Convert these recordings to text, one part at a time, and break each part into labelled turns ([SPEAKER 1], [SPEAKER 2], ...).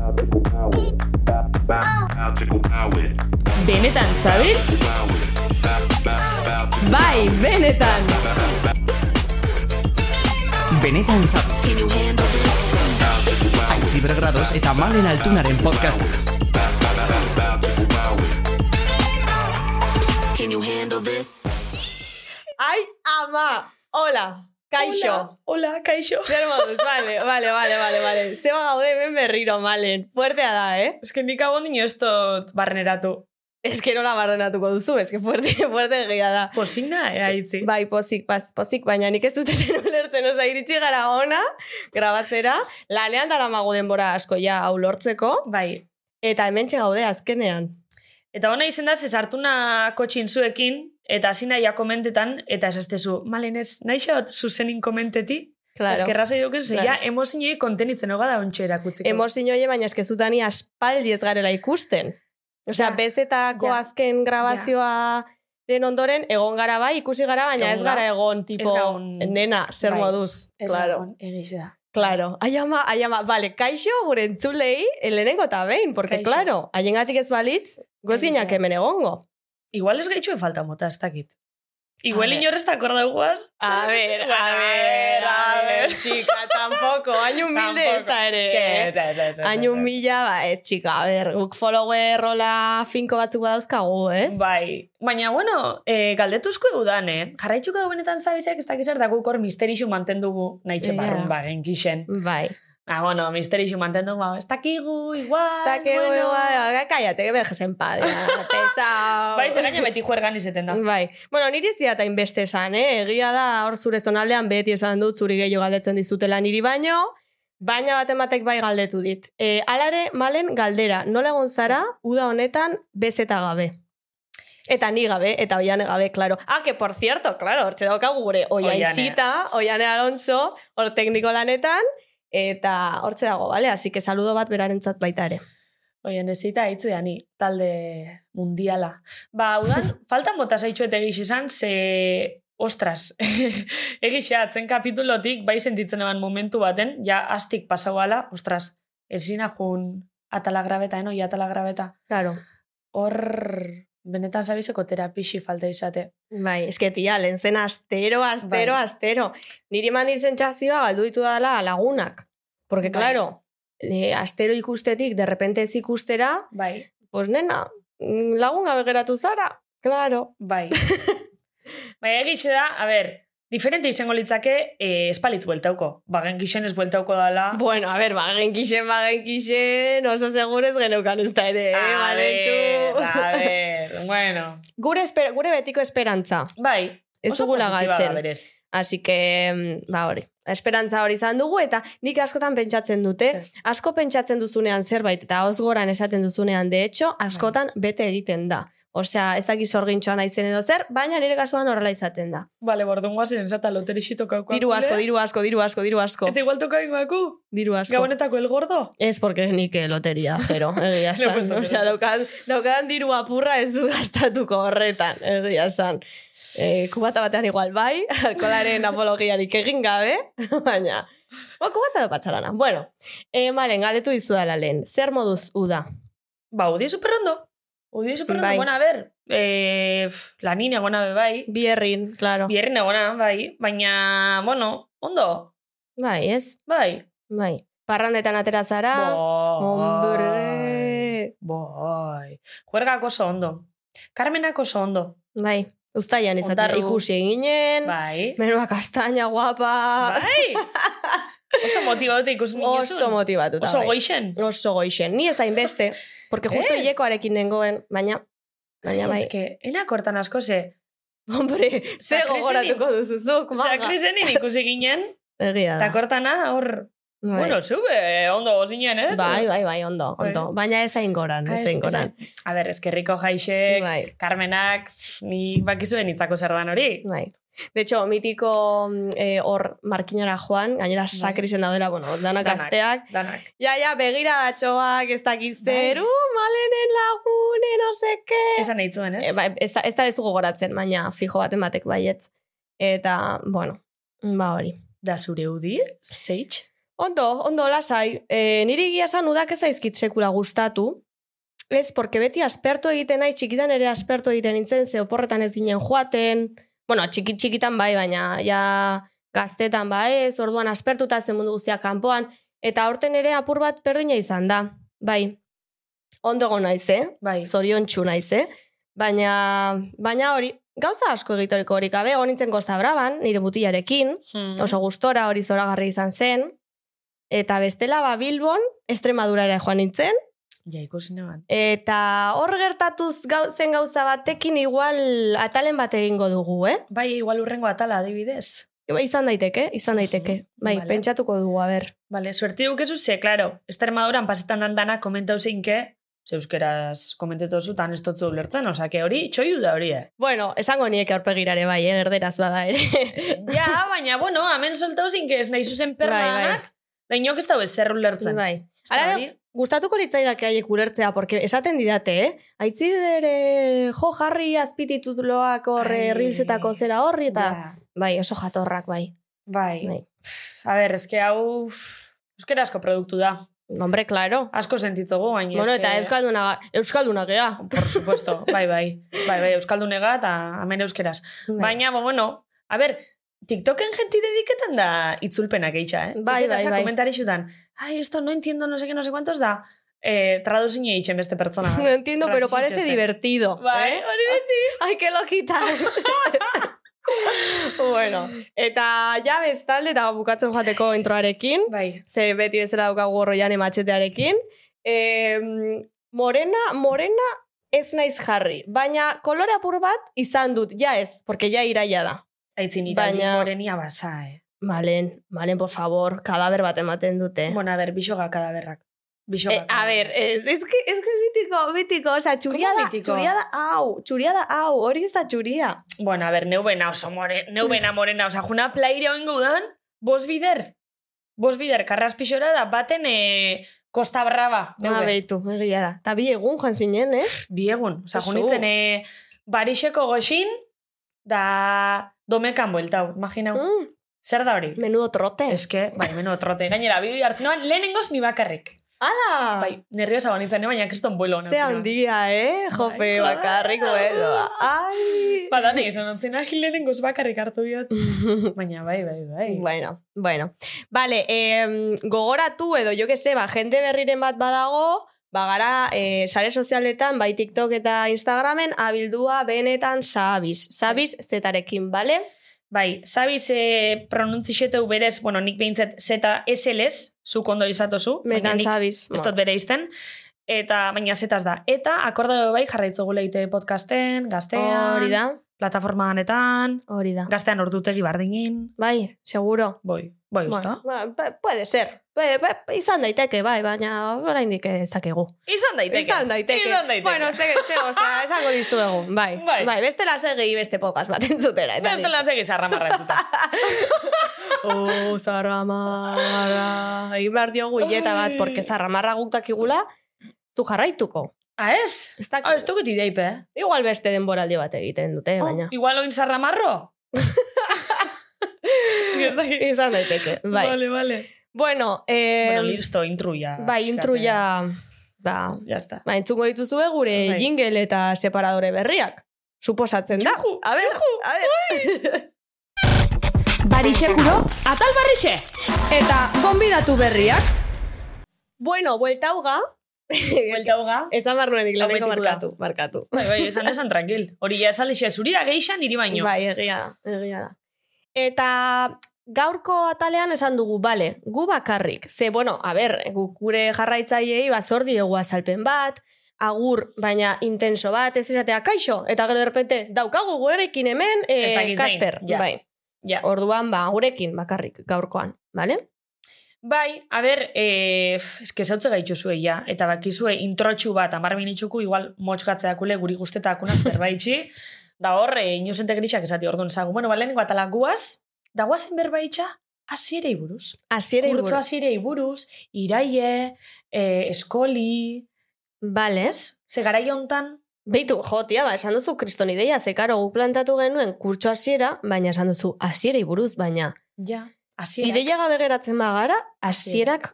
[SPEAKER 1] Magical power. Ba- ba- Magical power.
[SPEAKER 2] Benetan, sabes?
[SPEAKER 1] Power. Ba- ba- magical-
[SPEAKER 2] Bai, benetan!
[SPEAKER 3] Benetan zabez. Aitzi bergradoz eta malen altunaren podcasta.
[SPEAKER 1] magical power.
[SPEAKER 4] Ai, ama! Hola! Kaixo!
[SPEAKER 2] Hola, kaixo.
[SPEAKER 4] Zer moduz, vale, vale, vale, vale, vale. Zeba gaude hemen berriro, malen. Fuertea da, eh?
[SPEAKER 2] Ez que nik hau ondino ez dut barreneratu.
[SPEAKER 4] Ez que nola bardenatuko duzu, ez que fuerte, fuerte egia da.
[SPEAKER 2] Pozina, ea itzi.
[SPEAKER 4] Bai, pozik, paz, pozik, baina nik ez dut eten ulertzen, oza, iritsi gara ona, grabatzera, lanean dara magu denbora asko ja hau lortzeko,
[SPEAKER 2] Bai.
[SPEAKER 4] eta hemen gaude azkenean.
[SPEAKER 2] Eta hona izen da, ze sartu na kotxin zuekin, eta hasi naia komentetan, eta esaztezu, malen ez, naixot zuzenin komenteti? Claro.
[SPEAKER 4] Claro.
[SPEAKER 2] Eskerra zei duken, ze
[SPEAKER 4] Claro.
[SPEAKER 2] ja, emozinoi kontenitzen hoga da ontxe erakutzeko.
[SPEAKER 4] Emozio hoe, baina eskezutani aspaldi ez garela ikusten. Osea,
[SPEAKER 2] Ja.
[SPEAKER 4] bezetako
[SPEAKER 2] Ja.
[SPEAKER 4] azken grabazioaren ondoren, egon gara bai, ikusi gara, baina ez
[SPEAKER 2] Egon da.
[SPEAKER 4] gara egon, tipo,
[SPEAKER 2] gaun-
[SPEAKER 4] nena, zer
[SPEAKER 2] Bai.
[SPEAKER 4] moduz. Claro,
[SPEAKER 2] Egiz da.
[SPEAKER 4] claro. Ai ama, ai ama, bale, kaixo gure entzulei, lehenengo eta behin, porque,
[SPEAKER 2] Kaixo.
[SPEAKER 4] claro, haiengatik ez balitz,
[SPEAKER 2] Egia.
[SPEAKER 4] gozinak hemen egongo.
[SPEAKER 2] Igual ez gaitxue falta mota, ez dakit. Igual
[SPEAKER 4] ver.
[SPEAKER 2] inorrez akorda guaz.
[SPEAKER 4] A ver,
[SPEAKER 2] Bueno,
[SPEAKER 4] a ver, a ver, chica, tampoco, hain humilde ez
[SPEAKER 2] Tampoco.
[SPEAKER 4] da ere. eh? Hain humila, ba, ez, txika, a ber, guk follower rola finko batzuk badauzkagu, ez?
[SPEAKER 2] Bai, baina, bueno, e, galdetuzko eudan, eh? Jarraitzuko du benetan zabizek, ez dakizar da guk hor misterixu mantendugu, nahi
[SPEAKER 4] Ja.
[SPEAKER 2] txeparrun ba, genkixen.
[SPEAKER 4] Bai.
[SPEAKER 2] Ah, bueno, misterixu mantendugu, ba, ez dakigu, igual,
[SPEAKER 4] Ez da, que bueno. bai, kaiate, que bejes en pesao.
[SPEAKER 2] Bai, zer gaina beti juergan izeten da.
[SPEAKER 4] Bai. Bueno, niri ez diata inbeste esan, eh? Egia da, hor zure zonaldean beti esan dut, zuri gehiago galdetzen dizutela niri baino, baina baten batek bai galdetu dit. E, alare, malen, galdera, nola egon zara, uda honetan, bezeta gabe. Eta ni gabe, eta oian gabe, claro. Ah, que por cierto, claro, hortxe daukagu gure
[SPEAKER 2] Oihane.
[SPEAKER 4] oiaizita, oiane Alonso, hor tekniko lanetan, eta hortxe dago, bale? Así que saludo bat berarentzat baita ere.
[SPEAKER 2] Oian, ez zita hitz ni, talde mundiala. Ba, udan, faltan bota zaitxuet egiz izan, ze... Ostras, egisa, atzen kapitulotik, bai sentitzen eban momentu baten, ja astik pasauala, ostras, ezina jun atala grabeta, eno, ja atala grabeta.
[SPEAKER 4] Claro.
[SPEAKER 2] Hor, benetan zabizeko terapixi falta izate.
[SPEAKER 4] Bai, eske tia, lehen zen astero, astero,
[SPEAKER 2] Bai.
[SPEAKER 4] astero. Niri eman dit sentsazioa galdu ditu dela lagunak. Porque,
[SPEAKER 2] Bai.
[SPEAKER 4] claro, e, astero ikustetik, de repente ez ikustera,
[SPEAKER 2] Bai,
[SPEAKER 4] pues nena, mm, lagun gabe geratu zara. Claro.
[SPEAKER 2] Bai. Baina egitxe da, a ber, diferente izango litzake eh, espalitz bueltauko. Bagen gixen ez bueltauko dala.
[SPEAKER 4] Bueno, a ver, bagen kixen, bagen kixen, oso segurez geneukan ez da ere, eh,
[SPEAKER 2] a
[SPEAKER 4] Valentxu?
[SPEAKER 2] ber, a ber, bueno.
[SPEAKER 4] Gure, esper, gure betiko esperantza,
[SPEAKER 2] Bai,
[SPEAKER 4] ez
[SPEAKER 2] oso
[SPEAKER 4] dugula
[SPEAKER 2] positiba Da,
[SPEAKER 4] galtzen.
[SPEAKER 2] berez.
[SPEAKER 4] Así que, mm, ba hori, esperantza hori izan dugu, eta nik askotan pentsatzen dute,
[SPEAKER 2] Zer.
[SPEAKER 4] asko pentsatzen duzunean zerbait, eta hoz goran esaten duzunean, de hecho, askotan
[SPEAKER 2] Bai.
[SPEAKER 4] bete egiten da. Osea, ez dakiz sorgintxoa naizen edo zer, baina nire kasuan horrela izaten da.
[SPEAKER 2] Bale, bordun guazen zata loterixi tokauko.
[SPEAKER 4] Diru asko, diru asko, diru asko, diru asko,
[SPEAKER 2] Eta igual tokaingo aku?
[SPEAKER 4] diru asko.
[SPEAKER 2] Gabonetako el gordo?
[SPEAKER 4] Ez porque nik eh, loteria, jero, egia
[SPEAKER 2] No, pues,
[SPEAKER 4] san.
[SPEAKER 2] no,
[SPEAKER 4] Osea,
[SPEAKER 2] no.
[SPEAKER 4] daukadan, daukadan diru apurra ez dut gastatuko horretan, egia san. Eh, kubata batean igual bai, alkolaren apologiarik egin gabe, baina... Ba, kubata da patxarana. Bueno, eh, malen, galdetu dizudala lehen. Zer moduz uda?
[SPEAKER 2] Ba, udi superrondo. Udi superrondo,
[SPEAKER 4] Bai.
[SPEAKER 2] bai. a ber, eh, pf, lanin egona be bai.
[SPEAKER 4] Bierrin, claro.
[SPEAKER 2] Bierrin egona, bai. Baina, bueno, ondo,
[SPEAKER 4] Bai, ez?
[SPEAKER 2] bai.
[SPEAKER 4] Bai. Parrandetan atera zara.
[SPEAKER 2] Bai.
[SPEAKER 4] Hombre.
[SPEAKER 2] Bai. Juergak oso ondo. Carmenak oso ondo.
[SPEAKER 4] Bai. Uztaian izatea
[SPEAKER 2] Ondarru.
[SPEAKER 4] ikusi eginen.
[SPEAKER 2] Bai.
[SPEAKER 4] Menua kastaña guapa.
[SPEAKER 2] Bai. Oso motibauta ikusi nintzen.
[SPEAKER 4] Ah. Oso motibatuta.
[SPEAKER 2] Oso
[SPEAKER 4] bai.
[SPEAKER 2] goixen.
[SPEAKER 4] Oso goixen, ni ez hainbeste, porque justo
[SPEAKER 2] Ez.
[SPEAKER 4] hilekoarekin nengoen, baina, baina bai,
[SPEAKER 2] Ez que, enak hortan asko ze.
[SPEAKER 4] hombre, ze
[SPEAKER 2] Krisenin-
[SPEAKER 4] gogoratuko duzuzuk,
[SPEAKER 2] Osea,
[SPEAKER 4] maga.
[SPEAKER 2] krisenin ikusi ginen,
[SPEAKER 4] Egia
[SPEAKER 2] eta
[SPEAKER 4] da.
[SPEAKER 2] kortana hor,
[SPEAKER 4] Ah. Bai.
[SPEAKER 2] bueno, zube, ondo gozinen, ez?
[SPEAKER 4] bai, bai, bai, ondo,
[SPEAKER 2] Bai.
[SPEAKER 4] ondo. Baina ez hain goran,
[SPEAKER 2] Ah,
[SPEAKER 4] ez
[SPEAKER 2] ez-
[SPEAKER 4] hain goran.
[SPEAKER 2] A ber, eskerriko jaixek,
[SPEAKER 4] Bai,
[SPEAKER 2] Carmenak, pff, ni bakizuen hitzako zer dan hori.
[SPEAKER 4] bai. De hecho, mitiko mm, eh, hor markinara joan,
[SPEAKER 2] Bai.
[SPEAKER 4] gainera sakrisen daudela, bueno, danak
[SPEAKER 2] Danak.
[SPEAKER 4] gazteak.
[SPEAKER 2] Danak.
[SPEAKER 4] Ja, ja, begiradatxoak, ez dakiz zer,
[SPEAKER 2] Bai.
[SPEAKER 4] uh, malenen lagune, no seke.
[SPEAKER 2] Esan nahi zuen, ez?
[SPEAKER 4] E, ba, ez, da- ez da ez gogoratzen, baina fijo baten batek baietz. Eta, bueno, ba hori.
[SPEAKER 2] Da zure udi, zeitz?
[SPEAKER 4] Ondo, ondo, lasai. E, niri egia esan udak ez zaizkit sekula gustatu. Ez, porque beti aspertu egiten nahi, txikitan ere aspertu egiten nintzen, ze oporretan ez ginen joaten. Bueno, txiki, txikitan bai, baina ja gaztetan bai, ez, orduan aspertuta zen mundu guztia kanpoan. Eta aurten ere apur bat perdina izan da. Bai, ondo egon naiz, eh?
[SPEAKER 2] Bai.
[SPEAKER 4] Zorion txu naiz, eh? Baina, baina hori, gauza asko egitoriko hori gabe, egon nintzen Kosta Braban, nire mutilarekin,
[SPEAKER 2] Hmm.
[SPEAKER 4] oso gustora hori zoragarri izan zen. Eta bestela ba Bilbon, Estremadurara joan nintzen.
[SPEAKER 2] Ja, ikusi neban.
[SPEAKER 4] Eta hor gertatuz gau, zen gauza batekin igual atalen bat egingo dugu, eh? Bai,
[SPEAKER 2] Bai, igual urrengo atala, adibidez.
[SPEAKER 4] Izan daiteke, izan daiteke.
[SPEAKER 2] Mhm,
[SPEAKER 4] Bai,
[SPEAKER 2] vale.
[SPEAKER 4] pentsatuko dugu, a ber.
[SPEAKER 2] Vale, suerte dukezu, ze, claro, esta armadoran pasetan dan dana komentau zeinke, ze euskeraz komentetu zutan ez dutzu ulertzen, osea, que hori, txoiu da hori, eh?
[SPEAKER 4] Bueno, esango nieke aurpegirare bai, eh? Gerderaz bada ere.
[SPEAKER 2] ja, baina, bueno, hemen soltau zinke ez nahi zuzen
[SPEAKER 4] Bai, bai.
[SPEAKER 2] perdanak, da inok ez da zer ulertzen.
[SPEAKER 4] bai.
[SPEAKER 2] Ez da
[SPEAKER 4] Alare,
[SPEAKER 2] hori?
[SPEAKER 4] gustatuko litzaidake haiek ulertzea, porque esaten didate, eh? Aitzi ere, jo, jarri azpitituloak horre,
[SPEAKER 2] Ai.
[SPEAKER 4] rilsetako zera horri, eta...
[SPEAKER 2] Ja,
[SPEAKER 4] Bai, oso jatorrak, bai.
[SPEAKER 2] bai.
[SPEAKER 4] Bai.
[SPEAKER 2] Pff, A ber, eske hau, pff, euskerazko produktu da.
[SPEAKER 4] Hombre, claro.
[SPEAKER 2] Asko sentitzogu, baina
[SPEAKER 4] Bueno,
[SPEAKER 2] eske-
[SPEAKER 4] eta euskalduna, ga- euskalduna gea.
[SPEAKER 2] Por supuesto, bai, bai. Bai, bai, euskaldunega eta hemen euskeraz.
[SPEAKER 4] Bai.
[SPEAKER 2] Baina, bo, bueno, a ber, TikToken genti dediketan da itzulpenak eitxa, eh?
[SPEAKER 4] Bai,
[SPEAKER 2] Eta
[SPEAKER 4] bai,
[SPEAKER 2] esa
[SPEAKER 4] bai.
[SPEAKER 2] Komentari xutan, ai, esto no entiendo, no sé qué, no sé cuántos da. Eh, traduzine eitzen beste pertsona.
[SPEAKER 4] no entiendo, pero parece divertido.
[SPEAKER 2] Bai,
[SPEAKER 4] eh?
[SPEAKER 2] hori beti.
[SPEAKER 4] Ai, que lokita. bueno, eta ja bestalde eta bukatzen joateko introarekin,
[SPEAKER 2] Bai,
[SPEAKER 4] ze beti bezala daukagu horroian ematxetearekin. E, morena, morena ez naiz jarri, baina kolore apur bat izan dut, ja ez, porque ja iraia da.
[SPEAKER 2] aitzin ira,
[SPEAKER 4] Baina-
[SPEAKER 2] Baina... morenia basa, eh?
[SPEAKER 4] Malen, malen, por favor, kadaber bat ematen dute.
[SPEAKER 2] Bueno, a ber, bisoga kadaberrak. Bisoga.
[SPEAKER 4] Eh, a ver, ez, ez, que, ez que mitiko, mitiko, o sea, txuria
[SPEAKER 2] Como
[SPEAKER 4] da,
[SPEAKER 2] mitiko?
[SPEAKER 4] txuria da, hau, txuria da, hau, hori ez da txuria.
[SPEAKER 2] Bueno, a ber, neu bena oso more, neu bena morena, osa, juna plaire oingo dan, bos bider. Bos bider, karras pixora da, baten eh, Costa Brava. neu
[SPEAKER 4] Ah,
[SPEAKER 2] ben.
[SPEAKER 4] beitu, egia da. Ta bi egun joan zinen, eh?
[SPEAKER 2] bai, Biegun, oza,
[SPEAKER 4] Jesus.
[SPEAKER 2] junitzen e, barixeko goxin, da domekan bueltau, imaginau.
[SPEAKER 4] Mm,
[SPEAKER 2] Zer da hori?
[SPEAKER 4] menudo trote.
[SPEAKER 2] Eske, bai, meno trote. Gainera, bidu hartu noan, lehenengoz ni bakarrik.
[SPEAKER 4] Ala!
[SPEAKER 2] Bai, nerviosa banitzen, eh, baina kriston buelo.
[SPEAKER 4] Ze handia, eh? Jope,
[SPEAKER 2] Bai,
[SPEAKER 4] bakarrik,
[SPEAKER 2] claro.
[SPEAKER 4] bueno. ba. Ai!
[SPEAKER 2] Ba, da nahi, izan ontzen, ah, lehenengoz bakarrik hartu biot. Baina, bai, bai, bai.
[SPEAKER 4] bueno, bueno. Vale, eh, gogoratu edo, jo que se, ba, jende berriren bat badago, ba, gara, eh, sare sozialetan, bai TikTok eta Instagramen, abildua benetan zabiz. Zabiz zetarekin, bale?
[SPEAKER 2] Bai, zabiz e, pronuntzixeteu berez, bueno, nik behintzat zeta SLS, zuk ondo izatozu. baina
[SPEAKER 4] Benetan
[SPEAKER 2] nik
[SPEAKER 4] zabiz.
[SPEAKER 2] ez dut bere izten. Eta, baina zetaz da. Eta, akordeo bai jarraitzugu leite podcasten, gaztean,
[SPEAKER 4] Hori da,
[SPEAKER 2] plataforma danetan,
[SPEAKER 4] hori da.
[SPEAKER 2] gaztean ordutegi bardinin,
[SPEAKER 4] Bai, seguro.
[SPEAKER 2] boi, boi, usta.
[SPEAKER 4] Bueno, ba, ba- puede ser. Puede, ba- izan daiteke, bai, baina oraindik ez dakigu.
[SPEAKER 2] Izan daiteke.
[SPEAKER 4] Izan daiteke.
[SPEAKER 2] Izan daiteke.
[SPEAKER 4] Bueno, ze, ze, ostia, esango dizuegu. Bai, bai.
[SPEAKER 2] Bai.
[SPEAKER 4] bai bestela segi beste podcast bat entzutera. Eta
[SPEAKER 2] Beste lan segi zarra marratzuta.
[SPEAKER 4] Oh, zarramarra. Egin behar diogu hileta bat,
[SPEAKER 2] Ai.
[SPEAKER 4] porque zarramarra guk dakigula, zu jarraituko.
[SPEAKER 2] ah, ez?
[SPEAKER 4] Ez
[SPEAKER 2] Ah, ez
[SPEAKER 4] dakit.
[SPEAKER 2] dukit ideipe, eh?
[SPEAKER 4] Igual beste denboraldi bat egiten dute, Eh, baina.
[SPEAKER 2] Oh, igual oin zarra marro? Ez dakit.
[SPEAKER 4] Izan daiteke, bai.
[SPEAKER 2] Vale, vale.
[SPEAKER 4] Bueno, eh,
[SPEAKER 2] bueno, listo, intruia.
[SPEAKER 4] bai, intruia... Ba,
[SPEAKER 2] Ya está.
[SPEAKER 4] Ba, entzungo dituzue gure
[SPEAKER 2] Bai.
[SPEAKER 4] jingle eta separadore berriak. Suposatzen da.
[SPEAKER 2] Juhu,
[SPEAKER 4] a ber, a ber.
[SPEAKER 2] Barixekuro, atal barrixe!
[SPEAKER 4] eta gonbidatu berriak. Bueno, buelta uga. Bai,
[SPEAKER 2] Buelta hoga.
[SPEAKER 4] Esan barruen
[SPEAKER 2] Hau
[SPEAKER 4] iklaneko
[SPEAKER 2] betiko
[SPEAKER 4] markatu. Markatu.
[SPEAKER 2] Bai, bai, esan esan tranquil. Hori ja esan lexe, zuri da geixan niri baino.
[SPEAKER 4] Bai, egia da, egia da. Eta gaurko atalean esan dugu, bale, gu bakarrik. Ze, bueno, a ber, gu, gure jarraitzaileei bazor diegu azalpen bat, agur, baina intenso bat, ez esatea, kaixo, eta gero derpente, daukagu gurekin hemen,
[SPEAKER 2] Ez
[SPEAKER 4] e,
[SPEAKER 2] dakit zein,
[SPEAKER 4] Kasper,
[SPEAKER 2] ja.
[SPEAKER 4] bai.
[SPEAKER 2] Ja.
[SPEAKER 4] Orduan, ba, gurekin bakarrik gaurkoan, bale?
[SPEAKER 2] Bai, a ber, e, f- eske zautze gaituzue ja, eta bakizue introtxu bat, amar minitxuku, igual motxgatzeakule guri guztetakuna zerbaitxi, da hor, e, inusente grisak esati orduan zagu. Bueno, balenengo atala guaz, da guazen berbaitxa, azirei buruz.
[SPEAKER 4] Asiera
[SPEAKER 2] Kurtzo azirei buruz, iraie, e, eskoli,
[SPEAKER 4] Bale.
[SPEAKER 2] ez? Ze gara jontan,
[SPEAKER 4] Beitu, jo, tia, ba, esan duzu kriston ideia, ze karo, gu plantatu genuen kurtso hasiera, baina esan duzu hasierei buruz, baina
[SPEAKER 2] ja. Asiera.
[SPEAKER 4] Ideia gabe geratzen bagara, hasierak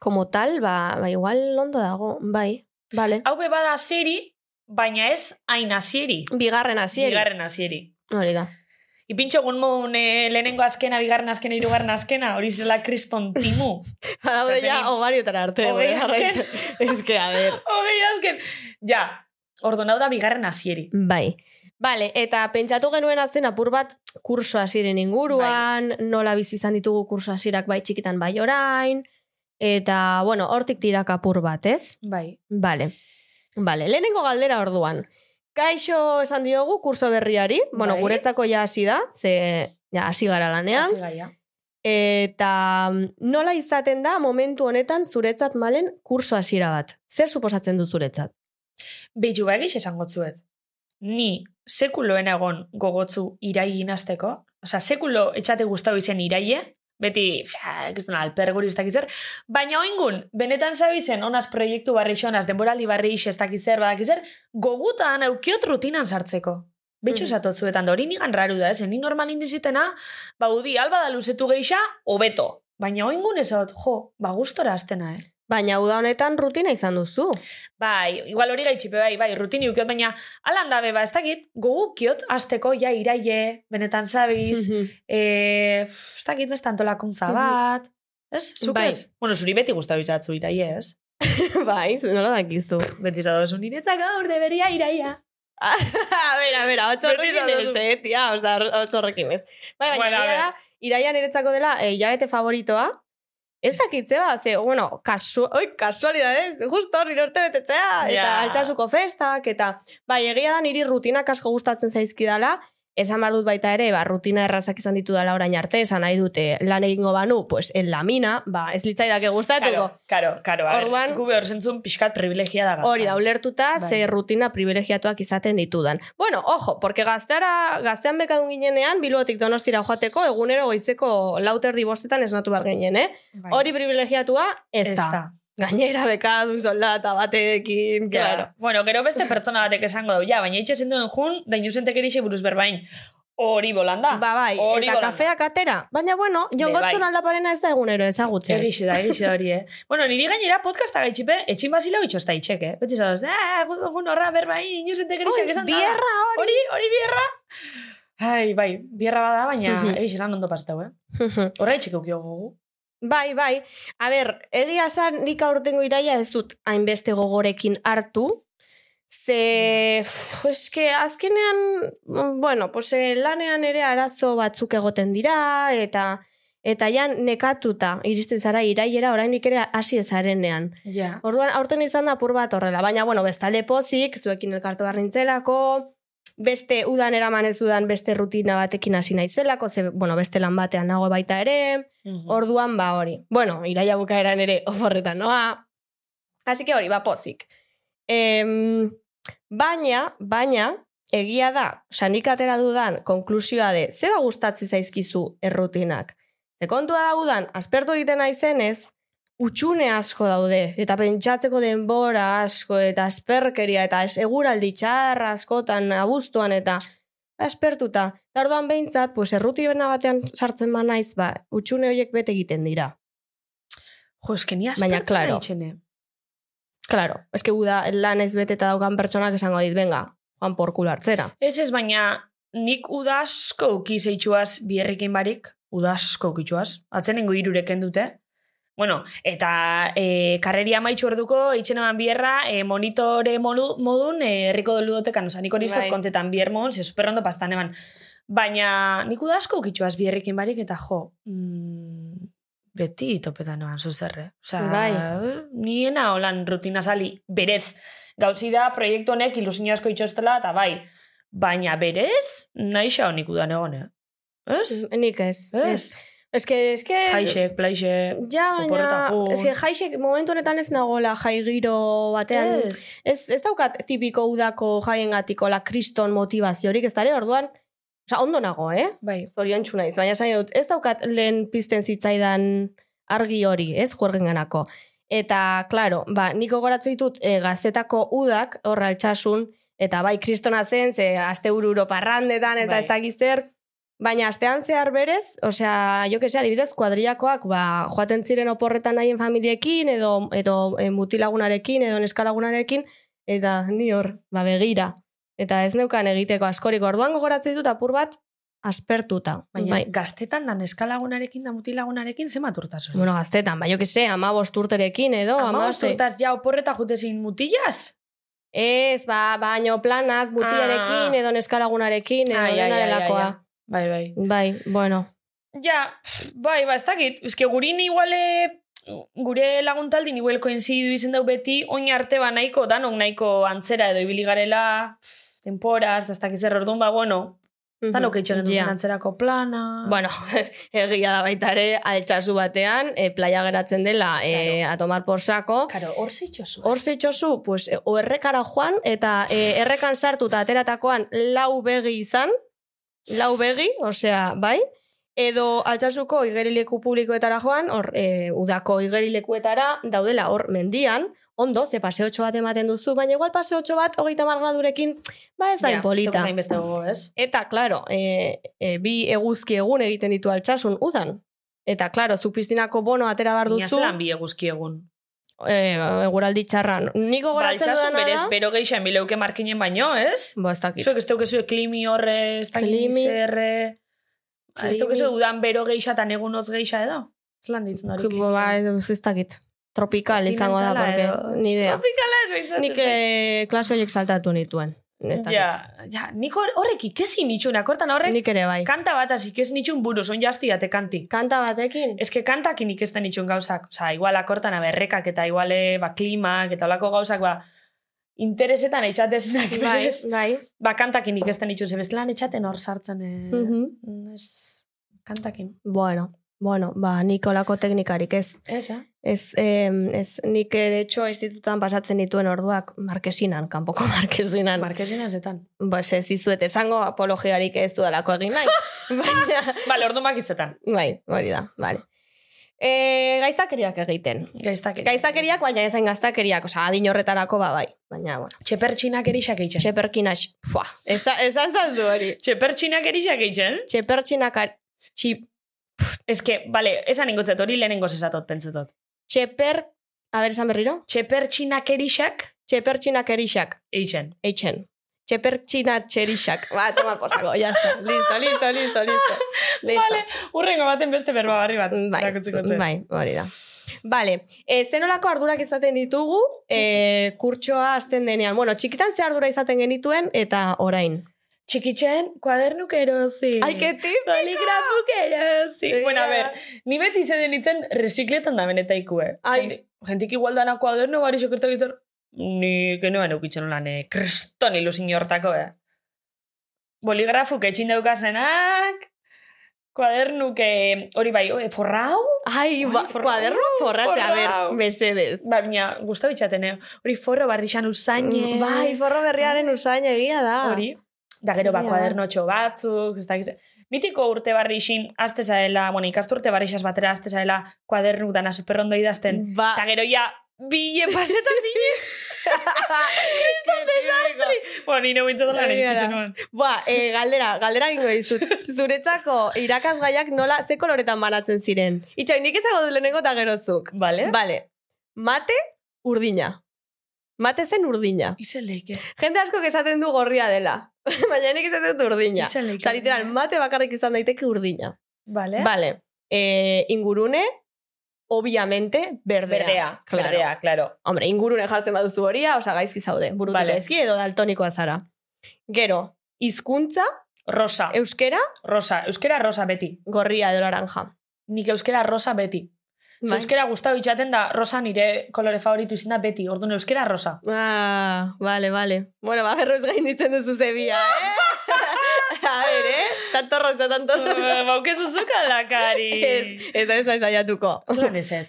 [SPEAKER 4] como tal, ba, ba igual ondo dago, bai. Vale.
[SPEAKER 2] Hau bebada asieri, baina ez hain asieri.
[SPEAKER 4] Bigarren hasieri.
[SPEAKER 2] Bigarren asieri.
[SPEAKER 4] Hori da.
[SPEAKER 2] Ipintxo egun mogun eh, lehenengo azkena, bigarren azkena, hirugarren azkena, hori zela kriston timu.
[SPEAKER 4] Haude ja,
[SPEAKER 2] zein-
[SPEAKER 4] ogariotara arte.
[SPEAKER 2] Hogei
[SPEAKER 4] bueno,
[SPEAKER 2] azken.
[SPEAKER 4] jarraitzen. Ez que, a ver.
[SPEAKER 2] Hogei azken. Ja, ordo da bigarren asieri.
[SPEAKER 4] Bai. Vale, eta pentsatu genuen azten apur bat kurso hasiren
[SPEAKER 2] Bai.
[SPEAKER 4] inguruan, nola bizi izan ditugu kurso hasirak bai txikitan bai orain, eta, bueno, hortik tirak apur bat, ez?
[SPEAKER 2] Bai.
[SPEAKER 4] Vale. Vale, lehenengo galdera orduan. Kaixo esan diogu kurso berriari, bueno,
[SPEAKER 2] Bai.
[SPEAKER 4] guretzako ja hasi da, ze ja hasi gara lanean,
[SPEAKER 2] Hasi gaia.
[SPEAKER 4] eta mm, nola izaten da momentu honetan zuretzat malen kurso hasiera bat? Zer suposatzen du zuretzat?
[SPEAKER 2] Beitu ba egiz esango zuet. Ni sekuloen egon gogotzu irai inazteko. Osa, sekulo etxate guztau izen iraie, beti, fia, ez duna, alperguri ez dakizer, baina oingun, benetan zabizen, onaz proiektu barri xonaz, denboraldi barri ix ez dakizer, badakizer, gogutan aukiot rutinan sartzeko. Betxu
[SPEAKER 4] Mhm.
[SPEAKER 2] zatotzuetan da, hori nigan raru da, ez, ni normalin dizitena, ba, udi, alba da luzetu geixa, hobeto. Baina oingun ez dut, jo, ba, gustora aztena, eh?
[SPEAKER 4] Baina uda honetan rutina izan duzu.
[SPEAKER 2] Bai, igual hori gaitxipe, bai, bai, rutini ukiot, baina alan dabe, ba, ez dakit, gogukiot, azteko, ja, iraie, benetan zabiz,
[SPEAKER 4] Mhm.
[SPEAKER 2] e, pff, ez dakit beste antolakuntza
[SPEAKER 4] Mhm.
[SPEAKER 2] bat, ez? Zuk
[SPEAKER 4] Bai.
[SPEAKER 2] ez? Bueno, zuri beti guztau izatzu iraie, ez?
[SPEAKER 4] bai, nola dakizu.
[SPEAKER 2] Beti izatzu, niretzak gaur deberia iraia.
[SPEAKER 4] a ber, a ber, hau txorrekin
[SPEAKER 2] Berriz
[SPEAKER 4] ez, eh, tia, oza, hau txorrekin ez. Bai, baina,
[SPEAKER 2] Bueno, a
[SPEAKER 4] bueno,
[SPEAKER 2] ber.
[SPEAKER 4] da, iraian eretzako dela, eh, jabete favoritoa, ez dakitze ba, ze, bueno, kasu, oi, kasualidadez, justo hor nire urte betetzea, eta
[SPEAKER 2] Ja.
[SPEAKER 4] altxasuko festak, eta, bai, egia da niri rutina kasko gustatzen zaizkidala, Esan behar dut baita ere, ba, rutina errazak izan ditu dela orain arte, esan nahi dute lan egingo banu, pues, en la mina, ba, ez litzaidake gustatuko.
[SPEAKER 2] Karo, karo, karo, a ber,
[SPEAKER 4] Orduan-
[SPEAKER 2] gube hor zentzun pixkat privilegia da.
[SPEAKER 4] Hori da, ulertuta,
[SPEAKER 2] Bai.
[SPEAKER 4] ze rutina privilegiatuak izaten ditudan. Bueno, ojo, porque gazteara, gaztean bekadun ginenean, biluotik donostira joateko, egunero goizeko lauter dibostetan esnatu behar ginen, eh?
[SPEAKER 2] Bai.
[SPEAKER 4] Hori privilegiatua, ez,
[SPEAKER 2] ez
[SPEAKER 4] da.
[SPEAKER 2] da.
[SPEAKER 4] Gainera bekadun soldata batekin,
[SPEAKER 2] Ja.
[SPEAKER 4] claro.
[SPEAKER 2] Bueno, gero beste pertsona batek esango du, ja, baina itxasen duen jun, da inusentek erixe buruz berbain. Hori bolanda.
[SPEAKER 4] Ba, bai,
[SPEAKER 2] hori
[SPEAKER 4] eta
[SPEAKER 2] bolanda.
[SPEAKER 4] kafeak atera. Baina, bueno,
[SPEAKER 2] Be, bai.
[SPEAKER 4] jongotzen aldaparena ez da egunero ezagutzen.
[SPEAKER 2] Egixe da, egixe hori, eh? bueno, niri gainera podcasta gaitxipe, etxin bazila bitxo ez da itxek, eh? Beti zadoz, ah, gu- gu horra berba hi, inusentek
[SPEAKER 4] Oi,
[SPEAKER 2] erixek esan da.
[SPEAKER 4] bierra hori!
[SPEAKER 2] Hori, hori bierra. Ai, bai, bierra bada, baina
[SPEAKER 4] Mhm.
[SPEAKER 2] egixe esan ondo pastau, eh? Horra itxek eukio gogu.
[SPEAKER 4] Bai, bai. A ber, egia esan nik aurtengo iraia ez dut hainbeste gogorekin hartu. Ze, pff, eske, azkenean, mm, bueno, pues, eh, lanean ere arazo batzuk egoten dira, eta eta ja nekatuta iristen zara iraiera oraindik ere hasi ezarenean.
[SPEAKER 2] Ja.
[SPEAKER 4] Orduan aurten izan da apur bat horrela, baina bueno, bestalde pozik, zuekin elkartu behar nintzelako, beste udan eraman ez dudan beste rutina batekin hasi naizelako, ze bueno, beste lan batean nago baita ere.
[SPEAKER 2] Mhm.
[SPEAKER 4] Orduan ba hori. Bueno, iraia bukaeran ere oforretan noa. Así que hori, ba pozik. Em, baina, baina, egia da, sanik atera dudan konklusioa de, zeba gustatzi zaizkizu errutinak. Ze kontua da udan, aspertu egiten naizenez, utxune asko daude, eta pentsatzeko denbora asko, eta asperkeria, eta ez- eguraldi txarra askotan, abuztuan, eta aspertuta. Ba, Eta orduan behintzat, pues, erruti bena batean sartzen ba naiz, ba, utxune horiek bete egiten dira.
[SPEAKER 2] Jo, eske ni
[SPEAKER 4] Baina,
[SPEAKER 2] aspertu
[SPEAKER 4] claro.
[SPEAKER 2] claro. nahi eh?
[SPEAKER 4] Claro, eske uda lan ez bete eta daukan pertsonak esango dit, venga, joan porkul hartzera.
[SPEAKER 2] Ez ez, baina nik udasko uki zeitxuaz bierrekin barik, udasko ukitxuaz, atzenengo irureken dute. Bueno, eta e, karreria maitxu orduko, itxenoan bierra, e, monitore modu, modun, e, herriko doludotekan, oza, nik hori ez dut
[SPEAKER 4] Bai.
[SPEAKER 2] kontetan bier modun, ze superrondo pastan eban. Baina nik udasko ukitxuaz bierrekin barik, eta jo, mm, beti topetan eban zuzerre. eh? Osa,
[SPEAKER 4] Bai.
[SPEAKER 2] niena holan rutina sali, berez, gauzi da proiektu honek ilusio asko itxostela, eta bai, baina berez, nahi xa honik udan egon, eh? Ez?
[SPEAKER 4] Mm, Nik ez.
[SPEAKER 2] Ez?
[SPEAKER 4] Eske, eske...
[SPEAKER 2] Jaixek, plaixe...
[SPEAKER 4] Ja, baina,
[SPEAKER 2] oporretako.
[SPEAKER 4] eske jaixek momentu honetan ez nagola jai giro batean.
[SPEAKER 2] Ez.
[SPEAKER 4] Ez, ez daukat tipiko udako jaiengatiko la kriston motivaziorik, ez dara, orduan, oza, ondo nago, eh?
[SPEAKER 2] Bai.
[SPEAKER 4] Zorion naiz, baina esan dut, ez daukat lehen pizten zitzaidan argi hori, ez, juergen ganako. Eta, klaro, ba, niko goratzen ditut e, gaztetako udak, horra altxasun, eta bai, kristona zen, ze aste ururo parrandetan, eta
[SPEAKER 2] Bai.
[SPEAKER 4] ez dakiz zer, Baina astean zehar berez, osea, jo que sea, adibidez, kuadriakoak, ba, joaten ziren oporretan haien familiekin, edo, edo e, mutilagunarekin, edo neskalagunarekin, eta ni hor, ba, begira. Eta ez neukan egiteko askorik. Orduan gogoratzen ditut apur bat aspertuta.
[SPEAKER 2] Baina
[SPEAKER 4] Bai.
[SPEAKER 2] gaztetan da neskalagunarekin da mutilagunarekin zemat urtasun.
[SPEAKER 4] Bueno, gaztetan, ba, jo que se, ama urterekin edo, ama,
[SPEAKER 2] Ama urtaz, ja, oporreta jutezin mutilaz?
[SPEAKER 4] Ez, ba, baino planak,
[SPEAKER 2] Ah,
[SPEAKER 4] mutiarekin,
[SPEAKER 2] ah.
[SPEAKER 4] edo neskalagunarekin, edo
[SPEAKER 2] Ai, ai,
[SPEAKER 4] dena
[SPEAKER 2] ai, ai,
[SPEAKER 4] delakoa.
[SPEAKER 2] ai. Bai, bai.
[SPEAKER 4] Bai, bueno.
[SPEAKER 2] Ja, pff, bai, ba, ez dakit. Eske gurin iguale, gure laguntaldin igual koinzidu izen dau beti, oin arte ba nahiko, danok nahiko antzera edo ibili garela, pff, temporaz, da ez dakit zer orduan, ba, bueno, danok eitxen
[SPEAKER 4] Mhm. Ja.
[SPEAKER 2] yeah. antzerako plana.
[SPEAKER 4] Bueno, egia da baita ere, altxasu batean, e, playa geratzen dela e, a tomar por saco.
[SPEAKER 2] Karo, hor zeitxozu.
[SPEAKER 4] Hor zeitzozu, pues, e, o errekara joan, eta e, errekan sartu eta ateratakoan lau begi izan, lau begi, osea, bai, edo altxasuko igerileku publikoetara joan, hor, e, udako igerilekuetara daudela hor mendian, ondo, ze paseotxo bat ematen duzu, baina igual paseotxo bat hogeita mar gradurekin, ba ez da polita.
[SPEAKER 2] Zain beste gogo, ez?
[SPEAKER 4] Eta, claro, e, e, bi eguzki egun egiten ditu altxasun udan. Eta, claro, zu piztinako bono atera behar
[SPEAKER 2] Baina
[SPEAKER 4] duzu,
[SPEAKER 2] zelan bi eguzki egun.
[SPEAKER 4] e, eguraldi txarran. Niko goratzen
[SPEAKER 2] Baltsasun
[SPEAKER 4] dudana
[SPEAKER 2] Ba, berez,
[SPEAKER 4] da...
[SPEAKER 2] bero gehi emileuke markinen baino, ez?
[SPEAKER 4] Ba, ez dakit.
[SPEAKER 2] Zuek ez teukezue klimi horre, ez dakit
[SPEAKER 4] Klimi.
[SPEAKER 2] zerre... Ah, Ez
[SPEAKER 4] Klimi.
[SPEAKER 2] teukezue udan bero geisha eta negun hotz geisha edo? Zelan ditzen hori
[SPEAKER 4] Ki- Ba, ez dakit. Tropical izango da,
[SPEAKER 2] Kontinentala
[SPEAKER 4] porque...
[SPEAKER 2] edo-
[SPEAKER 4] Ni idea.
[SPEAKER 2] Tropikala ez behintzat.
[SPEAKER 4] Nik e, klase horiek saltatu nituen. Ez dakit.
[SPEAKER 2] Ja, ja, nik hor- horrek ikesi nitxun, akortan horrek
[SPEAKER 4] Nik ere bai.
[SPEAKER 2] kanta bat hasi ikes nitxun buruz, on jazti date kanti.
[SPEAKER 4] Kanta batekin?
[SPEAKER 2] Ez que kantakin ikesten nitxun gauzak, oza, igual akortan aberrekak eta iguale ba, klimak eta olako gauzak, ba, interesetan eitxatezinak
[SPEAKER 4] Bai,
[SPEAKER 2] berez.
[SPEAKER 4] bai.
[SPEAKER 2] Ba, kantakin ikesten nitxun, zebestelan etxaten hor sartzen, eh,
[SPEAKER 4] Mhm.
[SPEAKER 2] ez, kantakin.
[SPEAKER 4] Bueno, bueno, ba, nik olako teknikarik ez.
[SPEAKER 2] Ez, eh?
[SPEAKER 4] Ez, em, ez nik, eh, de hecho, institutan pasatzen dituen orduak markesinan, kanpoko markesinan.
[SPEAKER 2] Markezinan zetan.
[SPEAKER 4] Ba, ez dizuet esango apologiarik ez dudalako egin nahi. Baina,
[SPEAKER 2] Bale, ordu makizetan.
[SPEAKER 4] bai, hori da, bale. E, gaiztakeriak egiten.
[SPEAKER 2] Gaiztakeri.
[SPEAKER 4] Gaiztakeriak, baina ezain gaztakeriak, osea, adin horretarako ba, bai. Baina, bueno,
[SPEAKER 2] Txepertxinak erixak eitzen.
[SPEAKER 4] txeperkinas, fua, esa, esan zazu hori.
[SPEAKER 2] Txepertxinak erixak eitzen?
[SPEAKER 4] Txepertxinak, ar- txip,
[SPEAKER 2] Ez que, bale, esan ingotzet hori lehenengo zezatot, pentsetot.
[SPEAKER 4] txeper, a ber, esan berriro?
[SPEAKER 2] Txepertxinak erixak
[SPEAKER 4] Txepertxinak erixak,
[SPEAKER 2] eitzen.
[SPEAKER 4] eitzen. Txepertxinak txerixak. Ba, toma posako, jazta. Listo, listo, listo, listo. listo.
[SPEAKER 2] Bale, urrengo baten beste berba barri bat. erakutziko zen.
[SPEAKER 4] bai, hori da. Bale, e, zenolako ardurak izaten ditugu, e, kurtsoa hasten denean. Bueno, txikitan ze ardura izaten genituen, eta orain.
[SPEAKER 2] Txikitzen, kuadernuk erosi.
[SPEAKER 4] Ai, que tipo!
[SPEAKER 2] Poligrafuk erosi.
[SPEAKER 4] Egia
[SPEAKER 2] Bueno, a
[SPEAKER 4] da.
[SPEAKER 2] ver, ni beti zen nintzen resikletan da eh. benetaikue.
[SPEAKER 4] Ai.
[SPEAKER 2] Jente- Jentik igual dana kuaderno bari sokertak izan, ni genuen eukitzen lan, eh, kriston ilusin hortako, eh. Boligrafuk etxin daukazenak, kuadernuk, eh, hori bai, eh, forrau,
[SPEAKER 4] Ai, ba,
[SPEAKER 2] Ai, forra-
[SPEAKER 4] kuaderno forratzea, a
[SPEAKER 2] forrau.
[SPEAKER 4] ber, mesedez.
[SPEAKER 2] baina guztu bitxaten, eh? hori forro barri xan usaine.
[SPEAKER 4] Bai, forro berriaren usain egia da.
[SPEAKER 2] hori. Da gero ba,
[SPEAKER 4] Ja.
[SPEAKER 2] kuadernotxo batzuk, ez dakiz. Mitiko urte barri xin, azte zaela, bueno, ikastu urte barri xas batera, azte zaela, kuadernuk dana superrondo idazten.
[SPEAKER 4] Ba,
[SPEAKER 2] Eta gero ja, bile pasetan dine.
[SPEAKER 4] desastre!
[SPEAKER 2] bueno, nire bintzatu lan,
[SPEAKER 4] Egia da.
[SPEAKER 2] ikutxe nuen.
[SPEAKER 4] Ba, e, galdera, galdera gingo dizut. Zuretzako irakasgaiak nola, ze koloretan banatzen ziren? Itxain, nik esago du lehenengo eta gerozuk.
[SPEAKER 2] Bale?
[SPEAKER 4] Bale, mate urdina. Mate zen urdina.
[SPEAKER 2] Izen leike.
[SPEAKER 4] Jende asko esaten du gorria dela. Baina nik esaten dut urdina.
[SPEAKER 2] Izen leike.
[SPEAKER 4] Osa, literal, ba, mate bakarrik izan daiteke urdina.
[SPEAKER 2] Bale?
[SPEAKER 4] Vale. Eh, ingurune, obviamente, berdea.
[SPEAKER 2] Berdea,
[SPEAKER 4] Claro.
[SPEAKER 2] berdea, claro.
[SPEAKER 4] Hombre, ingurune jartzen baduzu horia, osa gaizki zaude. Burutik
[SPEAKER 2] Vale.
[SPEAKER 4] gaizki edo daltonikoa zara. Gero, hizkuntza,
[SPEAKER 2] Rosa,
[SPEAKER 4] euskera,
[SPEAKER 2] rosa, euskera rosa beti.
[SPEAKER 4] gorria edo laranja.
[SPEAKER 2] Nik euskera rosa beti. Ze
[SPEAKER 4] Bai.
[SPEAKER 2] euskera gustau itxaten da rosa nire kolore favoritu izin da beti. Orduan euskera rosa.
[SPEAKER 4] Ah, vale, vale. Bueno, ba, berroz gainditzen duzu zebia, eh? A ver, eh? Tanto rosa, tanto rosa.
[SPEAKER 2] Bauke zuzuka lakari.
[SPEAKER 4] ez, eta ez naiz saiatuko.
[SPEAKER 2] Zelan ez ez.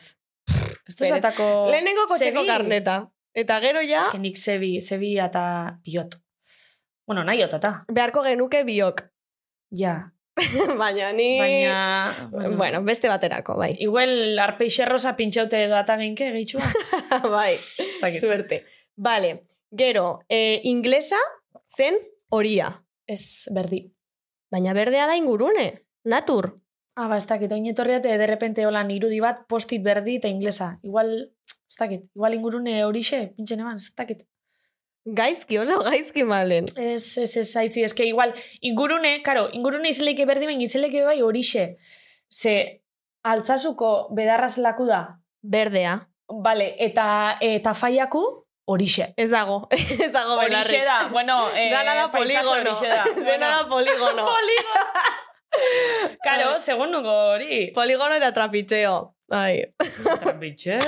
[SPEAKER 2] Ez
[SPEAKER 4] Bere.
[SPEAKER 2] duzatako...
[SPEAKER 4] Lehenengo kotxeko
[SPEAKER 2] Zebi.
[SPEAKER 4] karneta. Eta gero ja,
[SPEAKER 2] Oh, Ez que nik zebi, zebi eta biot. Bueno, nahi otata.
[SPEAKER 4] beharko genuke biok.
[SPEAKER 2] Ja.
[SPEAKER 4] Baina ni...
[SPEAKER 2] Baina...
[SPEAKER 4] Eh, Bueno, beste baterako, bai.
[SPEAKER 2] Igual arpeixe rosa pintxaute edo ata genke gehitxua.
[SPEAKER 4] bai,
[SPEAKER 2] Ez dakit.
[SPEAKER 4] suerte. Vale, gero, eh, inglesa zen horia.
[SPEAKER 2] Ez berdi.
[SPEAKER 4] Baina berdea da ingurune, natur.
[SPEAKER 2] Ah, ba, ez dakit, oin etorria eta derrepente holan irudi bat postit berdi eta inglesa. Igual, ez dakit, igual ingurune horixe, pintxen eman, ez dakit.
[SPEAKER 4] Gaizki, oso gaizki malen.
[SPEAKER 2] Ez, ez, ez, haitzi, eske igual, ingurune, karo, ingurune izeleike berdi ben izeleike bai horixe. Ze, altzazuko bedarraz laku da,
[SPEAKER 4] Berdea.
[SPEAKER 2] bale, eta, eta faiaku horixe.
[SPEAKER 4] Ez dago, ez dago belarrik.
[SPEAKER 2] Horixe da, bueno, eh,
[SPEAKER 4] Dana da
[SPEAKER 2] paisaje
[SPEAKER 4] poligono.
[SPEAKER 2] horixe da.
[SPEAKER 4] Dena da poligono.
[SPEAKER 2] Poligono. Karo, segun nuko hori.
[SPEAKER 4] poligono eta trapitxeo. Ai.
[SPEAKER 2] Bitxe.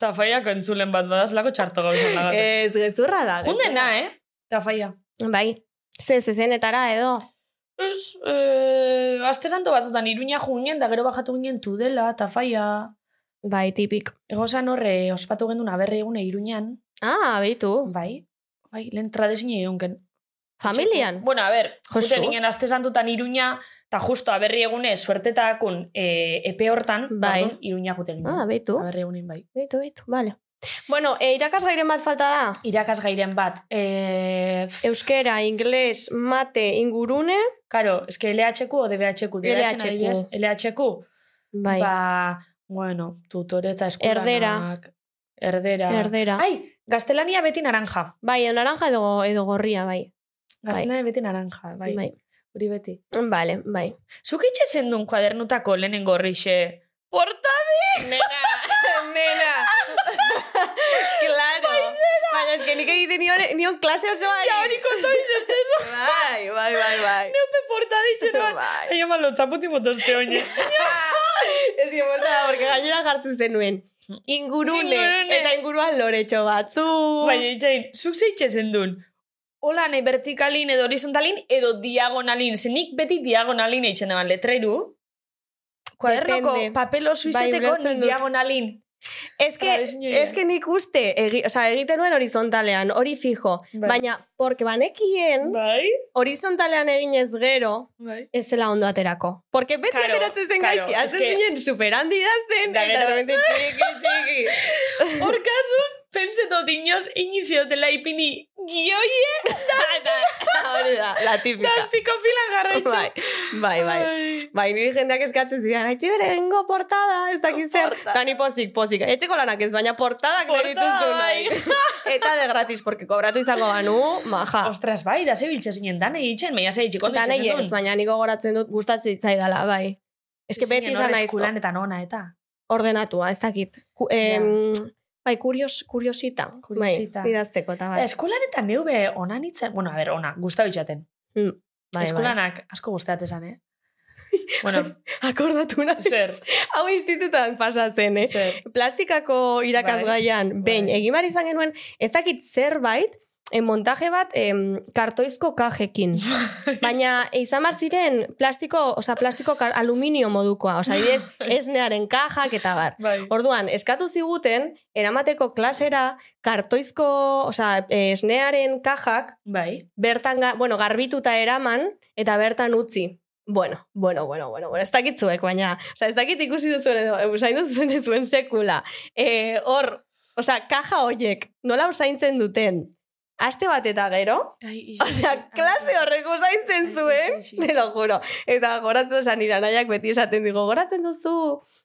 [SPEAKER 2] Tafaiak entzulen bat badazlako txarto gauzan lagatu.
[SPEAKER 4] Ez, gezurra da. gezurra.
[SPEAKER 2] Eh, Jundena, eh? Tafaia.
[SPEAKER 4] Bai. Ze, zezenetara edo.
[SPEAKER 2] Ez, eh, aste santo batzutan iruña junien, da gero bajatu ginen tudela, tafaia.
[SPEAKER 4] Bai, tipik.
[SPEAKER 2] Egozan horre, e, ospatu gendun aberri egune iruñan,
[SPEAKER 4] Ah, beitu.
[SPEAKER 2] bai, bai, lehen tradezine egonken.
[SPEAKER 4] Familian.
[SPEAKER 2] Bueno, a ber,
[SPEAKER 4] Jesus.
[SPEAKER 2] jute ginen aste santutan iruña, eta justo aberri egune suertetakun eh, epe hortan, ba,
[SPEAKER 4] Bai.
[SPEAKER 2] orduan iruña jute ginen.
[SPEAKER 4] Ah, beitu.
[SPEAKER 2] Aberri egunin bai.
[SPEAKER 4] Beitu, beitu, vale. Bueno, e, irakasgairen bat falta da.
[SPEAKER 2] Irakasgairen bat, eh,
[SPEAKER 4] Euskera, ingles, mate, ingurune.
[SPEAKER 2] Karo, eske LHQ o DBHQ, DBHQ,
[SPEAKER 4] LHQ.
[SPEAKER 2] adibidez, LHQ,
[SPEAKER 4] Bai.
[SPEAKER 2] ba, bueno, tutoretza eskolanak.
[SPEAKER 4] Erdera.
[SPEAKER 2] Erdera.
[SPEAKER 4] Erdera.
[SPEAKER 2] Ai, gaztelania beti naranja.
[SPEAKER 4] Bai, naranja edo, edo gorria, bai.
[SPEAKER 2] Gaztelania beti naranja, bai.
[SPEAKER 4] Bai.
[SPEAKER 2] Hori beti.
[SPEAKER 4] Vale, bai.
[SPEAKER 2] Zuk itxezen duen kuadernutako lehenengo horrixe. Portadi! Nena! Bai,
[SPEAKER 4] Nena! claro! Baina, ez que nik egiten nion, nion klase osoa. Ja, hori konta bizestu. Bai, bai, bai, bai.
[SPEAKER 2] Neupe portadi txeroan.
[SPEAKER 4] Bai.
[SPEAKER 2] Aia malo, txaputi motoste oine.
[SPEAKER 4] Ez que borta da, porque gainera jartzen zenuen. Ingurune,
[SPEAKER 2] Ingurune. Bai.
[SPEAKER 4] eta inguruan loretxo batzu.
[SPEAKER 2] Baina itxain, zuk ze itxezen duen? Hola, nahi eh, vertikalin edo horizontalin edo diagonalin. Ze nik beti diagonalin eitzen eban letreru. Kuadernoko
[SPEAKER 4] Depende.
[SPEAKER 2] papel oso
[SPEAKER 4] Bai,
[SPEAKER 2] izeteko
[SPEAKER 4] ulertzen
[SPEAKER 2] nik
[SPEAKER 4] dut.
[SPEAKER 2] diagonalin.
[SPEAKER 4] Es que,
[SPEAKER 2] Tradizio hori.
[SPEAKER 4] es que nik uste, egi, o sea, egiten nuen horizontalean, hori fijo.
[SPEAKER 2] Bai.
[SPEAKER 4] Baina, porque banekien,
[SPEAKER 2] Bai,
[SPEAKER 4] horizontalean eginez gero,
[SPEAKER 2] bai.
[SPEAKER 4] ez zela ondo aterako. Porque beti
[SPEAKER 2] Karo,
[SPEAKER 4] ateratzen zen
[SPEAKER 2] karo,
[SPEAKER 4] gaizki,
[SPEAKER 2] es
[SPEAKER 4] hazen
[SPEAKER 2] que-
[SPEAKER 4] zinen superhandi dazten,
[SPEAKER 2] Da,
[SPEAKER 4] eta
[SPEAKER 2] gero-
[SPEAKER 4] repente txiki, txiki.
[SPEAKER 2] Hor kasun, pentsetot inoz iniziotela ipini gioie da,
[SPEAKER 4] Hori da, la
[SPEAKER 2] da,
[SPEAKER 4] típica.
[SPEAKER 2] azpiko filan jarraitxu.
[SPEAKER 4] Bai, bai, bai. Bai, niri jendeak eskatzen zidan, haitzi bere gengo portada, ez dakit zer. Ta ni pozik, pozik. Etxeko lanak ez, baina portadak
[SPEAKER 2] Portada,
[SPEAKER 4] dituzu nahi. Eta de gratis, porque kobratu izango banu, maja.
[SPEAKER 2] Ostras, bai, da zebiltze zinen, dan egiten, baina ze itxiko
[SPEAKER 4] Eta nahi ez, baina niko goratzen dut gustatzen zitzaidala, bai. Ez que beti izan naiz
[SPEAKER 2] Eskulan eta nona, eta.
[SPEAKER 4] ordenatua, ez dakit. Ku, em, Bai, kurios, kuriosita.
[SPEAKER 2] Kuriosita.
[SPEAKER 4] Bai, idazteko, eta bai.
[SPEAKER 2] Eskulan eta neube ona nintzen, bueno, a ber, ona, guztau itxaten.
[SPEAKER 4] bai, bai.
[SPEAKER 2] Eskulanak asko guztat esan, eh? bueno,
[SPEAKER 4] Akordatu nahi.
[SPEAKER 2] zer,
[SPEAKER 4] Hau institutan pasatzen, eh?
[SPEAKER 2] zer.
[SPEAKER 4] plastikako irakasgaian,
[SPEAKER 2] Bai.
[SPEAKER 4] behin, egin behar izan genuen, ez dakit zerbait, eh, montaje bat em, kartoizko kajekin.
[SPEAKER 2] Bai.
[SPEAKER 4] Baina eh, izan behar ziren plastiko, osea, plastiko kar, aluminio modukoa, osea, adibidez, esnearen kajak eta bar.
[SPEAKER 2] Bai.
[SPEAKER 4] Orduan, eskatu ziguten, eramateko klasera kartoizko, osea, eh, esnearen kajak,
[SPEAKER 2] Bai.
[SPEAKER 4] bertan, ga- bueno, garbituta eraman, eta bertan utzi. Bueno, bueno, bueno, bueno, bueno, ez dakit zuek, baina, osea, ez dakit ikusi duzuen edo, eh, usain duzuen duzuen sekula. Eh, hor, osea, kaja hoiek, nola usaintzen duten? Aste bat eta gero, osea, klase horrek usaintzen zuen,
[SPEAKER 2] Ixi, ixi, ixi.
[SPEAKER 4] te lo juro. Eta goratzen, osea, nire anaiak beti esaten digo, goratzen duzu,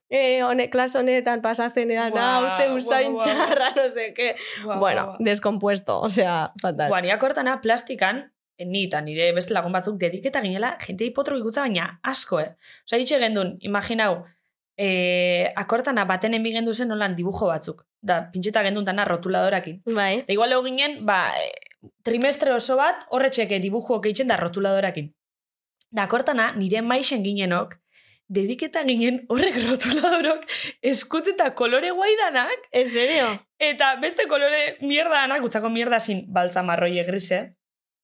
[SPEAKER 4] eh, honek, klase honetan pasatzen edan,
[SPEAKER 2] Guau,
[SPEAKER 4] hau, ze
[SPEAKER 2] guau,
[SPEAKER 4] usain
[SPEAKER 2] guau.
[SPEAKER 4] txarra, no sé, que, bueno, descompuesto, osea, fatal.
[SPEAKER 2] Guaniak hortana Ba, plastikan, eh, ni eta nire beste lagun batzuk dediketa ginela, jente hipotro ikutza baina asko, eh? Osa, hitxe gendun, imaginau, eh, akortana baten enbi gendu zen nolan dibujo batzuk. Da, pintxeta gendun dana rotuladorakin.
[SPEAKER 4] Bai.
[SPEAKER 2] Da, igual egin ginen, ba, eh, trimestre oso bat, horretxeke dibujo eitzen da rotuladorakin. Da, akortana, nire maixen ginenok, dediketa ginen horrek rotuladorok eskut eta kolore guaidanak,
[SPEAKER 4] En serio?
[SPEAKER 2] Eta beste kolore mierda anak, utzako mierda zin baltza marroi egrise.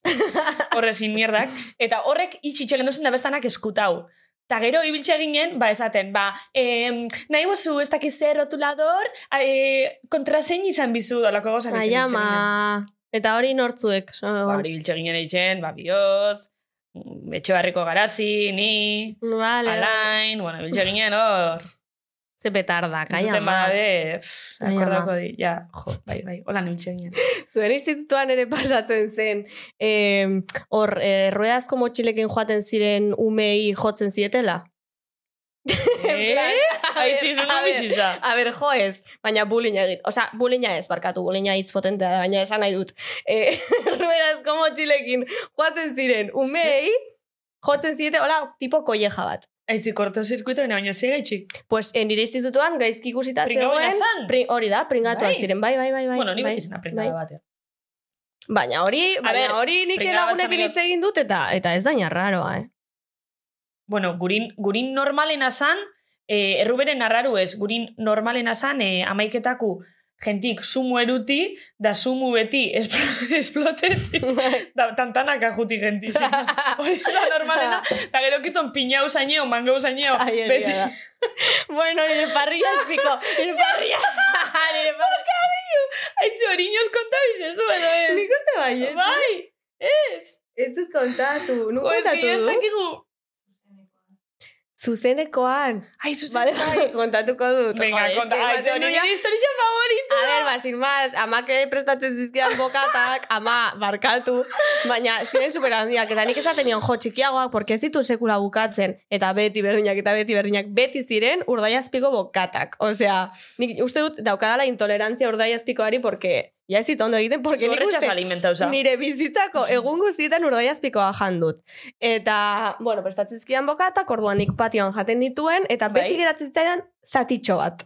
[SPEAKER 2] e eh? Horre zin mierdak. Eta horrek itxitxe gendu zen da bestanak eskutau. Ta gero ibiltxe ginen, ba esaten, ba, em, nahi bozu ez dakiz zer rotulador, a, e, kontrasein izan bizu, dolako gozak
[SPEAKER 4] Bai, ama. Eta hori nortzuek. so-
[SPEAKER 2] Ba, hori ibiltxe ginen eitzen, ba, bioz, mm, etxe barriko garazi, ni,
[SPEAKER 4] Vale.
[SPEAKER 2] alain, bueno, ibiltxe ginen, hor.
[SPEAKER 4] Ze betarda, kaina.
[SPEAKER 2] Entzuten eh.
[SPEAKER 4] ama.
[SPEAKER 2] badade, pff,
[SPEAKER 4] Ai, ama.
[SPEAKER 2] akordako di, ja, jo, bai, bai, hola nintzen ginen.
[SPEAKER 4] Zuen institutuan ere pasatzen zen. Em, Hor, eh, ruedazko motxilekin joaten ziren umei jotzen zietela.
[SPEAKER 2] Eh? Aitzizun
[SPEAKER 4] A ber,
[SPEAKER 2] bizitza.
[SPEAKER 4] A ber, jo ez, baina bullyinga egit. Osa, bullyinga ez, barkatu, bullyinga hitz potentea da, baina esan nahi dut. E, ruedazko motxilekin joaten ziren umei, jotzen ziete, hola, tipo kolleja bat.
[SPEAKER 2] Aitzi, korto zirkuito, baina baina ze gaitxik.
[SPEAKER 4] Pues eh, nire institutuan gaizki ikusita
[SPEAKER 2] Pringau
[SPEAKER 4] zegoen...
[SPEAKER 2] zan.
[SPEAKER 4] pri- hori da, pringatuak
[SPEAKER 2] Bai.
[SPEAKER 4] ziren, bai, bai, bai, bai.
[SPEAKER 2] bueno, ni
[SPEAKER 4] bai,
[SPEAKER 2] beti zena pringada
[SPEAKER 4] bai.
[SPEAKER 2] batean.
[SPEAKER 4] Baina hori,
[SPEAKER 2] ber,
[SPEAKER 4] baina hori nik
[SPEAKER 2] pringada bat
[SPEAKER 4] lagunekin
[SPEAKER 2] zarela-
[SPEAKER 4] hitz egin dut, eta eta ez daina raroa, eh?
[SPEAKER 2] Bueno, gurin, gurin normalena zan, eh, erruberen arraru ez, gurin normalena zan, eh, amaiketaku jentik sumu eruti, da sumu beti espl- esplotetik,
[SPEAKER 4] Bai,
[SPEAKER 2] da tantanaka juti jenti. zikaz. Hori zan normalena, eta gero kiston pinau zaineo, mangau zaineo,
[SPEAKER 4] Ai, egia
[SPEAKER 2] beti.
[SPEAKER 4] da. bueno, nire parrilla ezpiko. Nire parrilla. nire parrilla.
[SPEAKER 2] Aitzi, hori inoz kontabizezu, edo ez?
[SPEAKER 4] Nik uste bai, ez?
[SPEAKER 2] Bai, ez.
[SPEAKER 4] Ez dut kontatu. Nuk
[SPEAKER 2] Jo, ez
[SPEAKER 4] kontatu
[SPEAKER 2] que ez
[SPEAKER 4] du.
[SPEAKER 2] dakigu.
[SPEAKER 4] Zuzenekoan.
[SPEAKER 2] Ai, zuzen.
[SPEAKER 4] Vale, bai, kontatuko dut.
[SPEAKER 2] Venga,
[SPEAKER 4] Joder,
[SPEAKER 2] konta.
[SPEAKER 4] eske ematen
[SPEAKER 2] Ai, hori
[SPEAKER 4] du ja-
[SPEAKER 2] nire historia
[SPEAKER 4] A
[SPEAKER 2] favorita.
[SPEAKER 4] ba, ber, basin mas, amak ere prestatzen zizkidan bokatak, ama barkatu, baina ziren super handiak, eta nik esaten nion jo txikiagoak, porque ez ditu sekula bukatzen, eta beti berdinak, eta beti berdinak, beti ziren urdaiazpiko bokatak. Osea, nik uste dut daukadala intolerantzia urdaiazpikoari, porque ja ez dit ondo egiten, porque nik
[SPEAKER 2] Zorretxas
[SPEAKER 4] uste
[SPEAKER 2] alimentauza.
[SPEAKER 4] nire bizitzako egun guztietan urdaiazpikoa jan dut. Eta, bueno, prestatzizkidan bokatak, orduan nik patioan jaten nituen, eta beti
[SPEAKER 2] Bai.
[SPEAKER 4] geratzen zitzaidan zatitxo bat.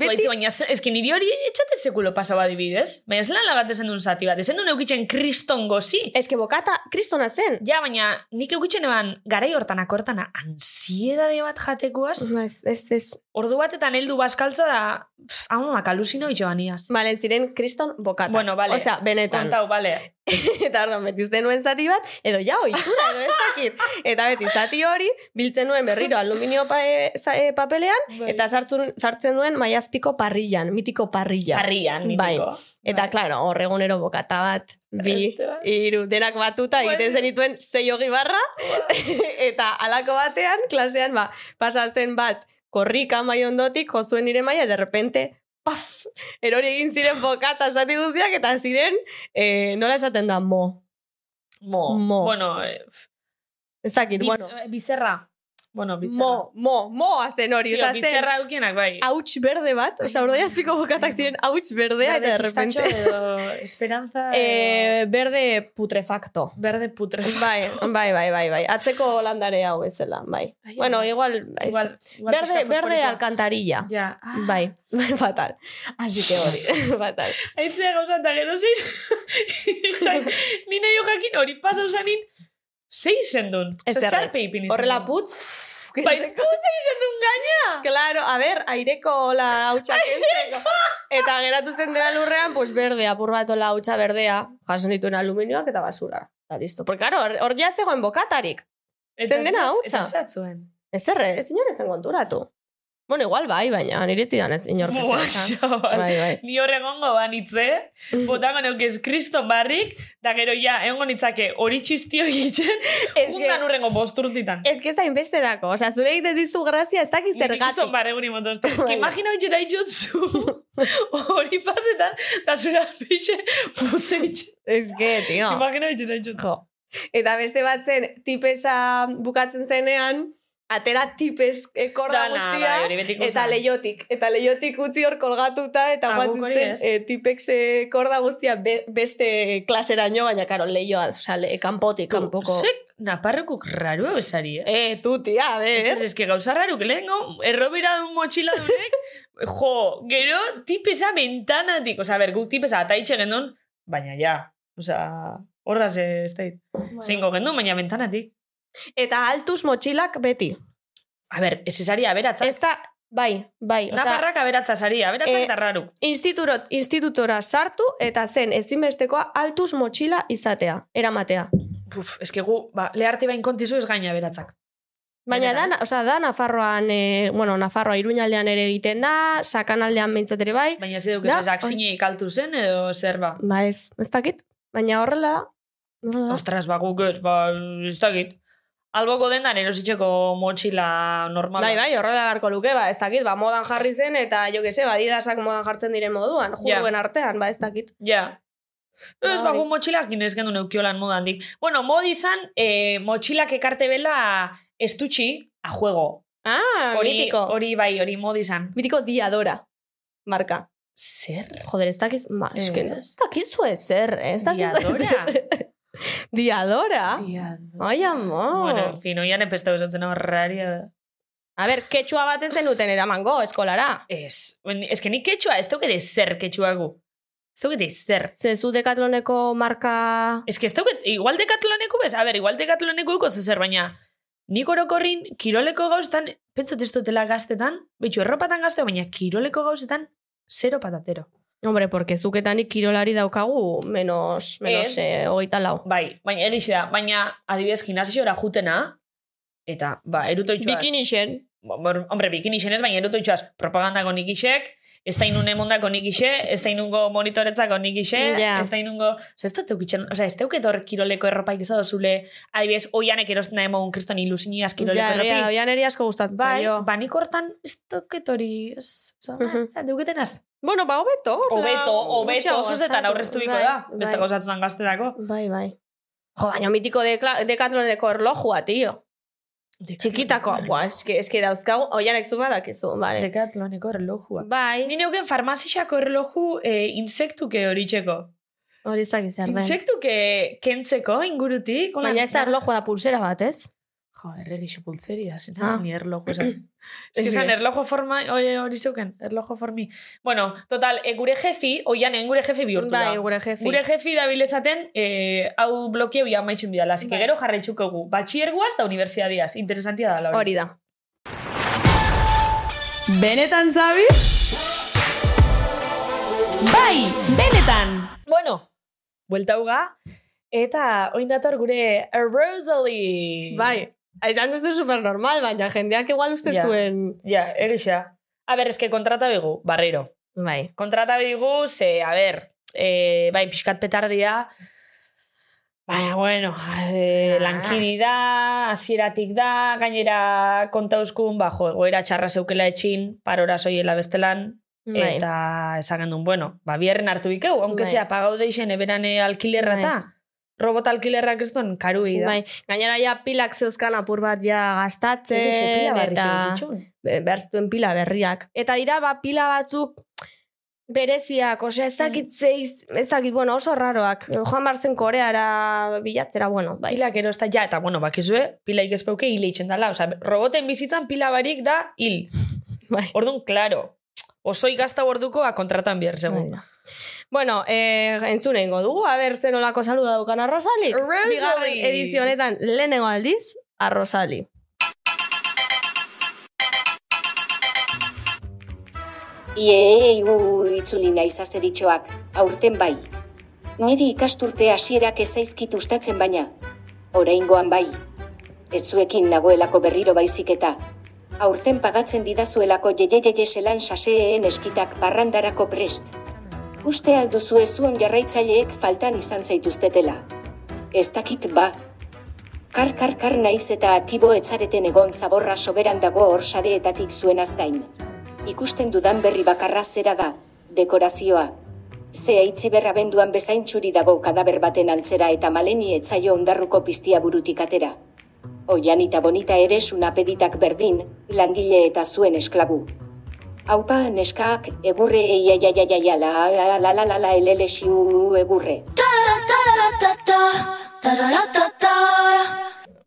[SPEAKER 2] Beti... Baitzi, baina ze- eski niri hori etxate sekulo pasaba dibidez. Baina zelan lagat ezen duen zati bat. Ezen duen eukitzen kriston gozi.
[SPEAKER 4] Ez que bokata, kristona zen.
[SPEAKER 2] Ja, baina nik eukitzen eban garai hortan akortana ansiedade bat jatekoaz.
[SPEAKER 4] Ez, ez, ez.
[SPEAKER 2] Ordu batetan heldu baskaltza da, pff, hau mamak alusino bitxo baniaz.
[SPEAKER 4] Bale, ziren kriston bokata.
[SPEAKER 2] Bueno, vale.
[SPEAKER 4] Osea, benetan.
[SPEAKER 2] Kontau, bale.
[SPEAKER 4] Eta orduan beti zuten nuen zati bat, edo ja, oitura, edo ez dakit. Eta beti zati hori, biltzen nuen berriro aluminio pa, e, za- e, papelean,
[SPEAKER 2] Bai.
[SPEAKER 4] eta sartzen, sartzen nuen maiazpiko parrillan, mitiko parrilla.
[SPEAKER 2] Harrian, nitiko.
[SPEAKER 4] Bai. Eta,
[SPEAKER 2] Bai.
[SPEAKER 4] claro, hor egunero bokata bat, bi,
[SPEAKER 2] Beste bat.
[SPEAKER 4] hiru, denak batuta
[SPEAKER 2] Bueno.
[SPEAKER 4] egiten zenituen sei hogi barra, eta halako batean, klasean, ba, pasatzen bat, korrika mai ondotik, jozuen nire maia, de repente, paf, erori egin ziren bokata zati guztiak, eta ziren, eh, nola esaten da, mo.
[SPEAKER 2] Mo.
[SPEAKER 4] Mo.
[SPEAKER 2] Bueno, eh,
[SPEAKER 4] Ez dakit,
[SPEAKER 2] biz,
[SPEAKER 4] bueno,
[SPEAKER 2] eh, bizerra. Bueno, bizerra.
[SPEAKER 4] mo, mo, mo azen hori,
[SPEAKER 2] Tio,
[SPEAKER 4] oza, zen,
[SPEAKER 2] bizerra eukienak, bai.
[SPEAKER 4] hauts berde bat, oza, urdaiazpiko bokatak ziren hauts berdea, eta Bai, de
[SPEAKER 2] pistacho
[SPEAKER 4] repente,
[SPEAKER 2] edo esperanza... edo
[SPEAKER 4] eh, berde putrefacto.
[SPEAKER 2] Berde putre.
[SPEAKER 4] Bai, bai, bai, bai, bai. Atzeko holandare hau bezala, bai.
[SPEAKER 2] Ai,
[SPEAKER 4] bueno,
[SPEAKER 2] ai.
[SPEAKER 4] igual, ez.
[SPEAKER 2] Igual, igual
[SPEAKER 4] berde,
[SPEAKER 2] pixka
[SPEAKER 4] berde
[SPEAKER 2] fosforitoa.
[SPEAKER 4] alcantarilla.
[SPEAKER 2] Ja. Ah,
[SPEAKER 4] Bai, bai, fatal. Así que hori, fatal.
[SPEAKER 2] Aitzea gauza eta gero ziz. Itxai, nina jo jakin hori pasau zanin, zei zendun.
[SPEAKER 4] Ez
[SPEAKER 2] Osea,
[SPEAKER 4] errez.
[SPEAKER 2] zarpe ipini
[SPEAKER 4] Horrela
[SPEAKER 2] zendun.
[SPEAKER 4] putz,
[SPEAKER 2] Bai, gauza izan duen gaina.
[SPEAKER 4] Claro, a ver, aireko hola hautsak entzeko. Eta geratu zen dela lurrean, pues berde, apur bat hola hautsa berdea, jaso nituen aluminioak eta basura. Eta listo. Porque, claro, hor- hor ja zegoen bokatarik. Zen dena
[SPEAKER 2] zatz-
[SPEAKER 4] hautsa.
[SPEAKER 2] Eta zatzuen.
[SPEAKER 4] Ez erre, ez inor ezen konturatu. Bueno, igual bai, baina niretzidan ez inor
[SPEAKER 2] Mua, xabal.
[SPEAKER 4] Bai, bai.
[SPEAKER 2] Ni horre gongo banitze, botango neukez kriston barrik, da gero ja, egon nitzake hori txistio egiten,
[SPEAKER 4] Ez que-
[SPEAKER 2] undan urrengo bosturtitan.
[SPEAKER 4] Ez que zain besterako, osea, zure egiten dizu grazia ez dakiz
[SPEAKER 2] Kriston
[SPEAKER 4] zergatik.
[SPEAKER 2] barreguri motostu. Ez que
[SPEAKER 4] Bai.
[SPEAKER 2] imagina hori jera itxotzu, hori pasetan, da zura pixe, putze itxe.
[SPEAKER 4] Ez que, tio.
[SPEAKER 2] Imagina hori jera itxotzu.
[SPEAKER 4] Jo. Eta beste bat zen, tipesa bukatzen zenean, atera tipes eh, korda
[SPEAKER 2] Dana,
[SPEAKER 4] guztia,
[SPEAKER 2] bai, hori betiko
[SPEAKER 4] eta
[SPEAKER 2] zen.
[SPEAKER 4] leiotik. Eta leiotik utzi hor kolgatuta, eta
[SPEAKER 2] Ah,
[SPEAKER 4] joaten
[SPEAKER 2] guk hori
[SPEAKER 4] zen
[SPEAKER 2] ez.
[SPEAKER 4] eh, tipex eh, korda guztia be- beste klaseraino, baina karo, leioa, osea, le, kanpotik, kanpoko.
[SPEAKER 2] Zuek naparrokuk raru ebesari, eh?
[SPEAKER 4] Eh, tu, tia,
[SPEAKER 2] Ez, ez,
[SPEAKER 4] ber.
[SPEAKER 2] ez, que gauza raruk, lehenko, errobera duen motxila dunek, jo, gero, tipesa mentanatik, oza, ber, guk tipesa ataitxe gendon, baina ja, oza, horraz ez da, zeingo gendon, baina mentanatik.
[SPEAKER 4] Eta altuz motxilak beti.
[SPEAKER 2] A ber, ez ezari aberatzak,
[SPEAKER 4] Ez da, bai, bai. osea,
[SPEAKER 2] naparrak aberatza sari, aberatzak
[SPEAKER 4] Eh,
[SPEAKER 2] eta raruk.
[SPEAKER 4] Institutot, institutora sartu eta zen ezinbestekoa altuz motxila izatea, eramatea.
[SPEAKER 2] Uf, ez que gu, ba, leharte bain kontizu ez gaina aberatzak.
[SPEAKER 4] Baina da,
[SPEAKER 2] Benetan.
[SPEAKER 4] osea, da Nafarroan, e, bueno, Nafarroa iruñaldean ere egiten da, sakanaldean behintzat ere bai.
[SPEAKER 2] Baina ez duk
[SPEAKER 4] Da,
[SPEAKER 2] ez ezak
[SPEAKER 4] oi.
[SPEAKER 2] zine ikaltu zen, edo zer ba.
[SPEAKER 4] Ba ez, ez dakit. Baina horrela, horrela da.
[SPEAKER 2] Ostras, ba, guk ez, ba, ez dakit. Alboko dendan erositxeko motxila normala.
[SPEAKER 4] Bai, bai, horrela garko luke, ba, ez dakit, ba, modan jarri zen, eta jo que se, ba, didasak modan jartzen diren moduan,
[SPEAKER 2] Ja.
[SPEAKER 4] juruen artean, ba, ez dakit.
[SPEAKER 2] Ja. Ez,
[SPEAKER 4] Bai.
[SPEAKER 2] bago motxilakin ez genuen eukiolan modan dik. Bueno, modi izan, eh, motxilak ekarte bela estutxi a juego.
[SPEAKER 4] Ah,
[SPEAKER 2] Hori-
[SPEAKER 4] mitiko.
[SPEAKER 2] Hori bai, hori modi izan.
[SPEAKER 4] Mitiko diadora, marka.
[SPEAKER 2] Zer?
[SPEAKER 4] Joder, ez dakiz, ma,
[SPEAKER 2] Ez.
[SPEAKER 4] eske, ez dakizu ezer, eh, ez dakizu
[SPEAKER 2] Eh. Diadora?
[SPEAKER 4] ezer. Diadora? Ai, amor.
[SPEAKER 2] Bueno, en fin, oian epestau esatzen horraria.
[SPEAKER 4] A ber, ketxua bat ez zenuten eramango, eskolara.
[SPEAKER 2] Ez, ben, ez que nik ketxua, ez dauket zer ketxua gu. Ez dauket zer.
[SPEAKER 4] Ze zu dekatloneko marka...
[SPEAKER 2] Ez que ez dauket, igual dekatloneko bez, a ber, igual dekatloneko eko zer, baina nik orokorrin, kiroleko gauztan, pentsot ez dutela gaztetan, betxu erropatan gazte, baina kiroleko gauzetan, zero patatero.
[SPEAKER 4] Hombre, porque zuketanik kirolari daukagu, menos, menos, eh, hogeita lau.
[SPEAKER 2] Bai, baina egixe da, baina adibidez gimnasiora jutena, eta, ba, erutoitxuaz.
[SPEAKER 4] Bikinixen.
[SPEAKER 2] Bor- Hombre, bikini xenez, baina erutoitxuaz propagandako nik isek, ez da inune mondako nik ise, ez da inungo monitoretzako nik ise,
[SPEAKER 4] Ja.
[SPEAKER 2] ez da inungo... Osa, ez dut eukitzen, osa, ez teuket hor kiroleko erropaik ez da dozule, adibidez, oianek erosten da emogun kriston ilusiniaz kiroleko
[SPEAKER 4] Ja,
[SPEAKER 2] erropi.
[SPEAKER 4] egia, oian eri asko gustatzen
[SPEAKER 2] Bai,
[SPEAKER 4] zaio.
[SPEAKER 2] ba, nik hortan ez duket hori... Ez, oza,
[SPEAKER 4] Mhm.
[SPEAKER 2] eh, deuketenaz.
[SPEAKER 4] Bueno, ba, hobeto.
[SPEAKER 2] Hobeto,
[SPEAKER 4] plan,
[SPEAKER 2] hobeto,
[SPEAKER 4] gutxiago
[SPEAKER 2] osozetan
[SPEAKER 4] gastatu.
[SPEAKER 2] aurreztuiko
[SPEAKER 4] Bai,
[SPEAKER 2] da, beste
[SPEAKER 4] bai.
[SPEAKER 2] gauzatzen gaztedako.
[SPEAKER 4] Bai, bai. Jo, baina mitiko dekla- dekatloneko erlojua, tio. Txikitako, buah, eske, eske dauzkagu, oianek zu badakizu, bale.
[SPEAKER 2] Dekatlaneko erlojua.
[SPEAKER 4] Bai,
[SPEAKER 2] Ni neuken farmazixako erloju eh, insektuke horitxeko.
[SPEAKER 4] hori zaki zer den.
[SPEAKER 2] Insektuke kentzeko ingurutik. hola.
[SPEAKER 4] Bai. Baina ez da erlojua da pulsera bat, ez?
[SPEAKER 2] Jo, erregixo pultzeri da, zen,
[SPEAKER 4] Ah.
[SPEAKER 2] ni erloju esan. Ez que
[SPEAKER 4] Ez
[SPEAKER 2] esan,
[SPEAKER 4] bien.
[SPEAKER 2] erlojo forma, oie, hori zeuken, erlojo formi. Bueno, total, e, gure jefi, oian, gure jefi bihurtu
[SPEAKER 4] Bai,
[SPEAKER 2] da.
[SPEAKER 4] gure jefi.
[SPEAKER 2] Gure jefi da bilezaten, eh, hau blokeo ja maitxun bidala, así que
[SPEAKER 4] Bai.
[SPEAKER 2] gero jarraitzukogu. Batxierguaz da universidadiaz, interesantia da, la
[SPEAKER 4] Hori da.
[SPEAKER 5] Benetan zabi?
[SPEAKER 2] Bai, benetan! Bueno, buelta uga, eta oin dator gure Rosalie!
[SPEAKER 4] Bai, esan duzu supernormal, baina jendeak igual uste
[SPEAKER 2] Ja.
[SPEAKER 4] zuen...
[SPEAKER 2] Ja, egixa. A ber, eske kontrata begu, barriro.
[SPEAKER 4] Bai.
[SPEAKER 2] Kontrata begu, ze, a ber, e, bai, pixkat petardia, Baina, bueno, e,
[SPEAKER 4] Ah.
[SPEAKER 2] lankidi da, hasieratik da, gainera kontauzkun, ba, jo, egoera txarra zeukela etxin, parora soiela bestelan,
[SPEAKER 4] bai.
[SPEAKER 2] Eta esan gendun, bueno, ba, biherren hartu bikeu, onke
[SPEAKER 4] Bai.
[SPEAKER 2] zea, pagau deixen eberan eh, alkilerra
[SPEAKER 4] Bai.
[SPEAKER 2] ta. Robot alkilerra kriston karu da.
[SPEAKER 4] Bai, gainera ja pilak zeuzkan apur bat ja
[SPEAKER 2] Zer
[SPEAKER 4] gastatzen,
[SPEAKER 2] iso, pila barri
[SPEAKER 4] eta
[SPEAKER 2] zitun.
[SPEAKER 4] be- behar zituen pila berriak. Eta dira, ba, pila batzuk bereziak, osea, ez
[SPEAKER 2] Mm.
[SPEAKER 4] dakit zeiz, ez dakit, bueno, oso raroak. Joan barzen koreara bilatzera, bueno, bai.
[SPEAKER 2] Pila gero ezta, ja, eta bueno, bakizue, pila ikespeuke hile itxen dala. Osa, roboten bizitzan pila barik da hil.
[SPEAKER 4] bai.
[SPEAKER 2] Orduan, klaro, oso ikasta orduko a kontratan bihar, segun.
[SPEAKER 4] Bueno, bueno eh, entzune ingo dugu, a ber, zen olako saluda daukan arrozalik.
[SPEAKER 2] Arrozali!
[SPEAKER 4] Bigarren edizionetan lehenengo aldiz, arrozali.
[SPEAKER 6] Iei, gu itzuli naiz azeritxoak, aurten bai. Niri ikasturte hasierak ezaizkit ustatzen baina, oraingoan bai. Ez zuekin nagoelako berriro baizik eta, aurten pagatzen didazuelako jejejeje selan saseen eskitak parrandarako prest. Uste alduzu zuen jarraitzaileek faltan izan zaituztetela. Ez dakit ba. Kar, kar, kar naiz eta atibo etzareten egon zaborra soberan dago hor sareetatik zuenaz gain ikusten dudan berri bakarra zera da, dekorazioa. Ze aitzi berra benduan bezain txuri dago kadaber baten antzera eta maleni etzaio ondarruko piztia burutik atera. Oian eta bonita ere sunapeditak berdin, langile eta zuen esklabu. Haupa neskaak egurre eia ja ja ja ja la la la la la la elele siu egurre.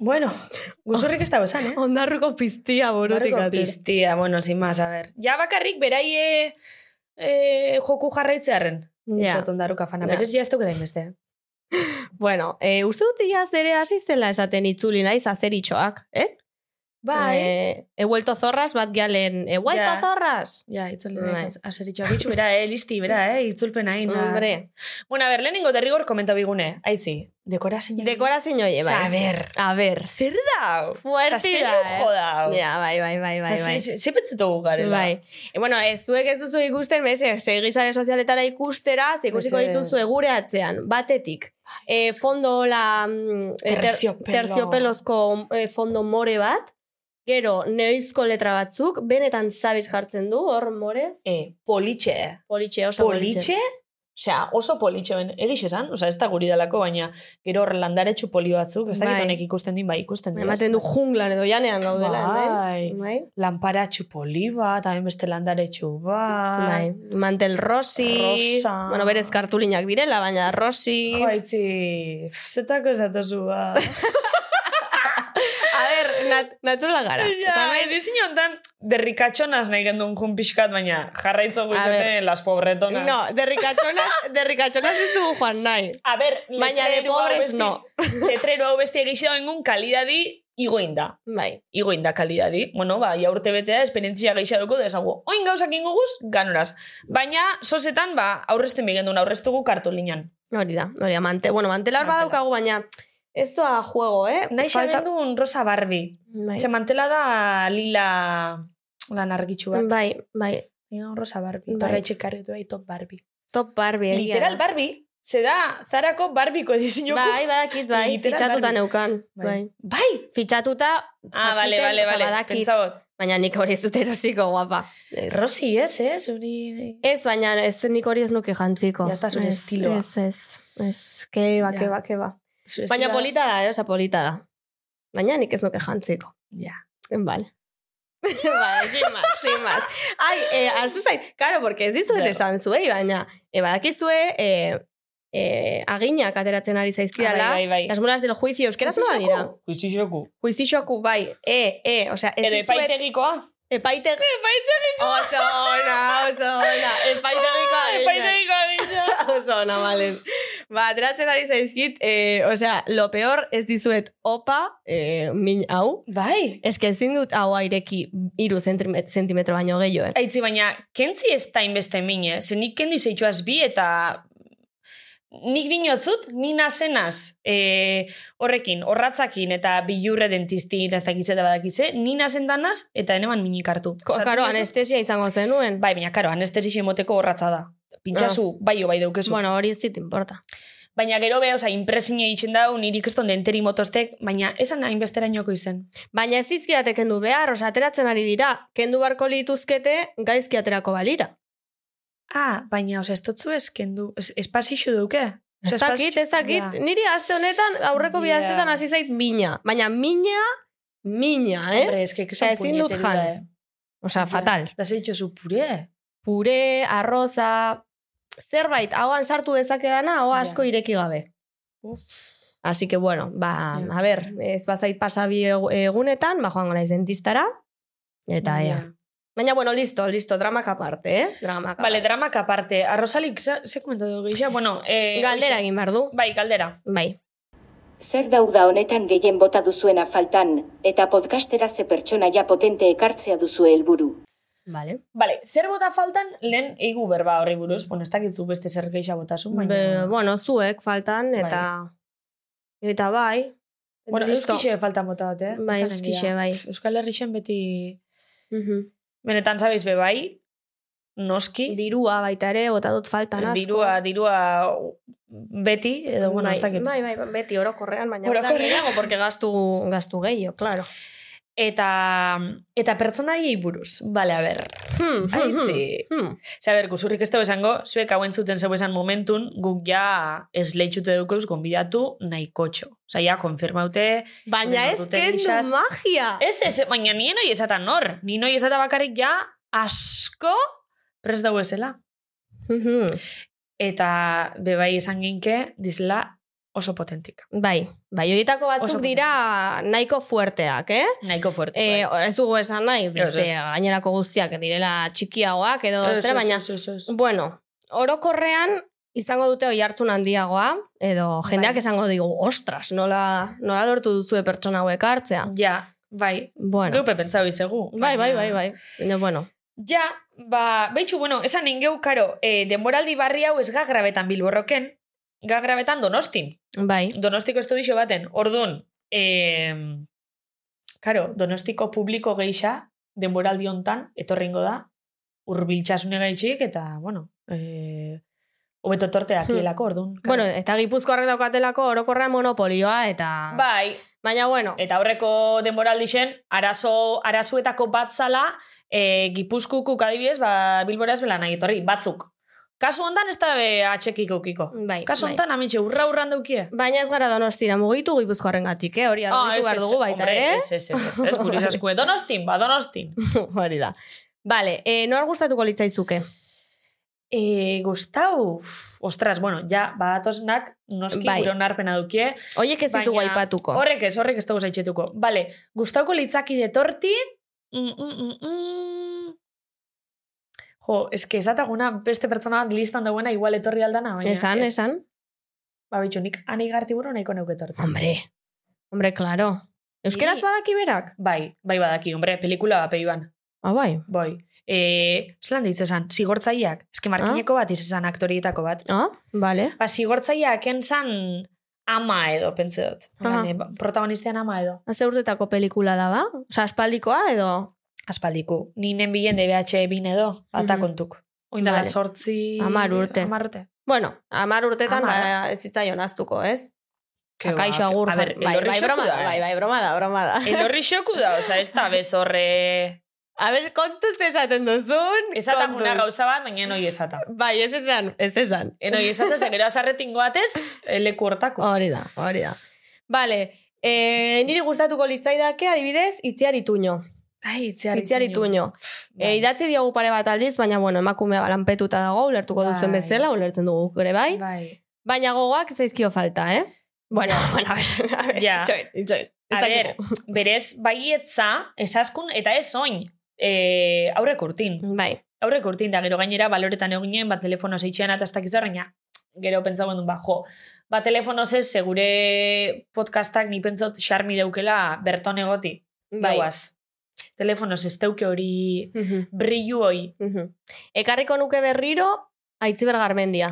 [SPEAKER 2] Bueno, guzurrik ez da bezan, eh?
[SPEAKER 4] Ondarruko piztia burutik
[SPEAKER 2] Barko
[SPEAKER 4] atera.
[SPEAKER 2] piztia, bueno, sin más, a ver. Ja bakarrik beraie eh, joku jarraitzearen.
[SPEAKER 4] Ja.
[SPEAKER 2] Txoton daruka fana,
[SPEAKER 4] Ja.
[SPEAKER 2] berez ja ez duke da inbeste.
[SPEAKER 4] eh, Bueno, e, uste dut iaz ere hasi zela esaten itzuli naiz azeritxoak, ez?
[SPEAKER 2] Bai.
[SPEAKER 4] Eh, he vuelto zorras bat galen. He vuelto
[SPEAKER 2] Ja.
[SPEAKER 4] zorras.
[SPEAKER 2] Ja, itzuli
[SPEAKER 4] Bai.
[SPEAKER 2] nahi aseritxoa bitxu, bera, eh, listi, bera, eh, itzulpen hain. da.
[SPEAKER 4] Hombre.
[SPEAKER 2] Bueno, a ber, lehenengo derrigor komenta bigune, aitzi, dekora zein.
[SPEAKER 4] Dekora oie, bai.
[SPEAKER 2] Osea, a ber.
[SPEAKER 4] A ber.
[SPEAKER 2] Zer dau?
[SPEAKER 4] Fuerte
[SPEAKER 2] Osea,
[SPEAKER 4] da,
[SPEAKER 2] zer lujo
[SPEAKER 4] eh?
[SPEAKER 2] dau?
[SPEAKER 4] Ja, bai, bai, bai, bai, bai.
[SPEAKER 2] Zepetzetugu garela.
[SPEAKER 4] Bai. E, bueno, ez zuek ez duzu ikusten, mese, segi sare sozialetara ikustera, ze ikusiko
[SPEAKER 2] Mesedez.
[SPEAKER 4] dituzu gure atzean, batetik. E, fondo la... mm, e, ter-
[SPEAKER 2] Eh, Terziopelo.
[SPEAKER 4] Terziopelozko e, fondo more bat, gero neoizko letra batzuk, benetan sabiz jartzen du, hor more,
[SPEAKER 2] Eh, politxe.
[SPEAKER 4] politxe, oso
[SPEAKER 2] Politxe? Osea, oso politxe ben, egiz esan, osea, ez da guri dalako, baina gero hor landaretxu poli batzuk, ez dakit
[SPEAKER 4] Bai.
[SPEAKER 2] honek ikusten din, bai, ikusten din.
[SPEAKER 4] Ematen du junglan edo janean gaudela,
[SPEAKER 2] Bai.
[SPEAKER 4] hemen. Bai.
[SPEAKER 2] Lanparatxu poli bat, hain beste landaretxu
[SPEAKER 4] Bai.
[SPEAKER 2] bat.
[SPEAKER 4] Mantel rosi.
[SPEAKER 2] Rosa.
[SPEAKER 4] Bueno, berez kartulinak direla, baina rosi.
[SPEAKER 2] Jo, aitzi, pf, zetako esatozu ba.
[SPEAKER 4] A ber, nat naturala gara. bai,
[SPEAKER 2] Ja,
[SPEAKER 4] Esan nahi dizut,
[SPEAKER 2] edizin hontan, derrikatxonaz nahi gendun jun pixkat, baina jarraitzo
[SPEAKER 4] ver.
[SPEAKER 2] guizete las pobretonas.
[SPEAKER 4] No, derrikatxonaz, derrikatxonaz ez dugu joan nahi.
[SPEAKER 2] A ber,
[SPEAKER 4] Baina de
[SPEAKER 2] letrero hau
[SPEAKER 4] pobres
[SPEAKER 2] besti-
[SPEAKER 4] no.
[SPEAKER 2] Letrero hau besti egizio engun kalidadi igoinda.
[SPEAKER 4] Bai.
[SPEAKER 2] Igoinda kalidadi. Bueno, ba, ja urte betea esperientzia gehiago duko desago. Oin gauzak ingoguz, ganoraz. Baina, sosetan, ba, aurrezten bigendun, aurreztugu kartulinan.
[SPEAKER 4] Hori da, hori da, mante, bueno, mantelar
[SPEAKER 2] Mantela.
[SPEAKER 4] badaukagu, baina ez doa juego, eh?
[SPEAKER 2] Nahi xabendun Rosa Barbie.
[SPEAKER 4] Bai.
[SPEAKER 2] Ze mantela da lila lan argitxu bat.
[SPEAKER 4] bai, bai,
[SPEAKER 2] Baina Rosa Barbie.
[SPEAKER 4] Bai.
[SPEAKER 2] Torre etxekarri dut bai, top Barbie.
[SPEAKER 4] top Barbie egia.
[SPEAKER 2] Literal
[SPEAKER 4] da.
[SPEAKER 2] Barbie. Se da, zarako Barbiko edizinoko.
[SPEAKER 4] Bai, badakit, bai,
[SPEAKER 2] Literal
[SPEAKER 4] fitxatuta
[SPEAKER 2] Barbie.
[SPEAKER 4] neukan. Bai.
[SPEAKER 2] Bai.
[SPEAKER 4] Fitxatuta, jakiten,
[SPEAKER 2] Ah, bale, bale,
[SPEAKER 4] osea,
[SPEAKER 2] bale.
[SPEAKER 4] badakit.
[SPEAKER 2] Pentsabot.
[SPEAKER 4] baina nik hori ez dut erosiko, guapa. Ez.
[SPEAKER 2] Rosi, ez, ez? Hori...
[SPEAKER 4] Ez, baina ez nik hori ez nuke jantziko.
[SPEAKER 2] Ya está, zure
[SPEAKER 4] Ez,
[SPEAKER 2] estiloa.
[SPEAKER 4] Ez, ez, ez, keba,
[SPEAKER 2] Ja.
[SPEAKER 4] keba, keba.
[SPEAKER 2] Zure
[SPEAKER 4] Baina
[SPEAKER 2] estila-
[SPEAKER 4] polita da, eh? Osa, polita da. Baina nik ez nuke jantziko. Bai.
[SPEAKER 2] Ja.
[SPEAKER 4] Vale. vale, sin más, sin más. Ai, eh, hartu zait, claro, porque ez dizuet
[SPEAKER 2] Zer.
[SPEAKER 4] esan zuei, baina, eh, badakizue, eh, eh, aginak ateratzen ari zaizkidala,
[SPEAKER 2] Ah, bai, bai, bai.
[SPEAKER 4] las mulas del juicio, euskeraz nola dira?
[SPEAKER 2] Kuizixoku.
[SPEAKER 4] Juizixoku, bai, e, e, o sea, ez
[SPEAKER 2] Edo
[SPEAKER 4] dizuet...
[SPEAKER 2] epaitegikoa.
[SPEAKER 4] Epaitegi... Epaitegikoa! Oso ona, oso ona, epaitegikoa.
[SPEAKER 2] Ah,
[SPEAKER 4] egina.
[SPEAKER 2] Epaitegikoa gisa.
[SPEAKER 4] Oso ona, valen. Ba, ateratzen ari zaizkit, eh, o sea, lo peor ez dizuet opa, eh, min hau,
[SPEAKER 2] Bai.
[SPEAKER 4] Ez que ezin dut hau aireki iru zentimetro baino gehiago, eh?
[SPEAKER 2] Aitzi, baina, kentzi ez da inbeste mine. Ze nik kendu izaitxoaz bi eta... Nik dinotzut, ni nazenaz e, horrekin, horratzakin eta bilurre dentistin, ez dakitze eta badakize, ni nazen danaz eta eneman minik hartu.
[SPEAKER 4] Ko,
[SPEAKER 2] Osea,
[SPEAKER 4] karo,
[SPEAKER 2] dinotzut-
[SPEAKER 4] anestesia izango zenuen.
[SPEAKER 2] Bai, baina, karo, anestesi emoteko horratza da. Pintxazu,
[SPEAKER 4] Ah.
[SPEAKER 2] bai o bai daukezu.
[SPEAKER 4] Bueno, hori ez zit importa.
[SPEAKER 2] Baina gero beha, oza, impresine egiten dau, niri keston denteri motostek, baina esan hainbesterainoko izen.
[SPEAKER 4] Baina ez zizkiate kendu behar, osa, ateratzen ari dira. Kendu barko lituzkete, gaizki aterako balira.
[SPEAKER 2] Ah, baina, oza, ez totzu eskendu, es, espazixu duke? Oza,
[SPEAKER 4] Ez dakit, ez dakit. eh?
[SPEAKER 2] Ja.
[SPEAKER 4] Niri aste honetan, aurreko bi
[SPEAKER 2] Ja.
[SPEAKER 4] astetan hasi zait mina. Baina mina, mina, eh?
[SPEAKER 2] Hombre, es que
[SPEAKER 4] Osea, ezin dut jan.
[SPEAKER 2] eh.
[SPEAKER 4] Osa, fatal.
[SPEAKER 2] Da zeitxo zu pure.
[SPEAKER 4] Pure, arroza, zerbait, hauan sartu dezakedana, hau asko
[SPEAKER 2] Ja.
[SPEAKER 4] ireki gabe.
[SPEAKER 2] Uf.
[SPEAKER 4] Así que bueno, ba,
[SPEAKER 2] Ja.
[SPEAKER 4] a ber, ez bazait pasabi egunetan, ba joango naiz dentistara, eta ea. Baina bueno, listo, listo, dramak aparte, eh? Dramak
[SPEAKER 2] Vale,
[SPEAKER 4] aparte.
[SPEAKER 2] dramak aparte. Arrozalik, ze, ze komentatu dugu gisa? Bueno, eh,
[SPEAKER 4] Galdera
[SPEAKER 2] hoxe.
[SPEAKER 4] egin behar du.
[SPEAKER 2] Bai, galdera.
[SPEAKER 4] Bai.
[SPEAKER 6] Zer dauda honetan gehien bota duzuena faltan, eta podcastera ze pertsona ja potente ekartzea duzu helburu.
[SPEAKER 4] Vale.
[SPEAKER 2] Vale, zer bota faltan lehen eigu berba horri buruz. Bueno, ez dakitzu beste zer geixa botasun, baina... Bai.
[SPEAKER 4] Be, bueno, zuek faltan, eta... Eta bai.
[SPEAKER 2] Bueno, euskixe faltan bota dut, eh?
[SPEAKER 4] Bai,
[SPEAKER 2] Esanen
[SPEAKER 4] euskixe,
[SPEAKER 2] dira.
[SPEAKER 4] bai.
[SPEAKER 2] Pf, Euskal Herrixen beti...
[SPEAKER 4] Mhm.
[SPEAKER 2] Benetan zabiz be bai, noski,
[SPEAKER 4] Dirua baita ere, bota dut faltan asko.
[SPEAKER 2] dirua, dirua beti, edo, bueno, ez
[SPEAKER 4] bai,
[SPEAKER 2] dakit.
[SPEAKER 4] bai, bai, beti orokorrean, baina
[SPEAKER 2] Orokorrean.
[SPEAKER 4] orokorrean dago, porque gastu, gastu gehiago, claro.
[SPEAKER 2] Eta, eta pertsonaiei buruz, bale, a ber,
[SPEAKER 4] Hmm, hmm,
[SPEAKER 2] aitzi.
[SPEAKER 4] hmm.
[SPEAKER 2] Ze, a ber, guzurrik ez da esango, zuek hau entzuten zeu esan momentun, guk ja esleitxute dukeuz gonbidatu nahikotxo. Osa, ja, konfirmaute,
[SPEAKER 4] Baina ez
[SPEAKER 2] Duten
[SPEAKER 4] kendu
[SPEAKER 2] gixaz-
[SPEAKER 4] magia.
[SPEAKER 2] ez, ez, baina nien hoi esatan nor, nien hoi esata bakarrik ja asko prest dago esela.
[SPEAKER 4] Mhm.
[SPEAKER 2] Eta, bebai esan ginke, dizela oso potentik.
[SPEAKER 4] Bai, bai, horietako batzuk
[SPEAKER 2] Oso
[SPEAKER 4] dira nahiko fuerteak, eh?
[SPEAKER 2] Nahiko fuerte. bai.
[SPEAKER 4] E, ez dugu esan nahi, beste
[SPEAKER 2] Ez, ez.
[SPEAKER 4] gainerako guztiak direla txikiagoak edo
[SPEAKER 2] Ez,
[SPEAKER 4] zer,
[SPEAKER 2] ez,
[SPEAKER 4] baina,
[SPEAKER 2] ez, ez, ez.
[SPEAKER 4] bueno, orokorrean izango dute oi hartzun handiagoa, edo jendeak
[SPEAKER 2] Bai.
[SPEAKER 4] esango digu, ostras, nola, nola lortu duzue pertsona hauek hartzea.
[SPEAKER 2] Ja, Bai.
[SPEAKER 4] Bueno.
[SPEAKER 2] Geupe pentsau izegu.
[SPEAKER 4] Bai, bai,
[SPEAKER 2] baina-
[SPEAKER 4] bai, bai. Baina, bueno.
[SPEAKER 2] Ja, ba, behitxu, bueno, esan ingeu, karo, e, denboraldi barri hau ez ga grabetan bilborroken, ga grabetan donostin.
[SPEAKER 4] Bai.
[SPEAKER 2] Donostiko estudixo baten, orduan, e, karo, donostiko publiko geixa, denboraldi hontan etorringo da, urbiltxasune gaitxik, eta, bueno, e, hobeto tortea akielako, orduan. karo.
[SPEAKER 4] Hmm. Bueno, eta gipuzkoarrek daukatelako orokorra monopolioa, eta...
[SPEAKER 2] bai,
[SPEAKER 4] Baina, bueno.
[SPEAKER 2] Eta aurreko denboraldixen, arazo, arazuetako bat zala, e, gipuzkukuk adibidez, ba, bilbora ez bela nahi etorri, batzuk. Kasu hontan ez da be atxekiko kiko.
[SPEAKER 4] Bai,
[SPEAKER 2] Kasu
[SPEAKER 4] bai.
[SPEAKER 2] hontan amitxe, urra urran daukie.
[SPEAKER 4] Baina ez gara donostira mugitu gipuzkoarren gatik, eh? Hori
[SPEAKER 2] Ah,
[SPEAKER 4] argitu behar dugu baita,
[SPEAKER 2] hombre,
[SPEAKER 4] ere.
[SPEAKER 2] Ez, ez, ez, ez, ez, guri zaskue, donostin, ba, donostin.
[SPEAKER 4] Hori da. Vale, eh, nor gustatuko litzaizuke? Eh,
[SPEAKER 2] E, gustau, uf, ostras, bueno, ja, badatosnak, noski
[SPEAKER 4] Bai.
[SPEAKER 2] bai. gure onarpena dukie.
[SPEAKER 4] Hoiek ez ditugu
[SPEAKER 2] Baina,
[SPEAKER 4] aipatuko.
[SPEAKER 2] Horrek ez, horrek ez dugu zaitxetuko. Bale, gustauko litzaki detorti... Mm, mm, mm, mm. Jo, eske esataguna beste pertsona bat listan dauena igual etorri aldana, baina...
[SPEAKER 4] esan,
[SPEAKER 2] ez.
[SPEAKER 4] esan.
[SPEAKER 2] Ba, bitxu, nik anei garti buru nahiko neuke etorti.
[SPEAKER 4] Hombre, hombre, claro. Euskeraz
[SPEAKER 2] Ni-
[SPEAKER 4] badaki berak?
[SPEAKER 2] Bai, bai badaki, hombre, pelikula bat peiban.
[SPEAKER 4] Ah, bai.
[SPEAKER 2] Bai. E, zelan deitz esan, zigortzaileak. Eske markineko bat izan aktorietako bat.
[SPEAKER 4] Ah, vale.
[SPEAKER 2] Ba, zigortzaileak entzan ama edo, pentsa dut.
[SPEAKER 4] Aha.
[SPEAKER 2] Gane, ba, protagonistean ama edo.
[SPEAKER 4] Haze urtetako pelikula da, ba? Osa, aspaldikoa edo?
[SPEAKER 2] aspaldiko. Ni nen bilen DBH bin edo, bata
[SPEAKER 4] Mhm.
[SPEAKER 2] kontuk. Oindala
[SPEAKER 4] Vale.
[SPEAKER 2] sortzi...
[SPEAKER 4] Hamar urte.
[SPEAKER 2] Hamar urte.
[SPEAKER 4] Bueno, amar urtetan
[SPEAKER 2] Hamar.
[SPEAKER 4] ba, ez zitzaion aztuko, ez?
[SPEAKER 2] Ke
[SPEAKER 4] Akaixo
[SPEAKER 2] ba,
[SPEAKER 4] agur.
[SPEAKER 2] a ber,
[SPEAKER 4] bai,
[SPEAKER 2] elorri
[SPEAKER 4] bai,
[SPEAKER 2] xoku
[SPEAKER 4] broma da,
[SPEAKER 2] da, eh.
[SPEAKER 4] bai, bai, broma da, broma da.
[SPEAKER 2] Elorri xoku da, oza, ez da bez horre...
[SPEAKER 4] A ber, kontuz esaten duzun. kontuz.
[SPEAKER 2] Esataguna gauza bat, baina enoi esata.
[SPEAKER 4] Bai, ez esan, ez esan.
[SPEAKER 2] Enoi esata, ze gero azarretin goatez, eh, leku hortako.
[SPEAKER 4] Hori da, hori da. Vale, eh, niri gustatuko litzaidake adibidez itziar ituño.
[SPEAKER 2] Ai,
[SPEAKER 4] Itziar ituño.
[SPEAKER 2] Bai.
[SPEAKER 4] E, idatzi diogu pare bat aldiz, baina bueno, emakumea lanpetuta dago, ulertuko duzuen
[SPEAKER 2] Bai.
[SPEAKER 4] bezala, ulertzen dugu gure bai.
[SPEAKER 2] Bai.
[SPEAKER 4] Baina gogoak ez zaizkio falta, eh? Bueno, bueno, a ver, a ver,
[SPEAKER 2] Ja.
[SPEAKER 4] itxoin, itxoin. Ez
[SPEAKER 2] A ber,
[SPEAKER 4] dakigu.
[SPEAKER 2] berez, baietza, esaskun, eta ez oin. E, aurrek urtin.
[SPEAKER 4] Bai,
[SPEAKER 2] aurreko urtin da, gero gainera baloretan ba, eginen, bat telefono zeitxean eta ez dakiz horreina, gero pentsauen duen, ba, jo, ba, telefono ez, ze gure podcastak ni pentsot xarmi daukela berton egoti.
[SPEAKER 4] bai.
[SPEAKER 2] Bai. Gauaz. Telefono ez teuke hori
[SPEAKER 4] Mhm,
[SPEAKER 2] brillu hoi.
[SPEAKER 4] mhm. Ekarriko nuke berriro, aitziber garmendia.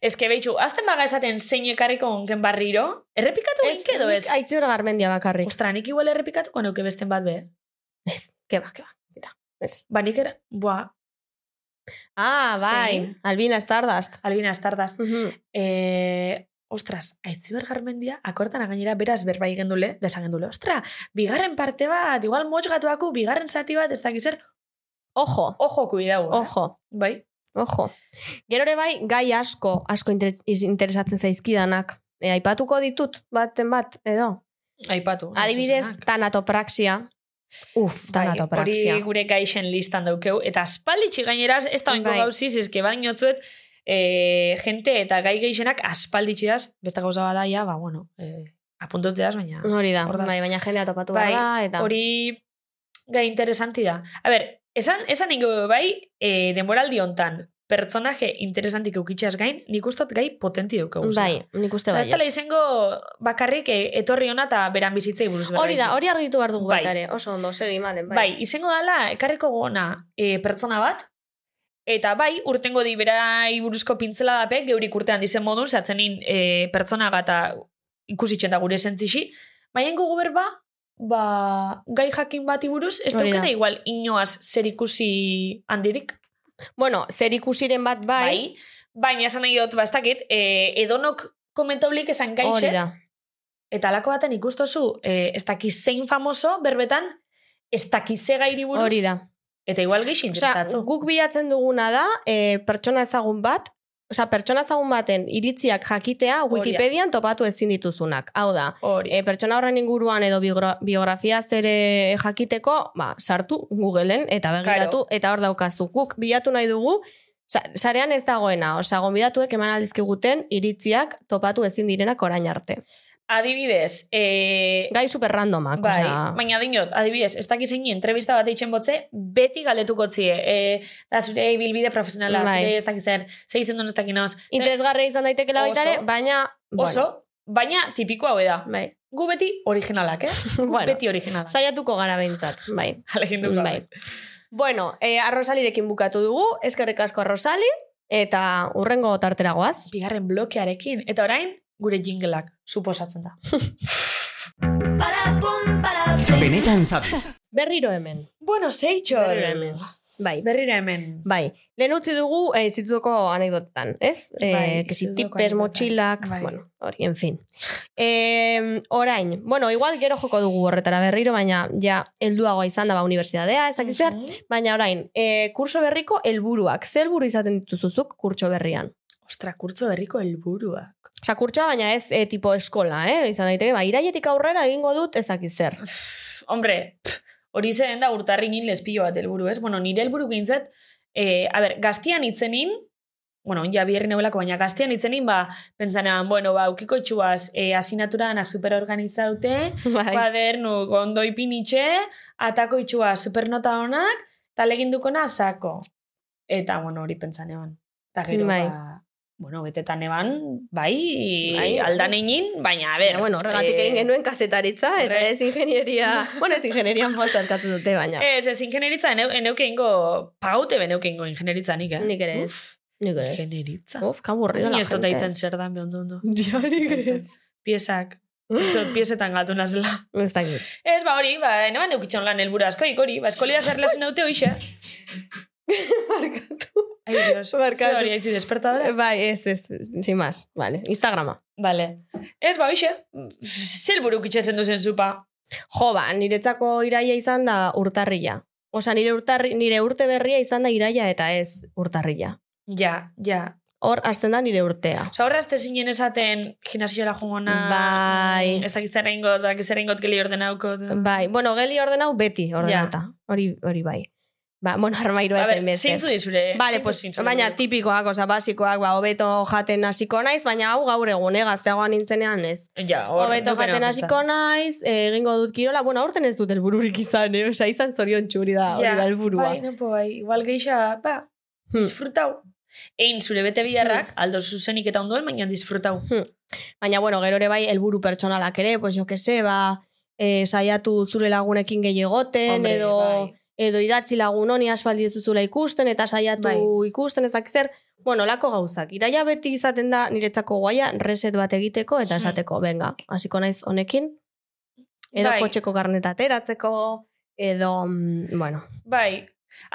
[SPEAKER 2] Ez que behitxu, azten baga esaten zein ekarriko onken barriro, errepikatu
[SPEAKER 4] Ez,
[SPEAKER 2] ginke edo
[SPEAKER 4] nik
[SPEAKER 2] ez?
[SPEAKER 4] Aitziber garmendia bakarrik.
[SPEAKER 2] Ostra, nik igual errepikatuko neuke besten bat be.
[SPEAKER 4] Ez, keba, keba. Eta, ez.
[SPEAKER 2] Ba, nik er... Boa,
[SPEAKER 4] Ah, bai,
[SPEAKER 2] Zein?
[SPEAKER 4] Albina Stardust.
[SPEAKER 2] Albina Stardust.
[SPEAKER 4] Mhm.
[SPEAKER 2] E, ostras, aitziber garmendia, akortan gainera beraz berbai gendule, desagendule, ostra, bigarren parte bat, igual motx gatuaku, bigarren zati bat, ez dakiz zer,
[SPEAKER 4] Ojo,
[SPEAKER 2] ojo kuidau.
[SPEAKER 4] ojo.
[SPEAKER 2] Eh? Bai,
[SPEAKER 4] Ojo. Gero ere bai, gai asko, asko interes- interesatzen zaizkidanak. E, aipatuko ditut, baten bat, edo.
[SPEAKER 2] aipatu.
[SPEAKER 4] Adibidez,
[SPEAKER 2] zuzenak.
[SPEAKER 4] tanatopraxia. Uf,
[SPEAKER 2] Bai,
[SPEAKER 4] tanatopraxia.
[SPEAKER 2] hori gure gaixen listan daukeu, eta aspalditxi gaineraz, ez da oinko
[SPEAKER 4] Bai.
[SPEAKER 2] gauziz, ezke bain otzuet, e, jente eta gai geixenak aspalditxiaz, beste gauza bada, ja, ba, bueno, e, apuntauteaz, baina...
[SPEAKER 4] Hori da,
[SPEAKER 2] Hortaz.
[SPEAKER 4] bai, baina jendea topatu bai,
[SPEAKER 2] Bai,
[SPEAKER 4] da, eta...
[SPEAKER 2] Hori gai interesanti da. A ber, esan, esan ingo bai, e, denboraldi hontan, pertsonaje interesantik eukitxeaz gain, nik ustot gai potenti duke
[SPEAKER 4] Bai, nik uste
[SPEAKER 2] Ez dela
[SPEAKER 4] bai.
[SPEAKER 2] izango bakarrik e, etorri ona eta beran bizitzei buruz berra
[SPEAKER 4] Hori da, hori argitu behar dugu
[SPEAKER 2] Bai.
[SPEAKER 4] baita ere. Oso ondo, segi malen,
[SPEAKER 2] Bai.
[SPEAKER 4] bai.
[SPEAKER 2] izango dala, ekarriko gona e, pertsona bat, eta bai, urtengo di berai buruzko pintzela dapek, geurik urtean dizen modun, zatzenin e, pertsona gata ikusitzen da gure zentzixi, baina ingo berba, ba, gai jakin bati buruz, ez
[SPEAKER 4] Hori da.
[SPEAKER 2] daukena igual inoaz zer ikusi handirik,
[SPEAKER 4] Bueno, zer ikusiren bat
[SPEAKER 2] bai,
[SPEAKER 4] bai,
[SPEAKER 2] baina esan nahi dut, bastakit, e, edonok komentaulik esan
[SPEAKER 4] hori
[SPEAKER 2] gaixet,
[SPEAKER 4] da.
[SPEAKER 2] Eta alako baten ikustozu, e, ez dakiz zein famoso, berbetan, ez dakiz ze gairi buruz.
[SPEAKER 4] Hori da.
[SPEAKER 2] Eta igual gixin,
[SPEAKER 4] Osea, guk bilatzen duguna da, e, pertsona ezagun bat, osea, pertsona ezagun baten iritziak jakitea
[SPEAKER 2] da.
[SPEAKER 4] Wikipedian topatu ezin dituzunak. Hau da,
[SPEAKER 2] Hori.
[SPEAKER 4] e, pertsona horren inguruan edo biogra- biografia zere jakiteko, ba, sartu Googleen eta begiratu eta hor daukazu. Guk bilatu nahi dugu, sa- sarean ez dagoena, osea, gonbidatuek eman aldizkiguten iritziak topatu ezin direnak orain arte.
[SPEAKER 2] Adibidez, e,
[SPEAKER 4] Gai super randomak,
[SPEAKER 2] bai,
[SPEAKER 4] osea.
[SPEAKER 2] baina dinot, adibidez, ez dakiz zein entrevista bat eitzen botze, beti galdetuko tzie. E, da zure bilbide profesionala,
[SPEAKER 4] Bai.
[SPEAKER 2] zure ez dakiz zer, ze izen duen ez dakinoz.
[SPEAKER 4] Interesgarria izan daitekeela baita ere,
[SPEAKER 2] Oso.
[SPEAKER 4] baina...
[SPEAKER 2] Oso, baina tipiko hau da.
[SPEAKER 4] Bueno, bai.
[SPEAKER 2] Gu beti originalak, eh? Gu
[SPEAKER 4] Bueno.
[SPEAKER 2] beti originalak.
[SPEAKER 4] Saiatuko gara behintzat, bai.
[SPEAKER 2] Alegin dut
[SPEAKER 4] Bai. Bueno, eh, arrosalirekin bukatu dugu, eskerrik asko arrosali, eta urrengo tarteragoaz.
[SPEAKER 2] Bigarren blokearekin. Eta orain, gure jingelak suposatzen da.
[SPEAKER 3] Benetan sabes.
[SPEAKER 4] Berriro hemen.
[SPEAKER 2] Bueno, zeitxo.
[SPEAKER 4] Berriro hemen. Bai.
[SPEAKER 2] Berrira hemen.
[SPEAKER 4] Bai, lehen utzi dugu eh, institutuko anekdotetan, ez?
[SPEAKER 2] Bai,
[SPEAKER 4] eh, que si
[SPEAKER 2] institutuko
[SPEAKER 4] tipes,
[SPEAKER 2] anekdotan.
[SPEAKER 4] motxilak,
[SPEAKER 2] Bai.
[SPEAKER 4] bueno, hori, en fin. Eh, orain, bueno, igual gero joko dugu horretara berriro, baina ja helduagoa izan da ba unibertsitatea, ez dakiz zer,
[SPEAKER 2] Mhm.
[SPEAKER 4] baina orain, eh, kurso berriko helburuak, ze helburu izaten dituzuzuk kurtso berrian?
[SPEAKER 2] Ostra, kurtzo berriko helburuak.
[SPEAKER 4] Osa, kurtsoa baina ez eh, tipo eskola, eh? Izan daiteke, ba, iraietik aurrera egingo dut ez dakiz zer.
[SPEAKER 2] Pff, hombre, pff, hori zen da urtarringin lespillo bat helburu, ez? Bueno, nire helburu bintzat, e, a ber, gaztian itzenin, bueno, ja biherri neulako, baina gaztian itzenin, ba, pentsanean, bueno, ba, ukiko txuaz, e, asinaturanak superorganizaute,
[SPEAKER 4] Bai.
[SPEAKER 2] badernu gondo ipinitxe, atako itxua supernota honak, eta legindukona sako. Eta, bueno, hori pentsan eban. Eta gero,
[SPEAKER 4] Bai.
[SPEAKER 2] ba, bueno, betetan eban, bai,
[SPEAKER 4] Bai.
[SPEAKER 2] aldan egin, baina, a ber.
[SPEAKER 4] Baina, bueno, horregatik
[SPEAKER 2] eh,
[SPEAKER 4] egin genuen kazetaritza, eta
[SPEAKER 2] horre-
[SPEAKER 4] ez ingenieria... bueno, ez ingenierian posta eskatzen dute, baina...
[SPEAKER 2] Ez, ez ingenieritza, eneu, eneuke ingo, paute beneuke ingo ingenieritza nik, eh?
[SPEAKER 4] Nik ere ez. Oh,
[SPEAKER 2] Uf,
[SPEAKER 4] Nik ere ez.
[SPEAKER 2] Ingenieritza.
[SPEAKER 4] Uf, kaburri
[SPEAKER 2] Ni
[SPEAKER 4] la
[SPEAKER 2] ez dut
[SPEAKER 4] gente.
[SPEAKER 2] daitzen zer dan behon ondo.
[SPEAKER 4] Ja, nik ere ez.
[SPEAKER 2] Piezak. Ez dut Piezetan galdu nazela.
[SPEAKER 4] Ez dakit.
[SPEAKER 2] Ez, ba hori, ba, eneman neukitxon lan helburu askoik hori, ba, eskolera zer lasen daute hoxe.
[SPEAKER 4] Barkatu.
[SPEAKER 2] Ai, Dios,
[SPEAKER 4] Barkatu.
[SPEAKER 2] ze hori aitzi despertadora.
[SPEAKER 4] Bai, ez, ez, sin más. Vale, Instagrama.
[SPEAKER 2] Vale. Ez, ba, hoxe, zer buru kitxetzen duzen zupa.
[SPEAKER 4] Jo, ba, niretzako iraia izan da urtarrila. Osa, nire, urtarri, nire urte berria izan da iraia eta ez urtarrila.
[SPEAKER 2] Ja, ja.
[SPEAKER 4] Hor, hasten da nire urtea.
[SPEAKER 2] Osa, horra azte zinen esaten gimnasiola jungona.
[SPEAKER 4] Bai.
[SPEAKER 2] Ez dakizera ingot, dakizera ingot geli ordenauko.
[SPEAKER 4] Bai, bueno, geli ordenau beti ordenauta. Hori, hori bai. Ba, bueno, armairua
[SPEAKER 2] A
[SPEAKER 4] ez
[SPEAKER 2] ber,
[SPEAKER 4] hainbeste.
[SPEAKER 2] zeintzu dizure.
[SPEAKER 4] Vale,
[SPEAKER 2] zeintzu
[SPEAKER 4] pues,
[SPEAKER 2] zintzu
[SPEAKER 4] baina
[SPEAKER 2] helburu?
[SPEAKER 4] tipikoak, oza, basikoak, ba, hobeto jaten hasiko naiz, baina hau gaur egun, eh, gazteagoan nintzenean ez.
[SPEAKER 2] Ja, hor.
[SPEAKER 4] Hobeto
[SPEAKER 2] dopena
[SPEAKER 4] jaten
[SPEAKER 2] bakoitza.
[SPEAKER 4] hasiko naiz, eh, egingo dut kirola, bueno, aurten ez dut helbururik izan, eh? Osa, izan zorion txuri da, ba, hori da helburua.
[SPEAKER 2] Bai, napo, bai. Igual geixa, ba,
[SPEAKER 4] Hmm.
[SPEAKER 2] disfrutau. Egin zure bete biharrak, aldo zuzenik eta ondoen, baina disfrutau.
[SPEAKER 4] Baina, bueno, gero ere bai, helburu pertsonalak ere, pues jo que se, ba, eh, saiatu zure lagunekin gehiegoten,
[SPEAKER 2] Hombre,
[SPEAKER 4] edo...
[SPEAKER 2] bai.
[SPEAKER 4] edo idatzi lagun honi aspaldi ez duzula ikusten, eta saiatu
[SPEAKER 2] Bai.
[SPEAKER 4] ikusten ezak zer, bueno, lako gauzak. Iraia beti izaten da niretzako guaia reset bat egiteko eta
[SPEAKER 2] Hmm.
[SPEAKER 4] esateko, benga, hasiko naiz honekin, edo
[SPEAKER 2] Bai.
[SPEAKER 4] kotxeko garneta ateratzeko, edo, mm, bueno,
[SPEAKER 2] Bai,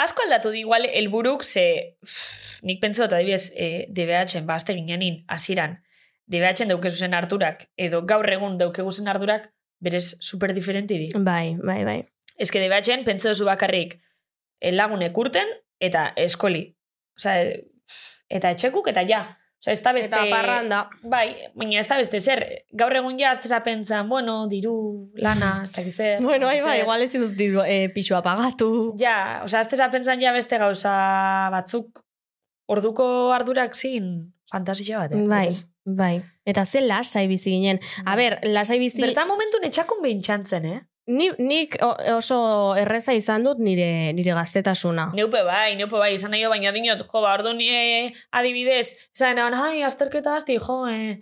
[SPEAKER 2] asko aldatu di igual helburuk ze pff, nik pentsatu eta adibidez, e, DBH-en bazte ginenin hasieran. DBH-en daukezuzen ardurak edo gaur egun daukeguzen ardurak berez super diferenti di.
[SPEAKER 4] bai, bai, bai.
[SPEAKER 2] Ez que DBH-en pentsa duzu bakarrik eh, lagunek urten eta eskoli. Osea, eh, eta etxekuk eta ja. Osea, ez da beste...
[SPEAKER 4] Eta parranda.
[SPEAKER 2] Bai, baina ez da beste zer. Gaur egun ja, ez da pentsan, bueno, diru, lana, ez dakiz zer.
[SPEAKER 4] Bueno, ahi
[SPEAKER 2] ez dakiz
[SPEAKER 4] bai,
[SPEAKER 2] zer.
[SPEAKER 4] igual ezin dut diru, eh, pixua pagatu.
[SPEAKER 2] Ja, oza, azte zapentsan ja beste gauza batzuk orduko ardurak zin fantasia bat. eh?
[SPEAKER 4] Bai,
[SPEAKER 2] Berez.
[SPEAKER 4] bai. Eta ze lasai bizi ginen. A ber, lasai bizi...
[SPEAKER 2] Bertan momentu netxakun behin txantzen, eh?
[SPEAKER 4] Ni, nik o- oso erreza izan dut nire, nire gaztetasuna.
[SPEAKER 2] Neupe bai, neupe bai, izan nahi jo, baina dinot, jo, ba, ordu ni eh, adibidez, esan nahan, ai, azterketa hasti, jo, eh,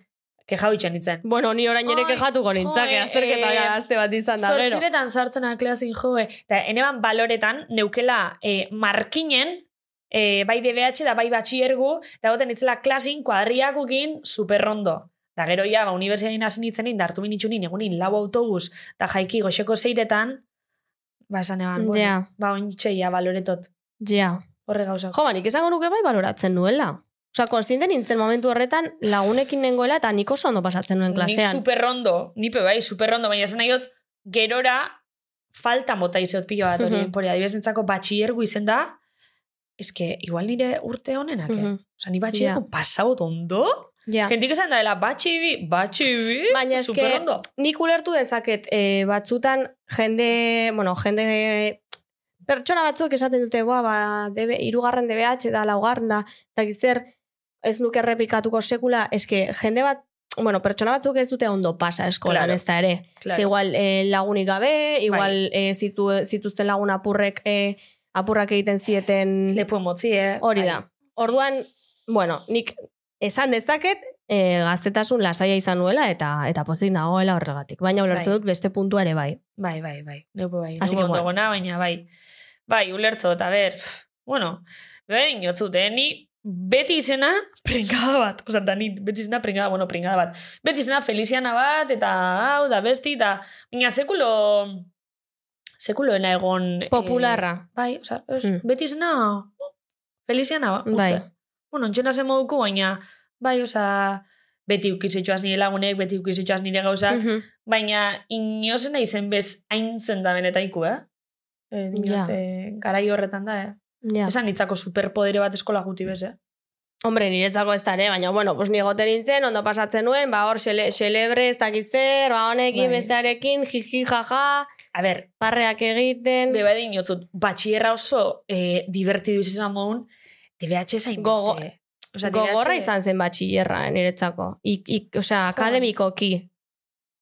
[SPEAKER 2] kejau itxan itzen.
[SPEAKER 4] Bueno, ni orain ere
[SPEAKER 2] Ai,
[SPEAKER 4] kejatuko nintzake,
[SPEAKER 2] joe,
[SPEAKER 4] azterketa
[SPEAKER 2] eh,
[SPEAKER 4] aste bat izan da, gero.
[SPEAKER 2] Zortziretan sartzen aklasin jo, eh? eta eneban baloretan, neukela eh, markinen, eh, bai DBH da bai batxiergu, eta goten itzela klasin, kuadriakukin, superrondo. Da gero ja, ba, universitatein hasi nintzenin, da hartu binitxunin, egunin, lau autobus, eta jaiki goxeko zeiretan, ba, esan eban, bueno,
[SPEAKER 4] Ja.
[SPEAKER 2] ba, ontxe, ja, baloretot,
[SPEAKER 4] Ja.
[SPEAKER 2] horre gauzak.
[SPEAKER 4] Jo, ba, nik esango nuke bai baloratzen nuela. Osa, konstiente nintzen momentu horretan lagunekin nengoela eta nik oso ondo pasatzen nuen
[SPEAKER 2] Ni
[SPEAKER 4] klasean.
[SPEAKER 2] superrondo, nipe bai, superrondo, baina esan nahi dut, gerora falta mota izot pilo bat hori,
[SPEAKER 4] Mhm.
[SPEAKER 2] mm -hmm. adibidez nintzako batxiergu izen da, eske, igual nire urte honenak, eh?
[SPEAKER 4] Mhm.
[SPEAKER 2] Osa, ni batxiergu
[SPEAKER 4] Ja.
[SPEAKER 2] pasau ondo?
[SPEAKER 4] Ja.
[SPEAKER 2] Gentik esan da, dela, batxibi, batxibi,
[SPEAKER 4] Baina eske-
[SPEAKER 2] superrondo.
[SPEAKER 4] Nik ulertu dezaket eh, batzutan jende, bueno, jende pertsona batzuek esaten dute, boa, ba, debe, irugarren DBH da laugarren da, eta gizer, ez nuke errepikatuko sekula, eske jende bat, bueno, pertsona batzuk ez dute ondo pasa eskolan
[SPEAKER 2] Claro.
[SPEAKER 4] ez da ere.
[SPEAKER 2] Claro.
[SPEAKER 4] Ze igual eh, lagunik gabe, igual eh, zitu, zituzten lagun apurrek, eh, apurrak egiten zieten
[SPEAKER 2] Lepo emotzi, eh?
[SPEAKER 4] hori
[SPEAKER 2] Bai.
[SPEAKER 4] da. Orduan, bueno, nik esan dezaket, e, gaztetasun lasaia izan nuela eta eta pozik nagoela horregatik. Baina ulertzen
[SPEAKER 2] Bai.
[SPEAKER 4] dut beste puntua ere bai.
[SPEAKER 2] Bai, bai, bai. Neupo bai.
[SPEAKER 4] Así
[SPEAKER 2] Así
[SPEAKER 4] que
[SPEAKER 2] que
[SPEAKER 4] bueno.
[SPEAKER 2] baina bai. Bai, ulertzo, eta ber, bueno, behin jotzut, eh, ni beti izena pringada bat. Osa, da ni beti izena pringada, bueno, pringada bat. Beti izena Feliziana bat, eta hau, da besti, eta baina sekulo, sekuloena egon... eh,
[SPEAKER 4] Popularra.
[SPEAKER 2] bai, osa, ez,
[SPEAKER 4] Mm.
[SPEAKER 2] beti izena Feliziana bat. utza.
[SPEAKER 4] Bai.
[SPEAKER 2] Bueno, ontsen zen moduko, baina, bai, osa, beti ukizitxoaz nire lagunek, beti ukizitxoaz nire gauzak,
[SPEAKER 4] Mhm.
[SPEAKER 2] Baina inozen naizen bez haintzen da benetaiku, eh? E,
[SPEAKER 4] Ja.
[SPEAKER 2] dinot, eh, garai horretan da, eh?
[SPEAKER 4] Ja.
[SPEAKER 2] Esan nitzako superpodere bat eskola guti bez, eh?
[SPEAKER 4] Hombre, niretzako ez da ere, baina, bueno, pues, nigoten nintzen, ondo pasatzen nuen, ba, hor, xele, xelebre, ez dakiz zer, ba, honekin,
[SPEAKER 2] Bai.
[SPEAKER 4] bestearekin, jiji, jaja,
[SPEAKER 2] A ber,
[SPEAKER 4] parreak egiten,
[SPEAKER 2] beba dinotzut, batxierra oso eh, divertidu izan mogun, DBH zain
[SPEAKER 4] Gogo-
[SPEAKER 2] beste. Osea,
[SPEAKER 4] gogorra
[SPEAKER 2] DBH
[SPEAKER 4] izan zen batxillerra niretzako. Ik, ik, osea, akademikoki.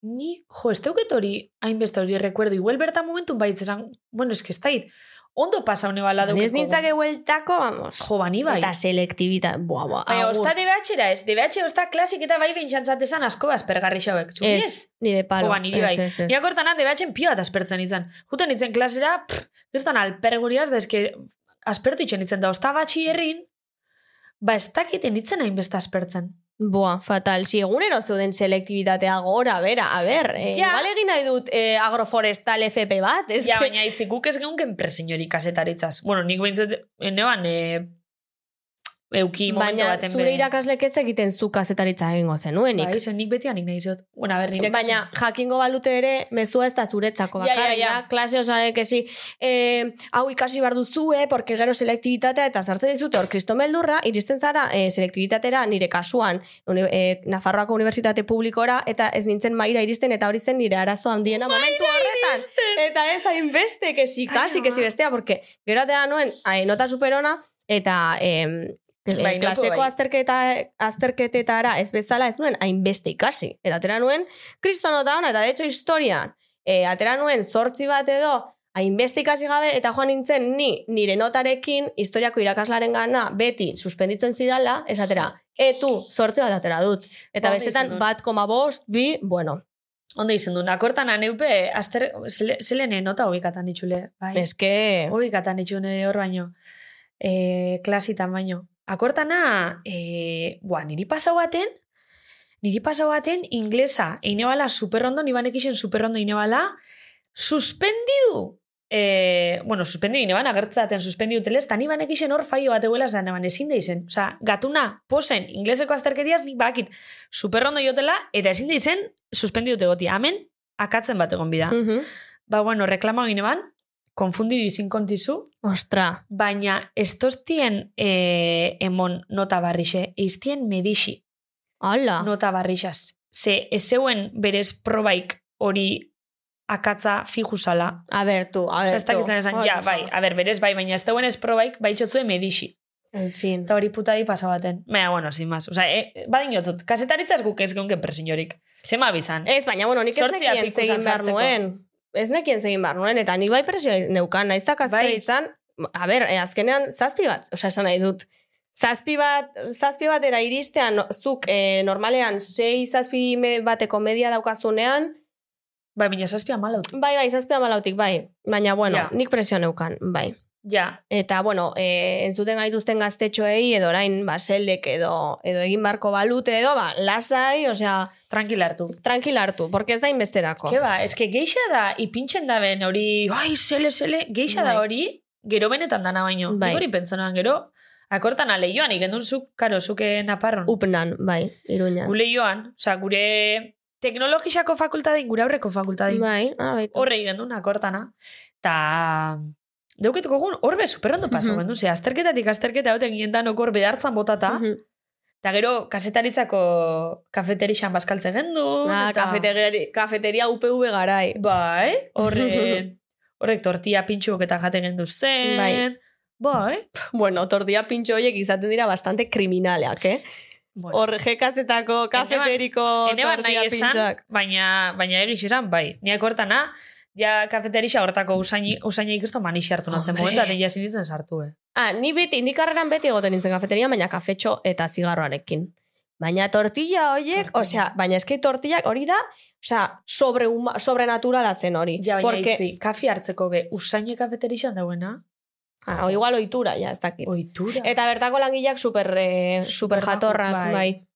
[SPEAKER 2] Ni, jo, ez teuket hori, hainbeste hori rekuerdo, igual bertan momentu baitz esan, bueno, ez que ez dait, ondo pasa hone bala
[SPEAKER 4] Ni Ez nintzake hueltako, vamos.
[SPEAKER 2] Jo, bani bai.
[SPEAKER 4] Eta selektibita, buah, buah,
[SPEAKER 2] Baina,
[SPEAKER 4] agur.
[SPEAKER 2] osta DBH-era ez, DBH osta klasik eta bai bintxantzat esan asko bazpergarri xauek. Zuri ez?
[SPEAKER 4] Ez, nire palo.
[SPEAKER 2] Oba, niri bai.
[SPEAKER 4] Ez, ez,
[SPEAKER 2] Ni
[SPEAKER 4] ez.
[SPEAKER 2] akortanak debatxen pio bat aspertzen nintzen. Juten nintzen klasera, pff, gertan alperguriaz, da eske aspertu itxen nintzen da, osta batxi herrin, ba ez dakiten nintzen hainbeste aspertzen.
[SPEAKER 4] Boa, fatal. Si egunero zeuden selektibitatea gora, bera, a ber, eh,
[SPEAKER 2] Ja.
[SPEAKER 4] igual egin nahi dut eh, agroforestal FP bat, ez
[SPEAKER 2] ja,
[SPEAKER 4] que-
[SPEAKER 2] baina itzi guk ez geunken presiñori kasetaritzaz. Bueno, nik behintzat, neoan, e, euki momentu
[SPEAKER 4] Baina
[SPEAKER 2] baten
[SPEAKER 4] zure irakaslek ez egiten zu kazetaritza egingo zenuenik.
[SPEAKER 2] Bai, zen nik beti anik nahi zot. Bueno, a ber, nire
[SPEAKER 4] Baina jakingo balute ere mezua ez da zuretzako
[SPEAKER 2] Ja, ja,
[SPEAKER 4] bakarrik
[SPEAKER 2] ja.
[SPEAKER 4] da klase osoarek esi eh, hau ikasi behar duzu eh, porque gero selektibitatea eta sartzen dizute hor kriston beldurra iristen zara eh, selektibitatera nire kasuan uni, eh, Nafarroako Unibertsitate Publikora eta ez nintzen maira iristen eta hori zen nire arazo handiena momentu horretan eta ez hainbeste kesi kasi kesi bestea porque gero atera nuen eh, nota superona eta eh,
[SPEAKER 2] Bai, nahiko
[SPEAKER 4] klaseko
[SPEAKER 2] bai.
[SPEAKER 4] azterketa, azterketetara ez bezala ez nuen hainbeste ikasi. Eta atera nuen, kristo nota ona, eta de hecho historian, e, atera nuen zortzi bat edo, hainbeste ikasi gabe, eta joan nintzen ni nire notarekin historiako irakaslaren gana beti suspenditzen zidala, esatera, e tu, zortzi bat atera dut. Eta
[SPEAKER 2] Ba,
[SPEAKER 4] bestetan,
[SPEAKER 2] bizidun.
[SPEAKER 4] bat koma bost, bi, bueno,
[SPEAKER 2] Ondo izen du, nakortan aneupe, azter, zele, zelene nota hoikatan itxule. Bai.
[SPEAKER 4] eske...
[SPEAKER 2] Obikatan itxune hor baino. E, klasitan baino. Akortana, e, bua, niri pasau baten, niri pasau baten inglesa, eine bala superrondo, ni banek isen superrondo eine bala, suspendidu. E, bueno, suspendidu eine bana, gertzaten suspendidu telez, eta ni banek isen hor faio bat eguela zan, eban ezin da izen. Osa, gatuna, posen, ingleseko azterketiaz, nik bakit, superrondo jotela, eta ezin da izen suspendidu tegotia. Hemen, akatzen bat egon bida.
[SPEAKER 4] Mhm.
[SPEAKER 2] Ba, bueno, reklamo egin eban, konfundidu izin kontizu,
[SPEAKER 4] Ostra,
[SPEAKER 2] baina ez tostien eh, emon nota barrixe, iztien medixi
[SPEAKER 4] hala.
[SPEAKER 2] nota barrixaz. Ze ez zeuen berez probaik hori akatza fijusala.
[SPEAKER 4] A ber, tu, a ber,
[SPEAKER 2] Osa, ez dakizan esan,
[SPEAKER 4] Ay,
[SPEAKER 2] ja,
[SPEAKER 4] por
[SPEAKER 2] bai,
[SPEAKER 4] favor.
[SPEAKER 2] a ber, berez bai, baina ez zeuen ez probaik baitxotzue medixi.
[SPEAKER 4] En fin.
[SPEAKER 2] Eta hori putari pasa baten. Baina, bueno, sin más. Osa, e, badin jotzut, kasetaritzaz guk ez geunken presiniorik. Zema bizan.
[SPEAKER 4] Ez, baina, bueno, nik ez
[SPEAKER 2] Zortzi
[SPEAKER 4] nekien
[SPEAKER 2] apikusan
[SPEAKER 4] zegin behar
[SPEAKER 2] sartzeko.
[SPEAKER 4] nuen. Ez nekien zegin behar nuen, eta nik bai presio neukan, naiz
[SPEAKER 2] Bai.
[SPEAKER 4] da kazkaritzan, a ber, eh, azkenean, zazpi bat, osea, esan nahi dut. Zazpi bat, zazpi batera iristean, no- zuk eh, normalean, sei zazpi me, bateko media daukazunean,
[SPEAKER 2] Bai, baina zazpia malaut.
[SPEAKER 4] bai, bai, zazpi amalautik, bai. Baina, bueno,
[SPEAKER 2] Ja.
[SPEAKER 4] nik presio neukan, bai.
[SPEAKER 2] Ja,
[SPEAKER 4] Eta, bueno, e, entzuten gaituzten gaztetxoei, edo orain, ba, selek, edo, edo egin barko balute, edo, ba, lasai, osea,
[SPEAKER 2] tranquila hartu.
[SPEAKER 4] tranquil hartu, porque ez da inbesterako.
[SPEAKER 2] Ke ba, eske geixa da ipintzen da ben hori, ai, sele, sele, geixa da
[SPEAKER 4] Bai.
[SPEAKER 2] hori, gero benetan dana baino.
[SPEAKER 4] Bai.
[SPEAKER 2] Bai. Hori pentsonan gero, akortan ale joan, ikendun zuk, karo, zuke naparron.
[SPEAKER 4] Upnan, bai, Iruñan.
[SPEAKER 2] Gule joan, oza, gure teknologisako fakultadein, gure aurreko fakultadein.
[SPEAKER 4] Bai, ah, bai.
[SPEAKER 2] Horre ikendun akortana. Ta... Deuketuko gun, horbe superondo paso,
[SPEAKER 4] Mhm.
[SPEAKER 2] mm ze, azterketatik azterketa hauten gien danok hor behartzan botata,
[SPEAKER 4] Mhm.
[SPEAKER 2] eta gero kasetaritzako kafeterixan baskaltzen gendu.
[SPEAKER 4] Ah, kafetegeri- kafeteria UPV garai.
[SPEAKER 2] Bai, horre, horrek tortilla pintxuok eta jaten gendu zen.
[SPEAKER 4] Bai.
[SPEAKER 2] Bai.
[SPEAKER 4] Bueno, tortilla pintxo horiek izaten dira bastante kriminaleak, eh?
[SPEAKER 2] Bueno, ba-
[SPEAKER 4] Hor jekazetako, kafeteriko
[SPEAKER 2] ene bat nahi
[SPEAKER 4] tortilla
[SPEAKER 2] esan,
[SPEAKER 4] pintxoak.
[SPEAKER 2] baina, baina egiz esan, bai. Niak hortana, ja kafeterixa hortako usaini, usaini ikustu manixe hartu natzen
[SPEAKER 4] Hombre.
[SPEAKER 2] momentu, eta ja sinitzen sartu, eh.
[SPEAKER 4] Ah, ni beti, ni karreran beti egoten nintzen kafeteria, baina kafetxo eta zigarroarekin. Baina tortilla horiek,
[SPEAKER 2] Tortilla.
[SPEAKER 4] osea, baina eski tortillak hori da, osea, sobre sobrenaturala zen hori.
[SPEAKER 2] Ja, baina
[SPEAKER 4] Porque-
[SPEAKER 2] itzi, kafi hartzeko be, usaine kafeterixan dauena,
[SPEAKER 4] Ah, o igual ohitura, ja, ez dakit.
[SPEAKER 2] oitura.
[SPEAKER 4] Eta bertako langileak super, eh, super
[SPEAKER 2] Super
[SPEAKER 4] jatorrak,
[SPEAKER 2] bai.
[SPEAKER 4] bai.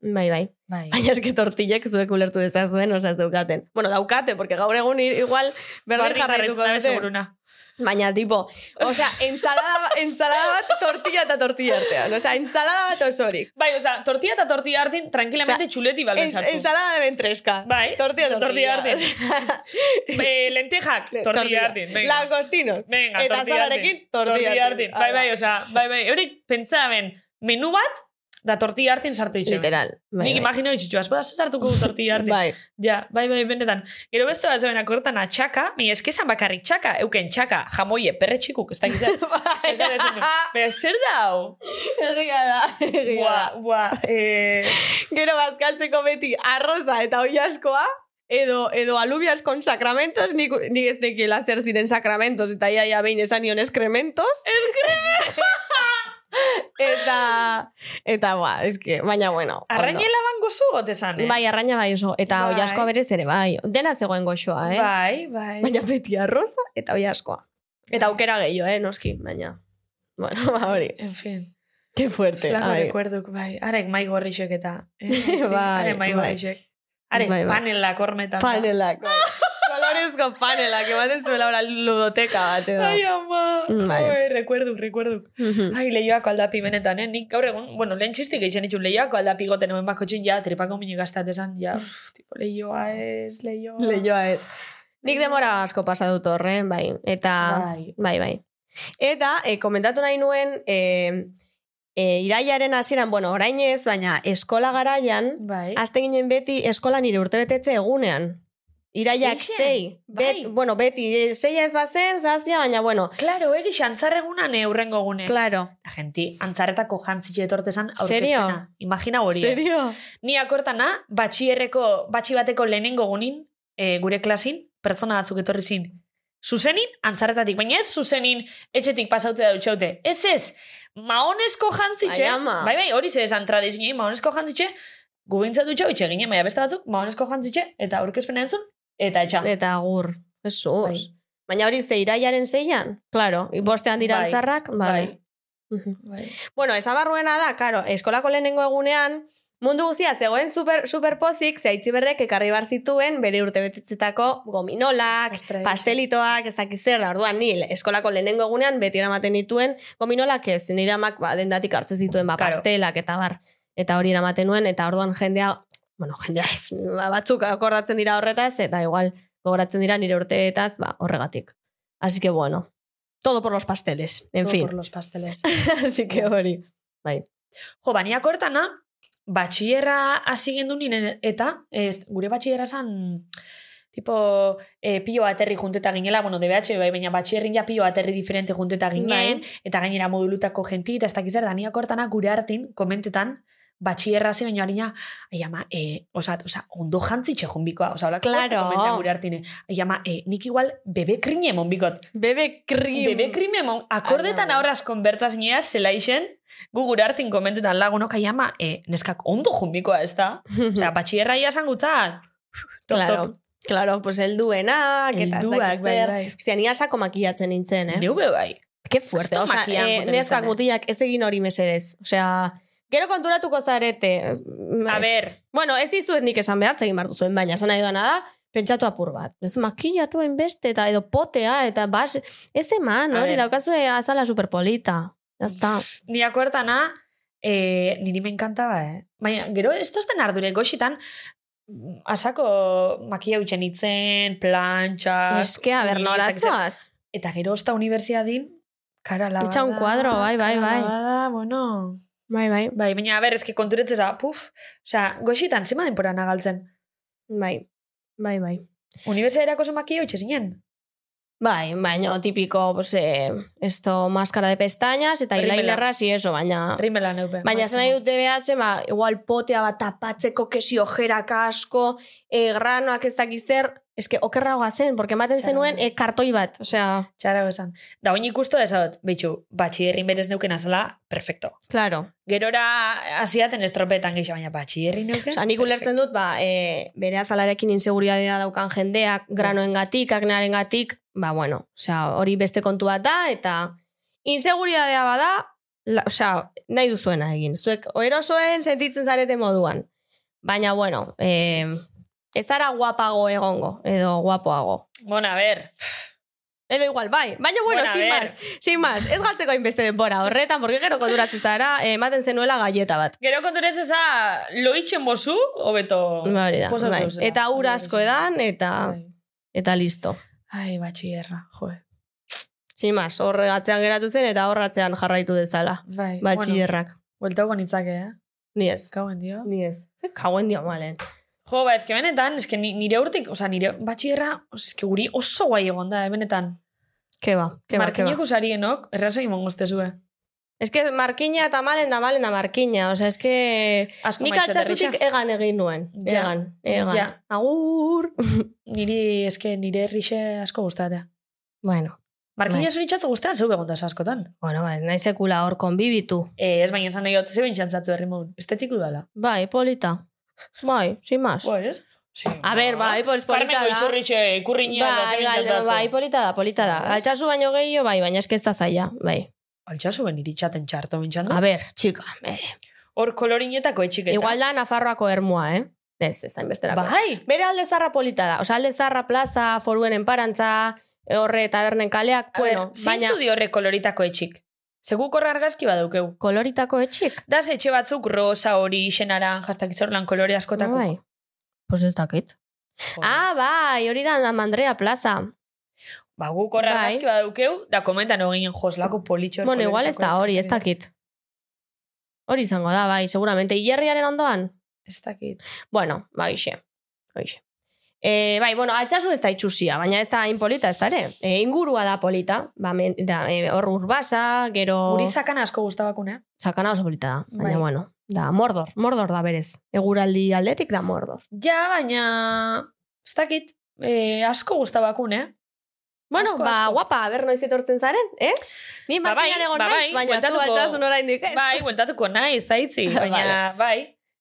[SPEAKER 4] Bai, bai.
[SPEAKER 2] bai.
[SPEAKER 4] Baina eski tortillak zuek ulertu dezazuen, osea, ez daukaten. Bueno, daukate, porque gaur egun i- igual berdin
[SPEAKER 2] Berdin
[SPEAKER 4] jarraituko
[SPEAKER 2] jarraitzen da,
[SPEAKER 4] dute.
[SPEAKER 2] seguruna.
[SPEAKER 4] Baina, tipo, osea, ensalada, ensalada bat tortilla eta tortilla artean. Osea, ensalada bat osorik.
[SPEAKER 2] Bai, osea, tortilla eta tortilla hartin, tranquilamente
[SPEAKER 4] Osea,
[SPEAKER 2] txuleti balde
[SPEAKER 4] En, ensalada de ventresca.
[SPEAKER 2] Bai,
[SPEAKER 4] Tortilla, tortilla.
[SPEAKER 2] tortilla Eh, lentejak, tortilla hartin. venga.
[SPEAKER 4] Langostinos.
[SPEAKER 2] Venga,
[SPEAKER 4] Eta
[SPEAKER 2] tortilla
[SPEAKER 4] zalarekin,
[SPEAKER 2] hartin.
[SPEAKER 4] tortilla hartin.
[SPEAKER 2] Bai, bai,
[SPEAKER 4] Hala.
[SPEAKER 2] osea, bai, bai. Eurik pentsaben, menu bat, da tortilla hartin sartu itxen.
[SPEAKER 4] Literal. Bai,
[SPEAKER 2] Nik
[SPEAKER 4] bai.
[SPEAKER 2] imagino itxitxu, azpada sartuko du tortilla hartin.
[SPEAKER 4] Bai.
[SPEAKER 2] Ja, bai, bai, benetan. Gero beste bat zeuen akortan atxaka, mi eskezan bakarrik txaka, euken txaka, jamoie, perretxikuk, ez dakit zer. Zer esan dezun du. Baina zer da hau?
[SPEAKER 4] Egia da, egia
[SPEAKER 2] Bua,
[SPEAKER 4] da.
[SPEAKER 2] bua, eh,
[SPEAKER 4] Gero bazkaltzeko beti arroza eta oi askoa, edo, edo alubias kon sakramentos, nik, nik ez nekiela zer ziren sakramentos, eta ia, ia behin esan nion eskrementos. eta, eta, ba, eske, baina bueno. ondo.
[SPEAKER 2] arrainela bango zu, gotezan, eh?
[SPEAKER 4] Bai, arraina bai oso, eta
[SPEAKER 2] Bai.
[SPEAKER 4] oi askoa berez ere, bai, dena zegoen goxoa, eh?
[SPEAKER 2] Bai, bai.
[SPEAKER 4] Baina beti arroza eta oi askoa. Eta aukera gehiago, eh, noski, baina. Bueno, ba, hori.
[SPEAKER 2] En fin,
[SPEAKER 4] Qué fuerte.
[SPEAKER 2] zelako
[SPEAKER 4] ai.
[SPEAKER 2] rekuerduk, bai. Arek mai gorrixek eta... Eh, en fin,
[SPEAKER 4] Bai,
[SPEAKER 2] arek mai
[SPEAKER 4] bai.
[SPEAKER 2] gorrixek. Arek
[SPEAKER 4] Bai, bai.
[SPEAKER 2] panelak hormetan. da.
[SPEAKER 4] Panelak, bai. Kolorezko panelak, ematen zuela ora ludoteka bat edo.
[SPEAKER 2] Ai, ama.
[SPEAKER 4] Bai.
[SPEAKER 2] Oi, rekuerduk, rekuerduk.
[SPEAKER 4] Mhm.
[SPEAKER 2] Ai, leioako aldapi benetan, eh? Nik gaur egun, bueno, lehen txistik egiten ditu leioako aldapi goten hemen bako txin, ja, tripako mini gaztat esan, ja, uf, tipo, leioa ez, leioa.
[SPEAKER 4] Mm. Leioa ez. Nik demora asko pasa dut horre, bai. Eta,
[SPEAKER 2] Bai.
[SPEAKER 4] bai, bai. Eta, eh, komentatu nahi nuen, eh, eh, iraiaren hasieran, bueno, orain ez, baina eskola garaian,
[SPEAKER 2] Bai.
[SPEAKER 4] Azten ginen beti eskola nire urtebetetze egunean. Iraiak
[SPEAKER 2] Seian,
[SPEAKER 4] sei.
[SPEAKER 2] bai.
[SPEAKER 4] Bet, bueno, beti, eh, seia ez bazen, zazpia, baina bueno.
[SPEAKER 2] Claro, egis, antzarregunan eurrengo gune.
[SPEAKER 4] Claro.
[SPEAKER 2] La gente, antzarretako jantzile etortezan
[SPEAKER 4] Serio?
[SPEAKER 2] aurkezpena. Imagina hori. eh?
[SPEAKER 4] Serio?
[SPEAKER 2] Ni akortana, batxierreko, batxi bateko lehenengo gunin, eh, gure klasin, pertsona batzuk etorri zin. Zuzenin, antzarretatik, baina ez zuzenin etxetik pasaute da dutxaute. Ez ez, maonesko jantzitxe,
[SPEAKER 4] Ai, ama.
[SPEAKER 2] bai bai, hori ze esan tradizinei, maonesko jantzitxe, gubintza dutxau itxe ginen, baina beste batzuk, maonesko jantzitxe, eta aurkezpena entzun, eta etxa.
[SPEAKER 4] Eta agur. Jesus.
[SPEAKER 2] Bai.
[SPEAKER 4] Baina hori ze iraiaren seian? Claro, bostean dira
[SPEAKER 2] Bai.
[SPEAKER 4] antzarrak, bai. Mhm.
[SPEAKER 2] bai.
[SPEAKER 4] Bueno, esabarruena da, karo, eskolako lehenengo egunean, mundu guztia zegoen super, superpozik, ze aitziberrek ekarri bar zituen bere urtebetetzetako gominolak,
[SPEAKER 2] Ostras.
[SPEAKER 4] pastelitoak, ez dakit zer, da, orduan nil, eskolako lehenengo egunean beti eramaten dituen gominolak ez, nire amak ba, dendatik hartzen zituen ba,
[SPEAKER 2] Karo.
[SPEAKER 4] pastelak eta bar, eta hori eramaten nuen, eta orduan jendea, bueno, jendea ez, ba, batzuk akordatzen dira horretaz, eta igual gogoratzen dira nire urteetaz, ba, horregatik. Así que bueno, todo por los pasteles, en
[SPEAKER 2] Todo
[SPEAKER 4] fin.
[SPEAKER 2] por los pasteles.
[SPEAKER 4] Así que hori.
[SPEAKER 2] Jo, ba, baniak hortana, batxierra hasi gendu ninen, eta ez, gure batxierra zan, tipo, e, pilo aterri junteta ginela, bueno, DBH, bai, baina batxierrin ja pilo aterri diferente junteta ginen, eta gainera modulutako jenti, eta ez dakiz zer, daniak hortana gure hartin, komentetan, batxierra hasi baino harina, ai ama, e, oza, oza, ondo jantzitxe jonbikoa, oza, holako
[SPEAKER 4] Claro.
[SPEAKER 2] gauza komentea gure hartine, ai ama, e, nik igual bebe krine monbikot,
[SPEAKER 4] Bebe krim.
[SPEAKER 2] Bebe krime mon, akordetan
[SPEAKER 4] Ai, ama.
[SPEAKER 2] aurraz konbertza zinea, zela izen, gu gure hartin komentetan lagunok aiama, e, neskak ondo jumbikoa ez da? Osea, batxierra ia esan gutzat. Top,
[SPEAKER 4] Mhm. claro,
[SPEAKER 2] top.
[SPEAKER 4] claro, pues elduenak, eta ez
[SPEAKER 2] Helduak,
[SPEAKER 4] dakit
[SPEAKER 2] bai,
[SPEAKER 4] zer.
[SPEAKER 2] bai.
[SPEAKER 4] Ostia, ni asako makillatzen nintzen, eh?
[SPEAKER 2] Neu be bai.
[SPEAKER 4] Ke fuerte,
[SPEAKER 2] Asko
[SPEAKER 4] osea,
[SPEAKER 2] makilan
[SPEAKER 4] eh,
[SPEAKER 2] joaten
[SPEAKER 4] neskak
[SPEAKER 2] nintzen, eh.
[SPEAKER 4] mutilak ez egin hori mesedez. Osea, gero konturatuko zarete. Mm,
[SPEAKER 2] A
[SPEAKER 4] Ez.
[SPEAKER 2] ber,
[SPEAKER 4] Bueno, ez dizuet nik esan behar, egin behar duzuen, baina esan nahi duena da, pentsatu apur bat. Ez makillatu hainbeste, eta edo potea, eta bas, ez eman,
[SPEAKER 2] A
[SPEAKER 4] hori
[SPEAKER 2] ber.
[SPEAKER 4] daukazu azala superpolita. Ya está.
[SPEAKER 2] niak hortana, e, niri me encantaba, eh? Baina, gero, ez tozten ardure goxitan, asako makia utxen itzen, plantxas...
[SPEAKER 4] Eske, a ber,
[SPEAKER 2] ui,
[SPEAKER 4] nora
[SPEAKER 2] mm, ez dakit zer.
[SPEAKER 4] zoaz?
[SPEAKER 2] Eta gero, osta universiadin, Cara lavada.
[SPEAKER 4] Echa un cuadro, bai, bai,
[SPEAKER 2] cara
[SPEAKER 4] bai.
[SPEAKER 2] lavada, bueno,
[SPEAKER 4] Bai, bai.
[SPEAKER 2] Bai, baina, a ber, eski konturetzeza, puf, osea, goxitan, zema denpora nagaltzen.
[SPEAKER 4] Bai, bai, bai.
[SPEAKER 2] Unibertsiaderako zemaki hoitxe zinen.
[SPEAKER 4] Bai, baina tipiko, pues, eh, esto, máscara de pestañas eta
[SPEAKER 2] Rimela.
[SPEAKER 4] eyelinerra si eso, baina...
[SPEAKER 2] Rimela neupe.
[SPEAKER 4] Baina esan nahi dute behatxe, ba, igual potea bat tapatzeko kesi ojerak asko, eh, granoak ez dakiz zer, eske okerragoa zen, porque ematen
[SPEAKER 2] Txarra.
[SPEAKER 4] zenuen eh, kartoi bat, osea,
[SPEAKER 2] Txara esan. Da, oin ikustu dut, bitxu, batxierrin berez neuken azala, perfecto.
[SPEAKER 4] claro.
[SPEAKER 2] Gerora hasiaten estropetan gisa, baina batxierrin neuken.
[SPEAKER 4] Osea, nik ulertzen dut, ba, e, bere azalarekin inseguridadea daukan jendeak,
[SPEAKER 2] Bai.
[SPEAKER 4] granoengatik, aknearengatik, ba, bueno, osea, hori beste kontu bat da, eta inseguridadea bada, la, osea, nahi duzuena egin. Zuek, erosoen sentitzen zarete moduan. Baina, bueno, e, ez zara guapago egongo, edo guapoago.
[SPEAKER 2] Bueno, a ver,
[SPEAKER 4] Edo igual, bai. Baina, bueno,
[SPEAKER 2] Bueno, a
[SPEAKER 4] sin
[SPEAKER 2] ver.
[SPEAKER 4] más, sin más. Ez galtzeko hainbeste denbora horretan, porque gero konturatzen zara, ematen zenuela galleta bat.
[SPEAKER 2] gero konturetzen za, loitzen bozu, hobeto...
[SPEAKER 4] Hori da,
[SPEAKER 2] posa
[SPEAKER 4] bai.
[SPEAKER 2] zuzela.
[SPEAKER 4] Eta ur asko edan, eta,
[SPEAKER 2] Bai.
[SPEAKER 4] eta listo.
[SPEAKER 2] Ai, batxierra, joe.
[SPEAKER 4] Sin más, horre atzean geratu zen, eta horre atzean jarraitu dezala.
[SPEAKER 2] Bai,
[SPEAKER 4] Batxillerrak.
[SPEAKER 2] Bueno, bueltauko nitzake, eh?
[SPEAKER 4] Ni ez.
[SPEAKER 2] Kauen dio.
[SPEAKER 4] Ni ez. Ze kauen dio malen.
[SPEAKER 2] Jo, ba, eske benetan, eske ni- nire urtik, oza, nire batxierra, eske guri oso guai egon da, eh, benetan.
[SPEAKER 4] Keba, keba,
[SPEAKER 2] Markinek
[SPEAKER 4] keba.
[SPEAKER 2] usarienok, errazak imongo estezue.
[SPEAKER 4] Ez que markina eta malen da malen da markina. Osa, ez que...
[SPEAKER 2] Asko
[SPEAKER 4] Nik
[SPEAKER 2] maitxat
[SPEAKER 4] altxasutik
[SPEAKER 2] errixa.
[SPEAKER 4] egan egin nuen.
[SPEAKER 2] Ja.
[SPEAKER 4] Egan, egan.
[SPEAKER 2] Ja.
[SPEAKER 4] Agur!
[SPEAKER 2] Niri, eske, nire errixe asko gustatea.
[SPEAKER 4] Bueno, Bai.
[SPEAKER 2] Markina zuritzatzu gustean, zeu begondaz askotan.
[SPEAKER 4] bueno, ba, nahi sekula hor konbibitu.
[SPEAKER 2] Eh, ez baina esan nahi dut, zeu bintxantzatzu herri mogun. Estetiku dala.
[SPEAKER 4] Bai, polita. Bai, sin más.
[SPEAKER 2] Pues, sí.
[SPEAKER 4] A ber, bai, pues polita
[SPEAKER 2] Karmengo
[SPEAKER 4] da.
[SPEAKER 2] itxurritxe ikurriña da
[SPEAKER 4] bai,
[SPEAKER 2] zeu
[SPEAKER 4] bai,
[SPEAKER 2] bintxantzatzu.
[SPEAKER 4] bai, polita da, polita da.
[SPEAKER 2] Bai.
[SPEAKER 4] Altsasu baino gehiago, bai, baina eske ez da zaila, bai.
[SPEAKER 2] Altxasu ben iritxaten txarto bintxan
[SPEAKER 4] A ber, txika, eh.
[SPEAKER 2] Hor kolorinetako etxiketa.
[SPEAKER 4] Igual da Nafarroako ermua, eh? Ez, ez hainbesterako.
[SPEAKER 2] Bai,
[SPEAKER 4] Bere alde zarra polita da. Osa, alde zarra plaza, foruen enparantza, horre tabernen kaleak,
[SPEAKER 2] A
[SPEAKER 4] bueno,
[SPEAKER 2] ber, baina...
[SPEAKER 4] baina
[SPEAKER 2] Zintzu diorre koloritako etxik. Seguk horra argazki badaukeu.
[SPEAKER 4] koloritako etxik.
[SPEAKER 2] Da etxe batzuk rosa hori xenara, jastak izorlan kolore askotako.
[SPEAKER 4] Bai. Pues ez dakit.
[SPEAKER 2] Jo.
[SPEAKER 4] Ah, bai, hori da Namandrea plaza.
[SPEAKER 2] ba, guk horra
[SPEAKER 4] bai.
[SPEAKER 2] argazki badaukeu, da komentan egin joslako politxor.
[SPEAKER 4] Bueno, igual ez da
[SPEAKER 2] koloretako
[SPEAKER 4] hori, ez
[SPEAKER 2] etxik.
[SPEAKER 4] dakit. Hori izango da, bai, seguramente. Ilerriaren ondoan?
[SPEAKER 2] Ez dakit.
[SPEAKER 4] Bueno, ba, hoxe. Hoxe. E, bai, bueno, altxasu ez da itxusia, baina ez da hain polita, ez da ere. E, ingurua da polita, ba, men, da, e, hor urbasa, gero...
[SPEAKER 2] Guri sakana asko guztabakun, eh?
[SPEAKER 4] Sakana oso polita da, baina
[SPEAKER 2] Bai.
[SPEAKER 4] bueno, da mordor, mordor da berez. Eguraldi aldetik da mordor.
[SPEAKER 2] Ja, baina... Ez dakit. Eh, asko guztabakun, eh?
[SPEAKER 4] Bueno,
[SPEAKER 2] Asko,
[SPEAKER 4] ba,
[SPEAKER 2] asko.
[SPEAKER 4] guapa, aber noiz etortzen zaren, eh? Ni
[SPEAKER 2] Ba, bai,
[SPEAKER 4] markinan egon
[SPEAKER 2] ba,
[SPEAKER 4] naiz,
[SPEAKER 2] bai,
[SPEAKER 4] baina zu
[SPEAKER 2] bueltatuko.
[SPEAKER 4] altxasun oraindik eh? ez.
[SPEAKER 2] Bai, guentatuko nahi, zaitzi, baina bai.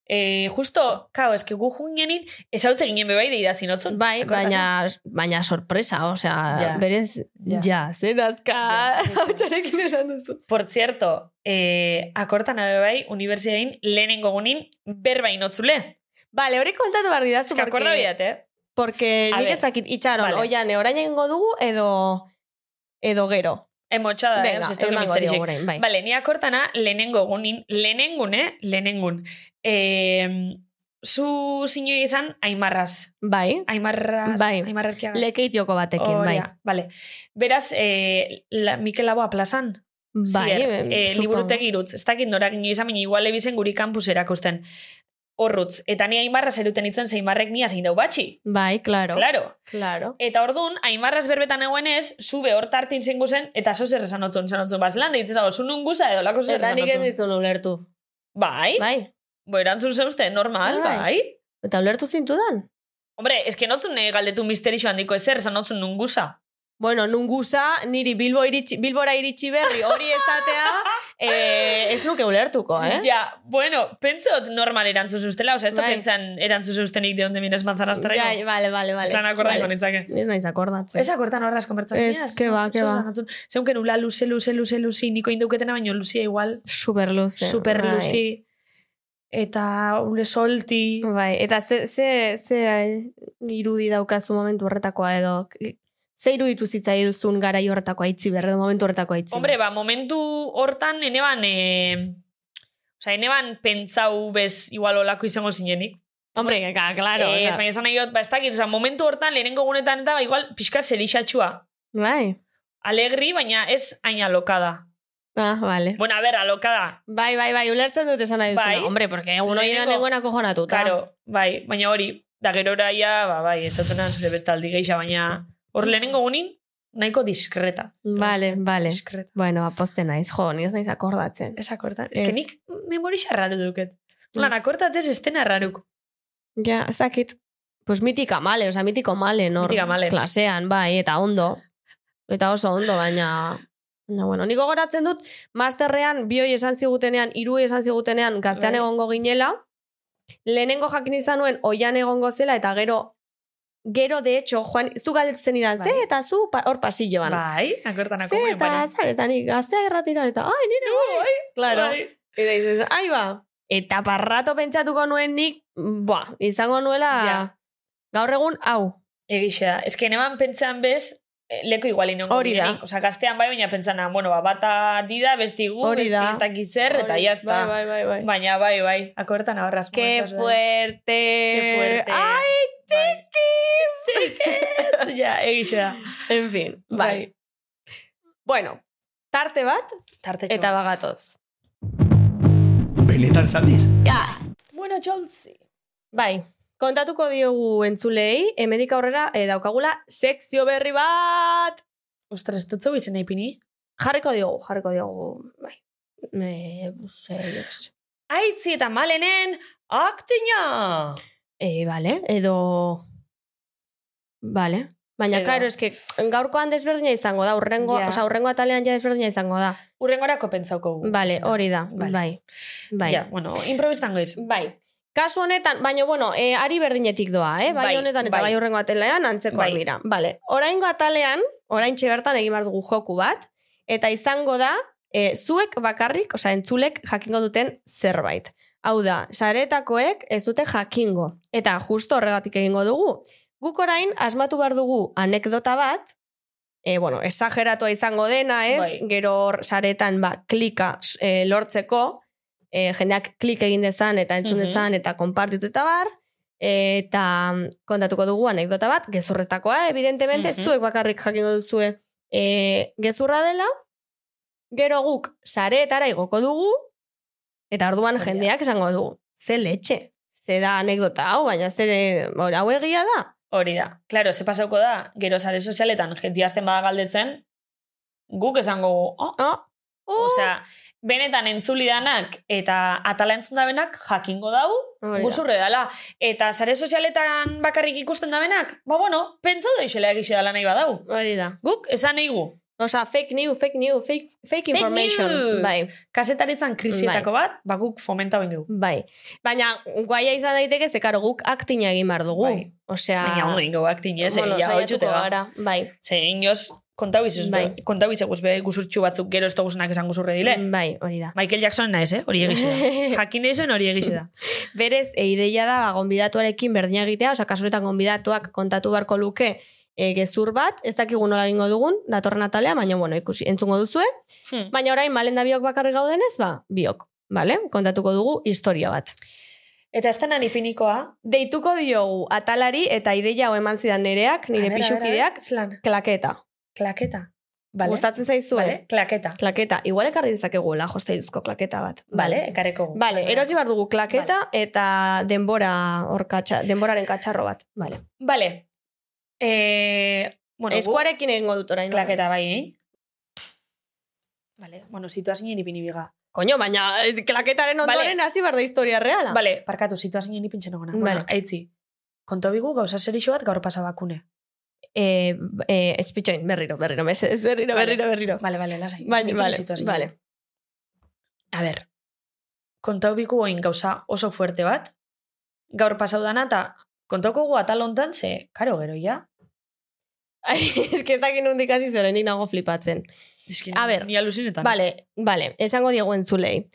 [SPEAKER 2] Eh, justo, kao, eski gu jungenin, esautze ginen bebai deida zinotzun.
[SPEAKER 4] Bai, baina, baina sorpresa, osea,
[SPEAKER 2] Ja.
[SPEAKER 4] berez,
[SPEAKER 2] Ja.
[SPEAKER 4] ja, zer azka,
[SPEAKER 2] Ja, ja, ja.
[SPEAKER 4] hautsarekin esan duzu.
[SPEAKER 2] Por cierto, eh, akortan abe bai, unibertsitatein lehenengo gunin berba inotzule.
[SPEAKER 4] Vale, hori kontatu behar didazu,
[SPEAKER 2] Eske akorda bidat, eh?
[SPEAKER 4] Porque
[SPEAKER 2] A
[SPEAKER 4] nik
[SPEAKER 2] ver,
[SPEAKER 4] ez dakit itxaron,
[SPEAKER 2] vale.
[SPEAKER 4] vale. oian, orain egingo dugu edo edo gero.
[SPEAKER 2] Emotxada, eh? Osa, ez toki
[SPEAKER 4] emango diogu
[SPEAKER 2] misterixek.
[SPEAKER 4] orain, bai.
[SPEAKER 2] Bale, ni akortana lehenengo gunin, lehenengun, eh? Lehenengun. Eh, zu zinoi izan, aimarraz.
[SPEAKER 4] Bai,
[SPEAKER 2] Aimarraz,
[SPEAKER 4] Bai.
[SPEAKER 2] aimarrarkiagaz.
[SPEAKER 4] lekeitioko batekin, bai.
[SPEAKER 2] Vale. Beraz, eh, la, Mikel Laboa plazan,
[SPEAKER 4] Bai,
[SPEAKER 2] Zier,
[SPEAKER 4] em,
[SPEAKER 2] eh,
[SPEAKER 4] supongo.
[SPEAKER 2] liburutegi irutz. Ez dakit nora gini izan, baina igual ebizen guri kampus erakusten. Horrutz. Eta ni aimarra zeruten itzen, zeimarrek nia zein dau batxi.
[SPEAKER 4] Bai, claro.
[SPEAKER 2] Claro.
[SPEAKER 4] Claro.
[SPEAKER 2] Eta ordun aimarraz berbetan egoenez, zube hor tartin zen guzen, eta zo zer esan otzun, esan otzun, bazlan, deitzen zago, zu nun guza edo lako zer
[SPEAKER 4] Eta
[SPEAKER 2] esan
[SPEAKER 4] nik ez
[SPEAKER 2] otzun.
[SPEAKER 4] dizun ulertu.
[SPEAKER 2] Bai, bai.
[SPEAKER 4] Bai.
[SPEAKER 2] bo erantzun zeuzte, normal,
[SPEAKER 4] Bai,
[SPEAKER 2] bai.
[SPEAKER 4] bai. Eta ulertu zintudan?
[SPEAKER 2] Hombre, eske notzun eh, galdetu misterixo handiko ezer, esan otzun nun guza.
[SPEAKER 4] Bueno, nungusa, niri Bilbo iritsi, Bilbora iritsi berri hori esatea, eh, ez nuke ulertuko, eh?
[SPEAKER 2] Ja, bueno, pentsot normal erantzun zeuztela, oza, esto
[SPEAKER 4] Bai.
[SPEAKER 2] pentsan erantzun zeuztenik de onde mires manzanas traigo.
[SPEAKER 4] Ja, vale, vale, vale.
[SPEAKER 2] Están acordando
[SPEAKER 4] Vale.
[SPEAKER 2] nitzake.
[SPEAKER 4] Ez naiz akordatzen.
[SPEAKER 2] Ez akortan horraz konbertsatzen.
[SPEAKER 4] Ez, que ba, que ba.
[SPEAKER 2] Zeunken ula luze, luze, luze, luzi, niko indauketena baino luzia igual,
[SPEAKER 4] Super luze.
[SPEAKER 2] super
[SPEAKER 4] bai.
[SPEAKER 2] luzi, eta ule solti.
[SPEAKER 4] Bai, eta ze, ze, ze eh, irudi daukazu momentu horretakoa edo ze iruditu zitzai duzun garai horretakoa itzi behar edo momentu horretakoa itzi.
[SPEAKER 2] Hombre, ba, momentu hortan eneban, eh, oza, eneban pentsau bez igual olako izango zinenik.
[SPEAKER 4] hombre, ka, claro.
[SPEAKER 2] Eh, ez,
[SPEAKER 4] oza.
[SPEAKER 2] baina esan nahi dut, ba, ez dakit, oza, momentu hortan lehenengo gunetan eta ba, igual pixka zerixatxua.
[SPEAKER 4] Bai.
[SPEAKER 2] Alegri, baina ez hain alokada.
[SPEAKER 4] Ah, vale.
[SPEAKER 2] Bueno, a ber, alokada.
[SPEAKER 4] Bai, bai, bai, ulertzen dut esan nahi duzuna.
[SPEAKER 2] Bai.
[SPEAKER 4] Hombre, porque egun hori da
[SPEAKER 2] Lehenengo-
[SPEAKER 4] nengoen akojonatuta.
[SPEAKER 2] Claro, bai, baina hori, da gerora ia, ba, bai, ez dutenan zure bestaldi geisha, baina hor lehenengo gunin, nahiko diskreta.
[SPEAKER 4] Vale, vale.
[SPEAKER 2] Diskreta.
[SPEAKER 4] Bueno, aposte naiz, jo, ni ez naiz akordatzen.
[SPEAKER 2] Ez akortan. Ez que
[SPEAKER 4] Ez.
[SPEAKER 2] nik memori xarraru duket. Lan, akortatez estena raruk.
[SPEAKER 4] Ja, ez dakit. Pues mitika male, oza, mitiko male, nor.
[SPEAKER 2] Mitika Malen.
[SPEAKER 4] Klasean, bai, eta ondo. Eta oso ondo, baina... Na, bueno, niko goratzen dut, masterrean, bioi esan zigutenean, hiru esan zigutenean, gaztean
[SPEAKER 2] Bai.
[SPEAKER 4] egongo ginela, lehenengo jakin izan nuen, oian egongo zela, eta gero, gero de hecho, Juan, zu galdetu zen idan,
[SPEAKER 2] Bai.
[SPEAKER 4] ze eta zu pa- hor pasilloan.
[SPEAKER 2] Bai, akortan
[SPEAKER 4] ze
[SPEAKER 2] akome,
[SPEAKER 4] eta zaretan, gaztea erratira, eta ai, nire, bai. Claro. Eta dices, ai ba. Eta parrato pentsatuko nuen nik, boa, izango nuela
[SPEAKER 2] Ja.
[SPEAKER 4] gaur egun, hau.
[SPEAKER 2] Egixa, eske neman pentsan bez, eh, leko igual inongo
[SPEAKER 4] Hori da.
[SPEAKER 2] Osa, gaztean bai, baina pentsan, ah, bueno, ba, bata dida, besti gu,
[SPEAKER 4] Hori
[SPEAKER 2] besti
[SPEAKER 4] da.
[SPEAKER 2] ez dakit zer, eta jazta.
[SPEAKER 4] Bai, bai, bai, bai.
[SPEAKER 2] Baina bai, bai, akortan ahorraz.
[SPEAKER 4] Qué
[SPEAKER 2] momentos, bai.
[SPEAKER 4] fuerte.
[SPEAKER 2] Qué fuerte.
[SPEAKER 4] Ai, txikiz.
[SPEAKER 2] Ez, ja, egixa.
[SPEAKER 4] En fin, bai. Bueno, tarte bat
[SPEAKER 2] Tartetxo.
[SPEAKER 4] eta bagatoz.
[SPEAKER 3] Benetan zabiz?
[SPEAKER 2] Bueno, Chelsea.
[SPEAKER 4] Bai. Kontatuko diogu entzulei, hemendik aurrera eh, daukagula sekzio berri bat.
[SPEAKER 2] Ostras, tutzu izen ipini?
[SPEAKER 4] Jarriko diogu, jarriko diogu, bai. Eh, pues, eh, yo qué sé.
[SPEAKER 2] Aitzi eta malenen aktina!
[SPEAKER 4] E, bale, edo... Bale. Baina,
[SPEAKER 2] Edo-
[SPEAKER 4] claro, eske gaurkoan desberdina izango da, urrengo,
[SPEAKER 2] Ja.
[SPEAKER 4] osea, urrengo atalean ja desberdina izango da.
[SPEAKER 2] Urrengorako pentsauko gu.
[SPEAKER 4] Bale, hori da,
[SPEAKER 2] Bale.
[SPEAKER 4] bai. Bai.
[SPEAKER 2] Ja, bueno, improvistango iz.
[SPEAKER 4] bai. Kasu honetan, baina, bueno, e, ari berdinetik doa, eh? Bai,
[SPEAKER 2] Bai,
[SPEAKER 4] honetan eta
[SPEAKER 2] bai.
[SPEAKER 4] bai urrengo atalean antzekoak
[SPEAKER 2] Bai.
[SPEAKER 4] dira. Bale, oraingo atalean, orain bertan egin behar dugu joku bat, eta izango da, e, zuek bakarrik, osea, entzulek jakingo duten zerbait. Hau da, saretakoek ez dute jakingo. Eta justo horregatik egingo dugu. Guk orain asmatu behar dugu anekdota bat, e, bueno, esageratua izango dena, ez?
[SPEAKER 2] Bai.
[SPEAKER 4] Gero hor saretan ba, klika s- e, lortzeko, e, jendeak klik egin dezan eta entzun
[SPEAKER 2] Mhm.
[SPEAKER 4] dezan eta konpartitu eta bar, eta mm, kontatuko dugu anekdota bat, gezurretakoa, eh, evidentemente,
[SPEAKER 2] Mhm.
[SPEAKER 4] zuek bakarrik jakingo duzue e, gezurra dela, gero guk sareetara igoko dugu, eta orduan
[SPEAKER 2] Hori da.
[SPEAKER 4] jendeak esango dugu. Ze letxe, ze da anekdota hau, baina ze, hor, hau egia da.
[SPEAKER 2] Hori da. Claro, ze pasauko da, gero sare sozialetan jentiazten bada galdetzen, guk esango gu, oh,
[SPEAKER 4] Oh, oh,
[SPEAKER 2] Osea, benetan entzulidanak eta atala entzundabenak jakingo dau,
[SPEAKER 4] Hori da.
[SPEAKER 2] guzurre dala. Eta sare sozialetan bakarrik ikusten dabenak, ba bueno, pentsa da isela egixe dala nahi badau.
[SPEAKER 4] Hori da.
[SPEAKER 2] Guk, esan nahi gu.
[SPEAKER 4] Osa, fake news, fake news, fake, fake information.
[SPEAKER 2] news!
[SPEAKER 4] Bai,
[SPEAKER 2] Kasetaritzan krisietako bat, ba guk fomenta hori dugu.
[SPEAKER 4] bai. Baina, guaia izan daiteke, ze karo guk aktina egin behar dugu.
[SPEAKER 2] Bai.
[SPEAKER 4] Osea...
[SPEAKER 2] Baina ondo ingo aktin, ez?
[SPEAKER 4] bueno,
[SPEAKER 2] ja,
[SPEAKER 4] Ah. saiatuko
[SPEAKER 2] oitxute ba.
[SPEAKER 4] gara. Bai,
[SPEAKER 2] Ze, inoz, kontau izuz,
[SPEAKER 4] Bai.
[SPEAKER 2] kontau izeguz, be, guzurtxu batzuk gero ez toguzunak esan guzurre dile.
[SPEAKER 4] bai, hori da.
[SPEAKER 2] Michael Jackson naiz, eh? Hori egixe da. Jakin nahi hori egixe da.
[SPEAKER 4] Berez, e, ideia da, ba, gonbidatuarekin berdina egitea, osea, kasuretan gonbidatuak kontatu beharko luke e, gezur bat, ez dakigu nola egingo dugun, datorren atalea, baina, bueno, ikusi, entzungo duzue.
[SPEAKER 2] Hmm.
[SPEAKER 4] Baina orain, malen da biok bakarrik gaudenez, ba, biok, bale? Kontatuko dugu historia bat.
[SPEAKER 2] Eta ez denan ipinikoa.
[SPEAKER 4] Deituko diogu atalari eta ideia hau eman zidan nereak, nire
[SPEAKER 2] A ber, a ber, a ber,
[SPEAKER 4] pixukideak,
[SPEAKER 2] Zelan,
[SPEAKER 4] klaketa.
[SPEAKER 2] klaketa. Vale.
[SPEAKER 4] Gustatzen zaizue?
[SPEAKER 2] Vale, klaketa.
[SPEAKER 4] Klaketa. Igual ekarri dezakegula josteiluzko klaketa bat.
[SPEAKER 2] Bai. Vale, ekarreko. gu.
[SPEAKER 4] Vale, erosi behar dugu klaketa eta denbora hor katxa, denboraren katxarro bat. Vale.
[SPEAKER 2] Vale. Eh, bueno, gu-
[SPEAKER 4] Eskuarekin egingo dut orain.
[SPEAKER 2] klaketa bai, eh? Vale, bueno, situazioen ipini biga.
[SPEAKER 4] Koño, baina eh, klaketaren
[SPEAKER 2] Vale.
[SPEAKER 4] ondoren hasi behar da historia reala.
[SPEAKER 2] Vale, parkatu, situazioen ipintzen ogona. Ah. Vale. Bueno,
[SPEAKER 4] Vale.
[SPEAKER 2] aitzi. Konto bigu gauza zerixo bat gaur pasabakune.
[SPEAKER 4] Eh, eh, espitxoin, berriro, berriro, mesedez, berriro,
[SPEAKER 2] Vale.
[SPEAKER 4] berriro, berriro.
[SPEAKER 2] Vale, vale, lasai.
[SPEAKER 4] Baina,
[SPEAKER 2] Ipini
[SPEAKER 4] vale,
[SPEAKER 2] situazioa.
[SPEAKER 4] vale.
[SPEAKER 2] A ber, kontau biku oin gauza oso fuerte bat, gaur pasau dana eta kontauko gu atal hontan, ze, karo gero, ja?
[SPEAKER 4] Ai, Ez que ez dakin hundik hasi zeren, nago flipatzen.
[SPEAKER 2] Eski,
[SPEAKER 4] A ber,
[SPEAKER 2] ni alusinetan.
[SPEAKER 4] Vale, vale, esango diegu entzulei.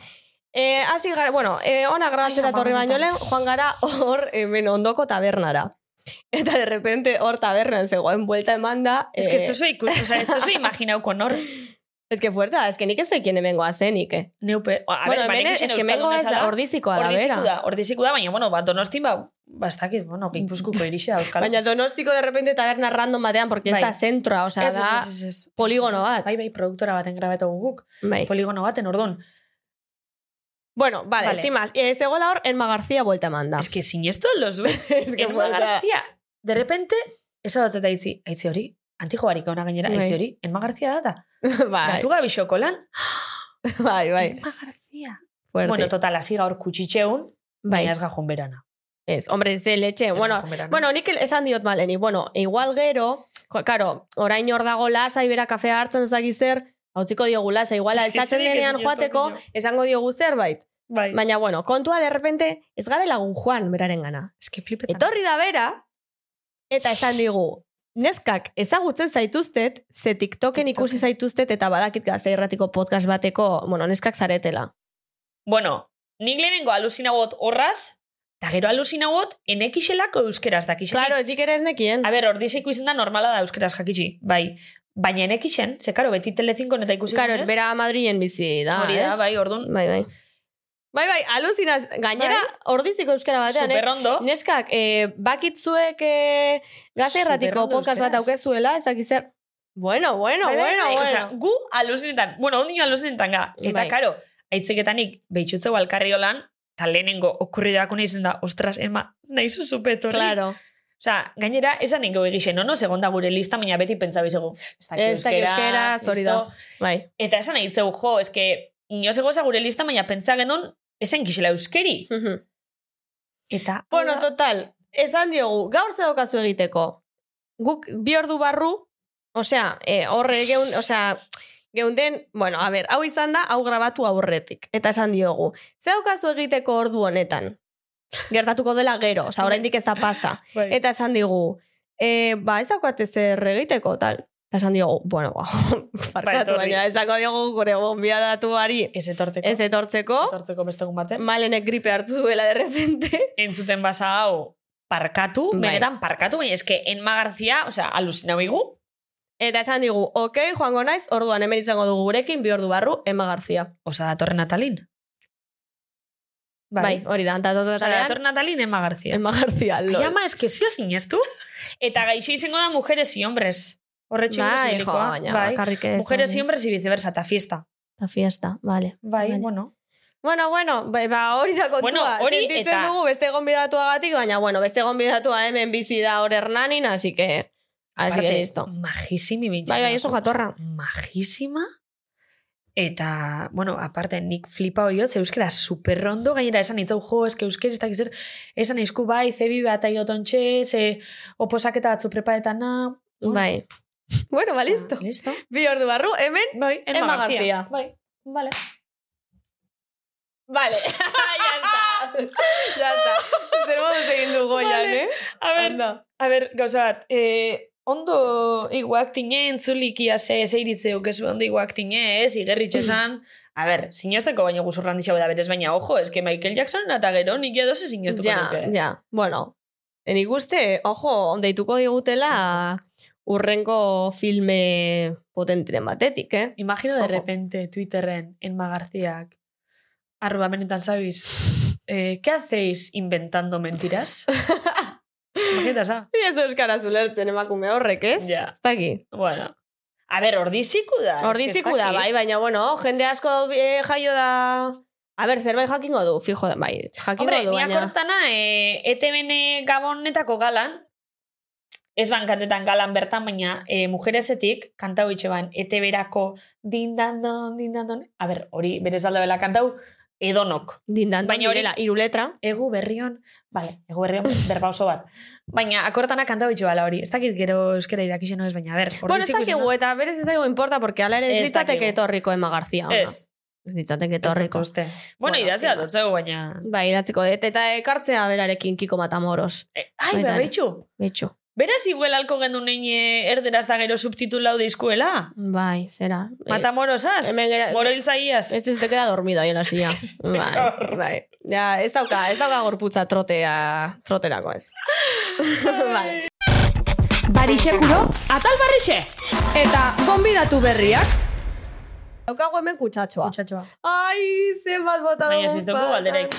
[SPEAKER 4] Eh, hasi gara, bueno, eh, ona grabatzera
[SPEAKER 2] Ai,
[SPEAKER 4] torri baino
[SPEAKER 2] amarretan.
[SPEAKER 4] lehen, joan gara hor hemen ondoko tabernara. Eta de repente hor tabernan zegoen buelta eman da.
[SPEAKER 2] Ez que esto soy ikus, o sea, esto soy imaginau kon hor.
[SPEAKER 4] Es que fuerta, es que nik ez zekien hemengo azenik, eh.
[SPEAKER 2] Neupe, a
[SPEAKER 4] bueno,
[SPEAKER 2] ber, ba,
[SPEAKER 4] hemen
[SPEAKER 2] nik
[SPEAKER 4] ez
[SPEAKER 2] izen
[SPEAKER 4] es que
[SPEAKER 2] euskalduna
[SPEAKER 4] hemengo ez
[SPEAKER 2] zara,
[SPEAKER 4] da ordizikoa da,
[SPEAKER 2] ordiziku
[SPEAKER 4] bera.
[SPEAKER 2] da, ordiziku da, baina, bueno, ba, donostin, ba, ba, ez dakit, bueno, gipuzkuko irixe da euskal.
[SPEAKER 4] Baina donostiko de repente taberna random batean, porque ez
[SPEAKER 2] Bai.
[SPEAKER 4] da zentroa, osea,
[SPEAKER 2] Ez, ez,
[SPEAKER 4] da...
[SPEAKER 2] ez, ez, ez.
[SPEAKER 4] poligono
[SPEAKER 2] Ez, ez, ez.
[SPEAKER 4] bat.
[SPEAKER 2] Bai, bai, produktora baten grabatu guk.
[SPEAKER 4] Bai.
[SPEAKER 2] Poligono baten, orduan.
[SPEAKER 4] Bueno, vale,
[SPEAKER 2] Vale.
[SPEAKER 4] sin más. Eh, zegoela hor, Enma García buelta eman da.
[SPEAKER 2] Ez que sinestu aldo zuen.
[SPEAKER 4] Es
[SPEAKER 2] Erma Garzia, de repente, eso bat zeta itzi, aitzi hori, antijoarik ona gainera,
[SPEAKER 4] Bai.
[SPEAKER 2] aitzi hori, Erma Garzia da, eta
[SPEAKER 4] bai,
[SPEAKER 2] gatu gabi xokolan,
[SPEAKER 4] bai, bai.
[SPEAKER 2] Erma Garzia.
[SPEAKER 4] Fuerte.
[SPEAKER 2] Bueno, total, hasi gaur kutsitxeun,
[SPEAKER 4] bai.
[SPEAKER 2] baina ez gajun berana.
[SPEAKER 4] Ez, hombre, ze letxe. bueno,
[SPEAKER 2] jomeran, no?
[SPEAKER 4] bueno, nik el- esan diot maleni. Bueno, igual gero, jo, karo, orain hor dago lasai bera kafea hartzen ezagik zer, hautziko diogu lasa, igual
[SPEAKER 2] Ez que
[SPEAKER 4] altzatzen
[SPEAKER 2] zerik
[SPEAKER 4] denean
[SPEAKER 2] ezin ez
[SPEAKER 4] joateko,
[SPEAKER 2] tokiño.
[SPEAKER 4] esango diogu zerbait.
[SPEAKER 2] Bai.
[SPEAKER 4] Baina, bueno, kontua de repente, ez gara lagun joan beraren gana.
[SPEAKER 2] Eske flipetan.
[SPEAKER 4] Etorri da bera, eta esan digu, neskak ezagutzen zaituztet, ze TikToken ikusi zaituztet eta badakit gazte irratiko podcast bateko, bueno, neskak zaretela.
[SPEAKER 2] Bueno, nik lehenengo alusinagot horraz, eta gero alusinagot enekixelako euskeraz dakixen.
[SPEAKER 4] Claro, nik ere ez nekien.
[SPEAKER 2] A ber, ordiziko izan da normala da euskeraz jakitxi, bai. Baina enekixen, ze karo, beti telezinkon eta ikusi
[SPEAKER 4] Claro,
[SPEAKER 2] denez,
[SPEAKER 4] bera Madrilen bizi da,
[SPEAKER 2] Hori da,
[SPEAKER 4] ez?
[SPEAKER 2] bai, orduan.
[SPEAKER 4] Bai, bai. Bai, bai, aluzinaz, gainera, ordiziko euskara batean, eh?
[SPEAKER 2] Superrondo.
[SPEAKER 4] Neskak, eh, bakitzuek eh, gazte irratiko
[SPEAKER 2] Superondo
[SPEAKER 4] podcast bat
[SPEAKER 2] euskeraz.
[SPEAKER 4] daukezuela, ez dakizzer, bueno, bueno,
[SPEAKER 2] Bai, bai,
[SPEAKER 4] bueno,
[SPEAKER 2] bai,
[SPEAKER 4] bueno.
[SPEAKER 2] osea, gu aluzinetan, bueno, ondino aluzinetan ga. Eta,
[SPEAKER 4] Bai.
[SPEAKER 2] karo, aitzeketanik behitxutzeu alkarriolan, eta lehenengo okurridoak una izan da, ostras, Emma, nahi zuzu petori.
[SPEAKER 4] claro,
[SPEAKER 2] Osea, gainera, esan ningo egixen, no, no, segonda gure lista, baina beti pentsa bizego, ez daki
[SPEAKER 4] Ez daki euskeraz, hori da.
[SPEAKER 2] listo.
[SPEAKER 4] bai.
[SPEAKER 2] Eta esan ahitzeu, jo, eske, nio zegoza gure lista, baina pentsa genon, esen kixela euskeri.
[SPEAKER 4] Mhm.
[SPEAKER 2] Eta,
[SPEAKER 4] Bueno,
[SPEAKER 2] hau da,
[SPEAKER 4] total, esan diogu, gaur ze daukazu egiteko. Guk bi ordu barru, osea, eh, horre geun, osea, geunden, bueno, a ber, hau izan da, hau grabatu aurretik. Eta esan diogu, ze daukazu egiteko ordu honetan? Gertatuko dela gero, osea, oraindik ez da pasa.
[SPEAKER 2] bai.
[SPEAKER 4] Eta esan digu, eh, ba, ez daukate zer egiteko, tal. Eta esan diogu, bueno, ba, farkatu,
[SPEAKER 2] etorri.
[SPEAKER 4] baina esako diogu gure gonbiadatuari
[SPEAKER 2] ez etorteko,
[SPEAKER 4] ez etortzeko,
[SPEAKER 2] etortzeko beste egun baten.
[SPEAKER 4] malenek gripe hartu duela de repente.
[SPEAKER 2] entzuten basa hau parkatu,
[SPEAKER 4] Bai.
[SPEAKER 2] benetan parkatu, baina eske Enma Garzia, osea, aluzinau igu,
[SPEAKER 4] Eta esan digu, okei, joango naiz, orduan hemen izango dugu gurekin, bi ordu barru, Emma Garzia.
[SPEAKER 2] osea, datorren natalin.
[SPEAKER 4] Bai, hori da, eta
[SPEAKER 2] Osea,
[SPEAKER 4] totalean,
[SPEAKER 2] datorren natalin Emma Garzia.
[SPEAKER 4] Emma Garzia,
[SPEAKER 2] Ai,
[SPEAKER 4] lol.
[SPEAKER 2] ama, eske zio sinestu. Eta gaixo izango da mujeres y hombres. Horretxe
[SPEAKER 4] Bai, jo,
[SPEAKER 2] bizilikoa,
[SPEAKER 4] baina,
[SPEAKER 2] bai.
[SPEAKER 4] bakarrik ez.
[SPEAKER 2] Mujeres y
[SPEAKER 4] hombre.
[SPEAKER 2] hombres y viceversa, eta fiesta.
[SPEAKER 4] Eta fiesta, vale.
[SPEAKER 2] Bai,
[SPEAKER 4] Vale.
[SPEAKER 2] bueno.
[SPEAKER 4] Bueno, bueno, ba, ba, hori da kontua.
[SPEAKER 2] Bueno, hori
[SPEAKER 4] Sentitzen
[SPEAKER 2] eta-
[SPEAKER 4] dugu beste gonbidatuagatik, baina, bueno, beste gonbidatua hemen bizi da hor hernanin, así que, así que
[SPEAKER 2] Aparte,
[SPEAKER 4] listo.
[SPEAKER 2] Majisimi bintxan.
[SPEAKER 4] Bai, bai, oso jatorra.
[SPEAKER 2] Majisima. Eta, bueno, aparte, nik flipa hoi hotz, euskera superrondo, gainera esan itzau, jo, eske euskera, ez dakiz zer, esan izku bai, zebi bat aiotontxe, ze oposaketa batzu prepaetana.
[SPEAKER 4] Bai. Bueno, ba, listo.
[SPEAKER 2] Listo.
[SPEAKER 4] Bi ordu barru, hemen,
[SPEAKER 2] Bai, Emma,
[SPEAKER 4] Emma García.
[SPEAKER 2] García. Bai, vale.
[SPEAKER 4] vale. ya está. ya está. Zer moduz egin dugu,
[SPEAKER 2] Vale.
[SPEAKER 4] Jan, eh?
[SPEAKER 2] A ver,
[SPEAKER 4] Ondo.
[SPEAKER 2] A ber, gauza bat, e, ondo iguak tinen, zulikia ze, ze iritze dukezu, ondo iguak tine, ez, igerritxe esan. A ber, sinesteko baino guzurran dixau da berez, baina ojo, eske Michael Jackson eta gero nik edo ze sinestuko
[SPEAKER 4] ja,
[SPEAKER 2] nuke.
[SPEAKER 4] Ja, bueno. Nik uste, ojo, deituko digutela urrengo filme potentiren batetik, eh?
[SPEAKER 2] Imagino de
[SPEAKER 4] Ojo.
[SPEAKER 2] repente Twitterren Enma Garcíak arroba benetan zabiz eh, ¿Qué hacéis inventando mentiras? Imagina sa?
[SPEAKER 4] Ni Ez euskara zulertzen emakume horrek, ez?
[SPEAKER 2] Ja.
[SPEAKER 4] Ez daki.
[SPEAKER 2] Bueno. A ber, ordiziku da. eske
[SPEAKER 4] Ordiziku
[SPEAKER 2] ez
[SPEAKER 4] da,
[SPEAKER 2] dakit.
[SPEAKER 4] bai, baina, bueno, jende asko eh, jaio da... A ber, zerbait jakingo du, fijo da, bai, jakingo
[SPEAKER 2] Hombre,
[SPEAKER 4] du,
[SPEAKER 2] ni
[SPEAKER 4] baina...
[SPEAKER 2] akortana, e, ETBN gabonetako galan, ez ban kantetan galan bertan, baina e, mujerezetik, kantau itxe ban, E ETBerako dindandon, dindandon, a ber, hori berez aldo dela kantau, edonok.
[SPEAKER 4] Dindan, baina
[SPEAKER 2] Baina hori-
[SPEAKER 4] hori... Iru letra.
[SPEAKER 2] Egu berrion, bale, egu berrion berba oso bat. Baina akortana kantau itxe bala hori. Ez dakit gero euskera irakixen ez, baina, a ber,
[SPEAKER 4] Bueno, ez
[SPEAKER 2] ordiziku izan
[SPEAKER 4] dakigu,
[SPEAKER 2] da-
[SPEAKER 4] eta berez ez dakigu importa, porque ala ere ez
[SPEAKER 2] Ez
[SPEAKER 4] litzateke
[SPEAKER 2] dakigu.
[SPEAKER 4] etorriko Emma García. ona.
[SPEAKER 2] Ez,
[SPEAKER 4] Ez litzateke
[SPEAKER 2] ez dut
[SPEAKER 4] eh, etorriko.
[SPEAKER 2] uste. Bueno,
[SPEAKER 4] Bueno,
[SPEAKER 2] idazia
[SPEAKER 4] zin bat.
[SPEAKER 2] dutzeu, baina...
[SPEAKER 4] Bai, idatziko dut, eta ekartzea berarekin Kiko Matamoros.
[SPEAKER 2] Eh, ai,
[SPEAKER 4] Baita ere.
[SPEAKER 2] berreitxu.
[SPEAKER 4] Betxo.
[SPEAKER 2] Beraz, igual alko gendu nein eh, erderaz da gero subtitulau deizkuela.
[SPEAKER 4] Bai, zera.
[SPEAKER 2] Matamorosaz?
[SPEAKER 4] Eh, hemen gera...
[SPEAKER 2] Moroiltzaiaz?
[SPEAKER 4] Este se te queda dormido ahí en la silla. bai, bai. Ja, ez dauka, ez dauka gorputza trotea, troterako ez. bai.
[SPEAKER 2] Barixekuro, atal barrixe!
[SPEAKER 4] Eta, gonbidatu berriak. Daukago hemen kutsatxoa.
[SPEAKER 2] Kutxatxoa.
[SPEAKER 4] Ai, zenbat bota dugu.
[SPEAKER 2] Baina ez dugu
[SPEAKER 4] faltan.
[SPEAKER 2] galderaik.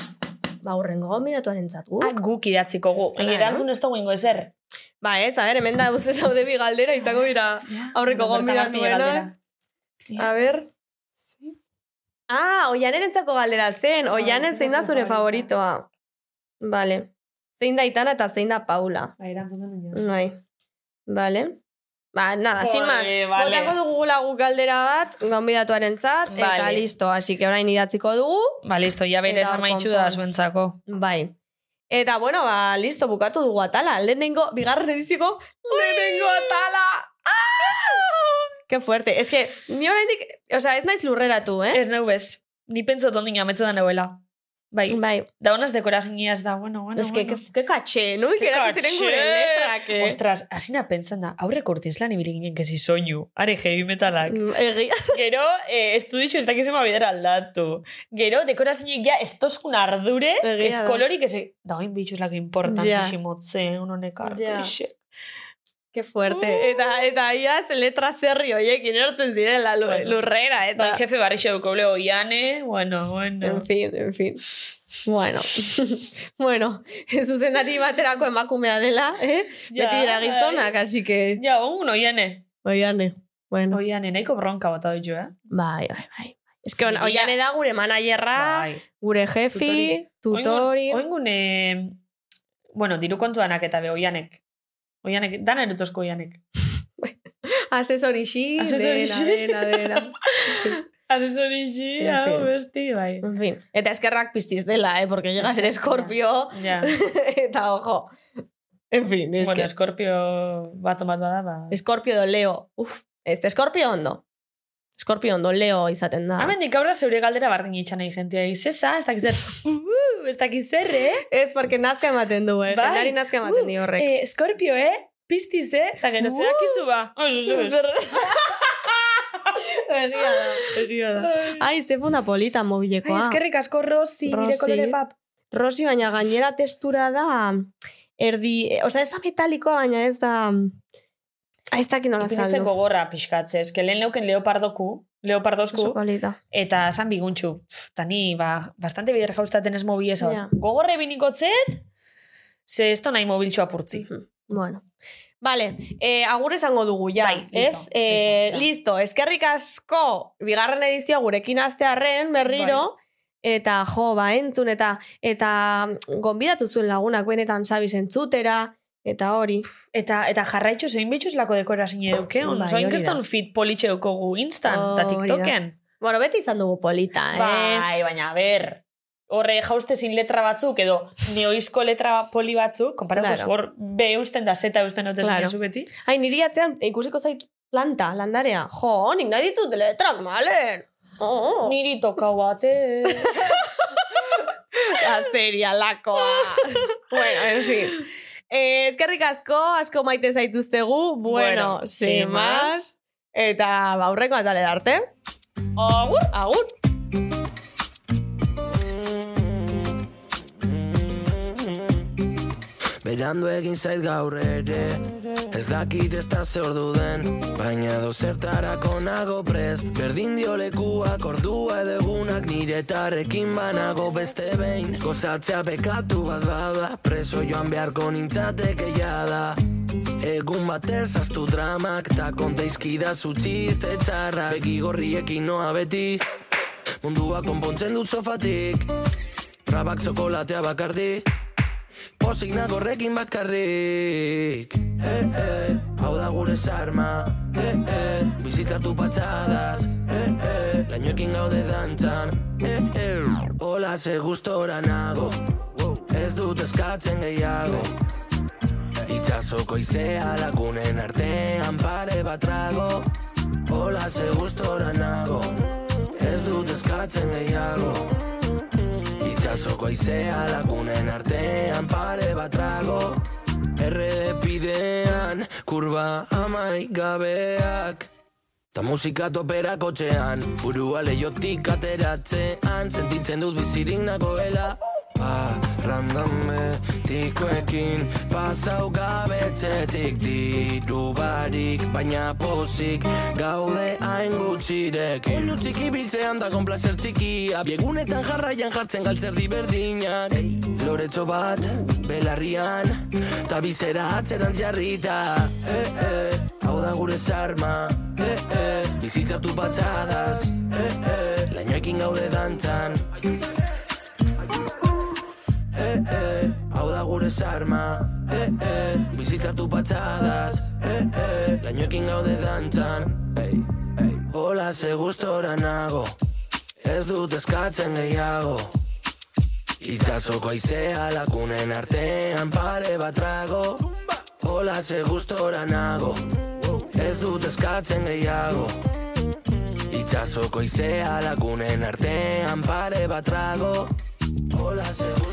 [SPEAKER 4] Ba, urrengo gonbidatuaren zatu.
[SPEAKER 2] Ah, guk idatziko gu. Baina
[SPEAKER 4] Hala,
[SPEAKER 2] erantzun ez dugu ingo ezer.
[SPEAKER 4] Ba, ez, a ber, hemen da buzet daude bi galdera, izango dira aurreko
[SPEAKER 2] Bertan hartu
[SPEAKER 4] gonbidatuena.
[SPEAKER 2] galdera.
[SPEAKER 4] A ber. Ah, oianen entzako galdera zen. Oianen
[SPEAKER 2] zein
[SPEAKER 4] zein
[SPEAKER 2] da
[SPEAKER 4] da
[SPEAKER 2] zure
[SPEAKER 4] zure favoritoa. ah. Vale. Zein da Itana eta zein da Paula.
[SPEAKER 2] Ba, erantzun den baina.
[SPEAKER 4] Bai. Vale. Ba, nada, sin más.
[SPEAKER 2] Joder, vale.
[SPEAKER 4] Botako dugu lagu galdera bat, gonbidatuaren zat, eta
[SPEAKER 2] Vale.
[SPEAKER 4] listo. Así que orain idatziko dugu.
[SPEAKER 2] Ba, listo, ja berez
[SPEAKER 4] Eta hor
[SPEAKER 2] amaitxu
[SPEAKER 4] konpon.
[SPEAKER 2] da zuentzako.
[SPEAKER 4] Bai. Eta, bueno, ba, listo, bukatu dugu atala. Lehenengo, bigarren ediziko, lehenengo atala! Ah! Ke fuerte. Ez que, ni oraindik, o sea, ez naiz lurreratu, eh?
[SPEAKER 2] Ez neu bez. Ni pentsat ondin ametze da neuela. Bai,
[SPEAKER 4] Bai.
[SPEAKER 2] da honaz dekoraziniaz da, bueno, bueno,
[SPEAKER 4] Ez que,
[SPEAKER 2] bueno.
[SPEAKER 4] ke, ke katxe, no? Geratu ziren gure
[SPEAKER 2] katxe!
[SPEAKER 4] letrak, eh?
[SPEAKER 2] Ostras, hasina pentsan da, aurreko urtiz lan ibili ginen kesi soinu, are heavy metalak.
[SPEAKER 4] Mm, Egia.
[SPEAKER 2] Gero, eh, estu ditu ez dakizema bidera aldatu. Gero, dekorazinik ja, estoskun ardure,
[SPEAKER 4] Egia da.
[SPEAKER 2] eskolorik, ez, e- da oin bitxuz lako importantzisimo zen, honek
[SPEAKER 4] Ja.
[SPEAKER 2] arkoixe.
[SPEAKER 4] Ke fuerte.
[SPEAKER 2] Uh.
[SPEAKER 4] Eta, eta, iaz, letra zerri hoiekin ertzen ziren la lu-
[SPEAKER 2] Bueno.
[SPEAKER 4] lurrera, eta...
[SPEAKER 2] Bai, jefe barrixe duko leo iane, bueno, bueno.
[SPEAKER 4] En fin, en fin. Bueno, bueno, zuzendari baterako emakumea dela, eh?
[SPEAKER 2] Ja,
[SPEAKER 4] Beti dira
[SPEAKER 2] bai.
[SPEAKER 4] gizonak, así que...
[SPEAKER 2] Ja, ongun oiane.
[SPEAKER 4] Oiane, bueno.
[SPEAKER 2] Oiane, nahiko bronka bat ditu, eh?
[SPEAKER 4] Bai, bai, bai. Ez que
[SPEAKER 2] Egia.
[SPEAKER 4] oiane da gure managerra, gure jefi, tutori.
[SPEAKER 2] Bai. Oingun, eh, bueno, diru kontuanak eta be oianek. Oianek, dana erutozko oianek.
[SPEAKER 4] Asesorixi,
[SPEAKER 2] Asesorixi.
[SPEAKER 4] dena, dena, dena.
[SPEAKER 2] Asesorixi,
[SPEAKER 4] En fin.
[SPEAKER 2] hau besti, bai.
[SPEAKER 4] En fin. Eta eskerrak piztiz dela, eh? Porque llegas ser eskorpio,
[SPEAKER 2] Ja.
[SPEAKER 4] eta ojo. En fin, es
[SPEAKER 2] bueno,
[SPEAKER 4] que...
[SPEAKER 2] eskorpio bat omat bada, ba.
[SPEAKER 4] Eskorpio do leo. Uf, ez, eskorpio ondo. Eskorpio ondo leo izaten da.
[SPEAKER 2] Hemendik aurra zeure galdera bardin itxan nahi jentia. Izesa, ez dakiz zer, uh, ez dakiz zer, eh?
[SPEAKER 4] Ez, porque nazka ematen du, eh?
[SPEAKER 2] Bai.
[SPEAKER 4] Jendari nazka ematen dio horrek.
[SPEAKER 2] Eh, eskorpio, eh? Piztiz, eh? Eta gero,
[SPEAKER 4] Uh.
[SPEAKER 2] zer akizu ba? Ez, ez, ez.
[SPEAKER 4] Zer- egia da, egia da. Ai, ze funda polita
[SPEAKER 2] Ai,
[SPEAKER 4] mobilekoa.
[SPEAKER 2] eskerrik asko, Rosi, nire
[SPEAKER 4] Rosi.
[SPEAKER 2] kolore pap.
[SPEAKER 4] Rosi, baina gainera testura da mm, erdi... Osa, ez da metalikoa, baina ez da... Ai, ez dakit nola
[SPEAKER 2] Ipinitzeko
[SPEAKER 4] zaldu.
[SPEAKER 2] gorra pixkatze, eske lehen leuken leopardoku, leopardosku,
[SPEAKER 4] Oso polita.
[SPEAKER 2] eta san biguntxu. Pff, Eta ni, ba, bastante bider jaustaten ez mobilez hau.
[SPEAKER 4] Ja.
[SPEAKER 2] Gogorre binikotzet, ze esto nahi mobiltxoa purtzi.
[SPEAKER 4] Bueno. Vale, eh, agur esango dugu, ja.
[SPEAKER 2] Bai, listo,
[SPEAKER 4] ez? Eh,
[SPEAKER 2] listo, ja.
[SPEAKER 4] listo, eskerrik asko, bigarren edizioa gurekin astearren
[SPEAKER 2] Bai.
[SPEAKER 4] berriro, eta jo, ba, entzun, eta, eta mm, gonbidatu zuen lagunak benetan sabiz entzutera, eta hori.
[SPEAKER 2] Eta, eta jarraitxu zein bitxuz lako dekora zine duke, on,
[SPEAKER 4] Bai,
[SPEAKER 2] zoin
[SPEAKER 4] hori da.
[SPEAKER 2] kriston fit politxe dukogu instan,
[SPEAKER 4] Hori
[SPEAKER 2] eta
[SPEAKER 4] da.
[SPEAKER 2] tiktoken.
[SPEAKER 4] Bueno, beti izan dugu polita, eh?
[SPEAKER 2] Bai, baina, ber, horre jaustezin letra batzuk, edo neoizko letra poli batzuk, konparako
[SPEAKER 4] Claro.
[SPEAKER 2] hor B eusten da, Z eusten dute
[SPEAKER 4] Claro.
[SPEAKER 2] claro. beti.
[SPEAKER 4] Ai, niri atzean ikusiko zait planta, landarea. Jo, nik nahi ditut letrak, malen! Oh,
[SPEAKER 2] Niri toka eh. bate.
[SPEAKER 4] Azeria lakoa. bueno, en fin. Eh, eskerrik asko, asko maite zaituztegu. Bueno,
[SPEAKER 2] Bueno,
[SPEAKER 4] sin
[SPEAKER 2] sin
[SPEAKER 4] más.
[SPEAKER 2] más.
[SPEAKER 4] Eta baurreko atalera arte.
[SPEAKER 2] Agur!
[SPEAKER 4] Agur!
[SPEAKER 5] Berandu egin zait gaur ere Ez dakit ez da ze ordu den Baina do zertarako nago prest Berdin dio lekuak ordua edo egunak Nire tarrekin banago beste behin Gozatzea bekatu bat bada Preso joan beharko nintzateke jada Egun batez aztu dramak Ta konteizkida zutxiste txarra Begi gorriekin noa beti Mundua konpontzen dut sofatik Trabak txokolatea bakardik Pozik nago horrekin bakarrik eh, eh, Hau da gure sarma eh, eh, Bizitzartu patxadas eh, eh, Lainoekin gaude dantzan eh, eh. Hola ze gustora nago Ez dut eskatzen gehiago Itxasoko izea lagunen artean pare bat trago Hola ze gustora nago Ez dut eskatzen gehiago Itxasoko aizea lagunen artean pare bat trago Errepidean, kurba amai gabeak Ta musika topera kotxean Burua leiotik ateratzean Sentitzen dut bizirik nagoela Parrandame tikoekin Pasau gabetxetik diru barik Baina pozik gaude hain gutxirek Oinu txiki biltzean da konplazer txikia Biegunetan jarraian jartzen galtzer di berdinak Loretxo bat, belarrian Ta bizera atzeran jarrita eh, eh, Hau da gure sarma eh, eh, bizitzatu patxadas, eh, eh, lainoekin gaude dantzan. Eh, eh, hau da gure sarma, eh, eh, bizitzatu patxadas, eh, eh, lainoekin gaude dantzan. Hey, hey. Hola, ze gustora nago, ez dut eskatzen gehiago. Itzazoko aizea lakunen artean pare bat trago Ola ze gustora nago Ez dut eskatzen gehiago Itzazoko aizea lakunen artean pare bat trago Ola ze gustora Oh.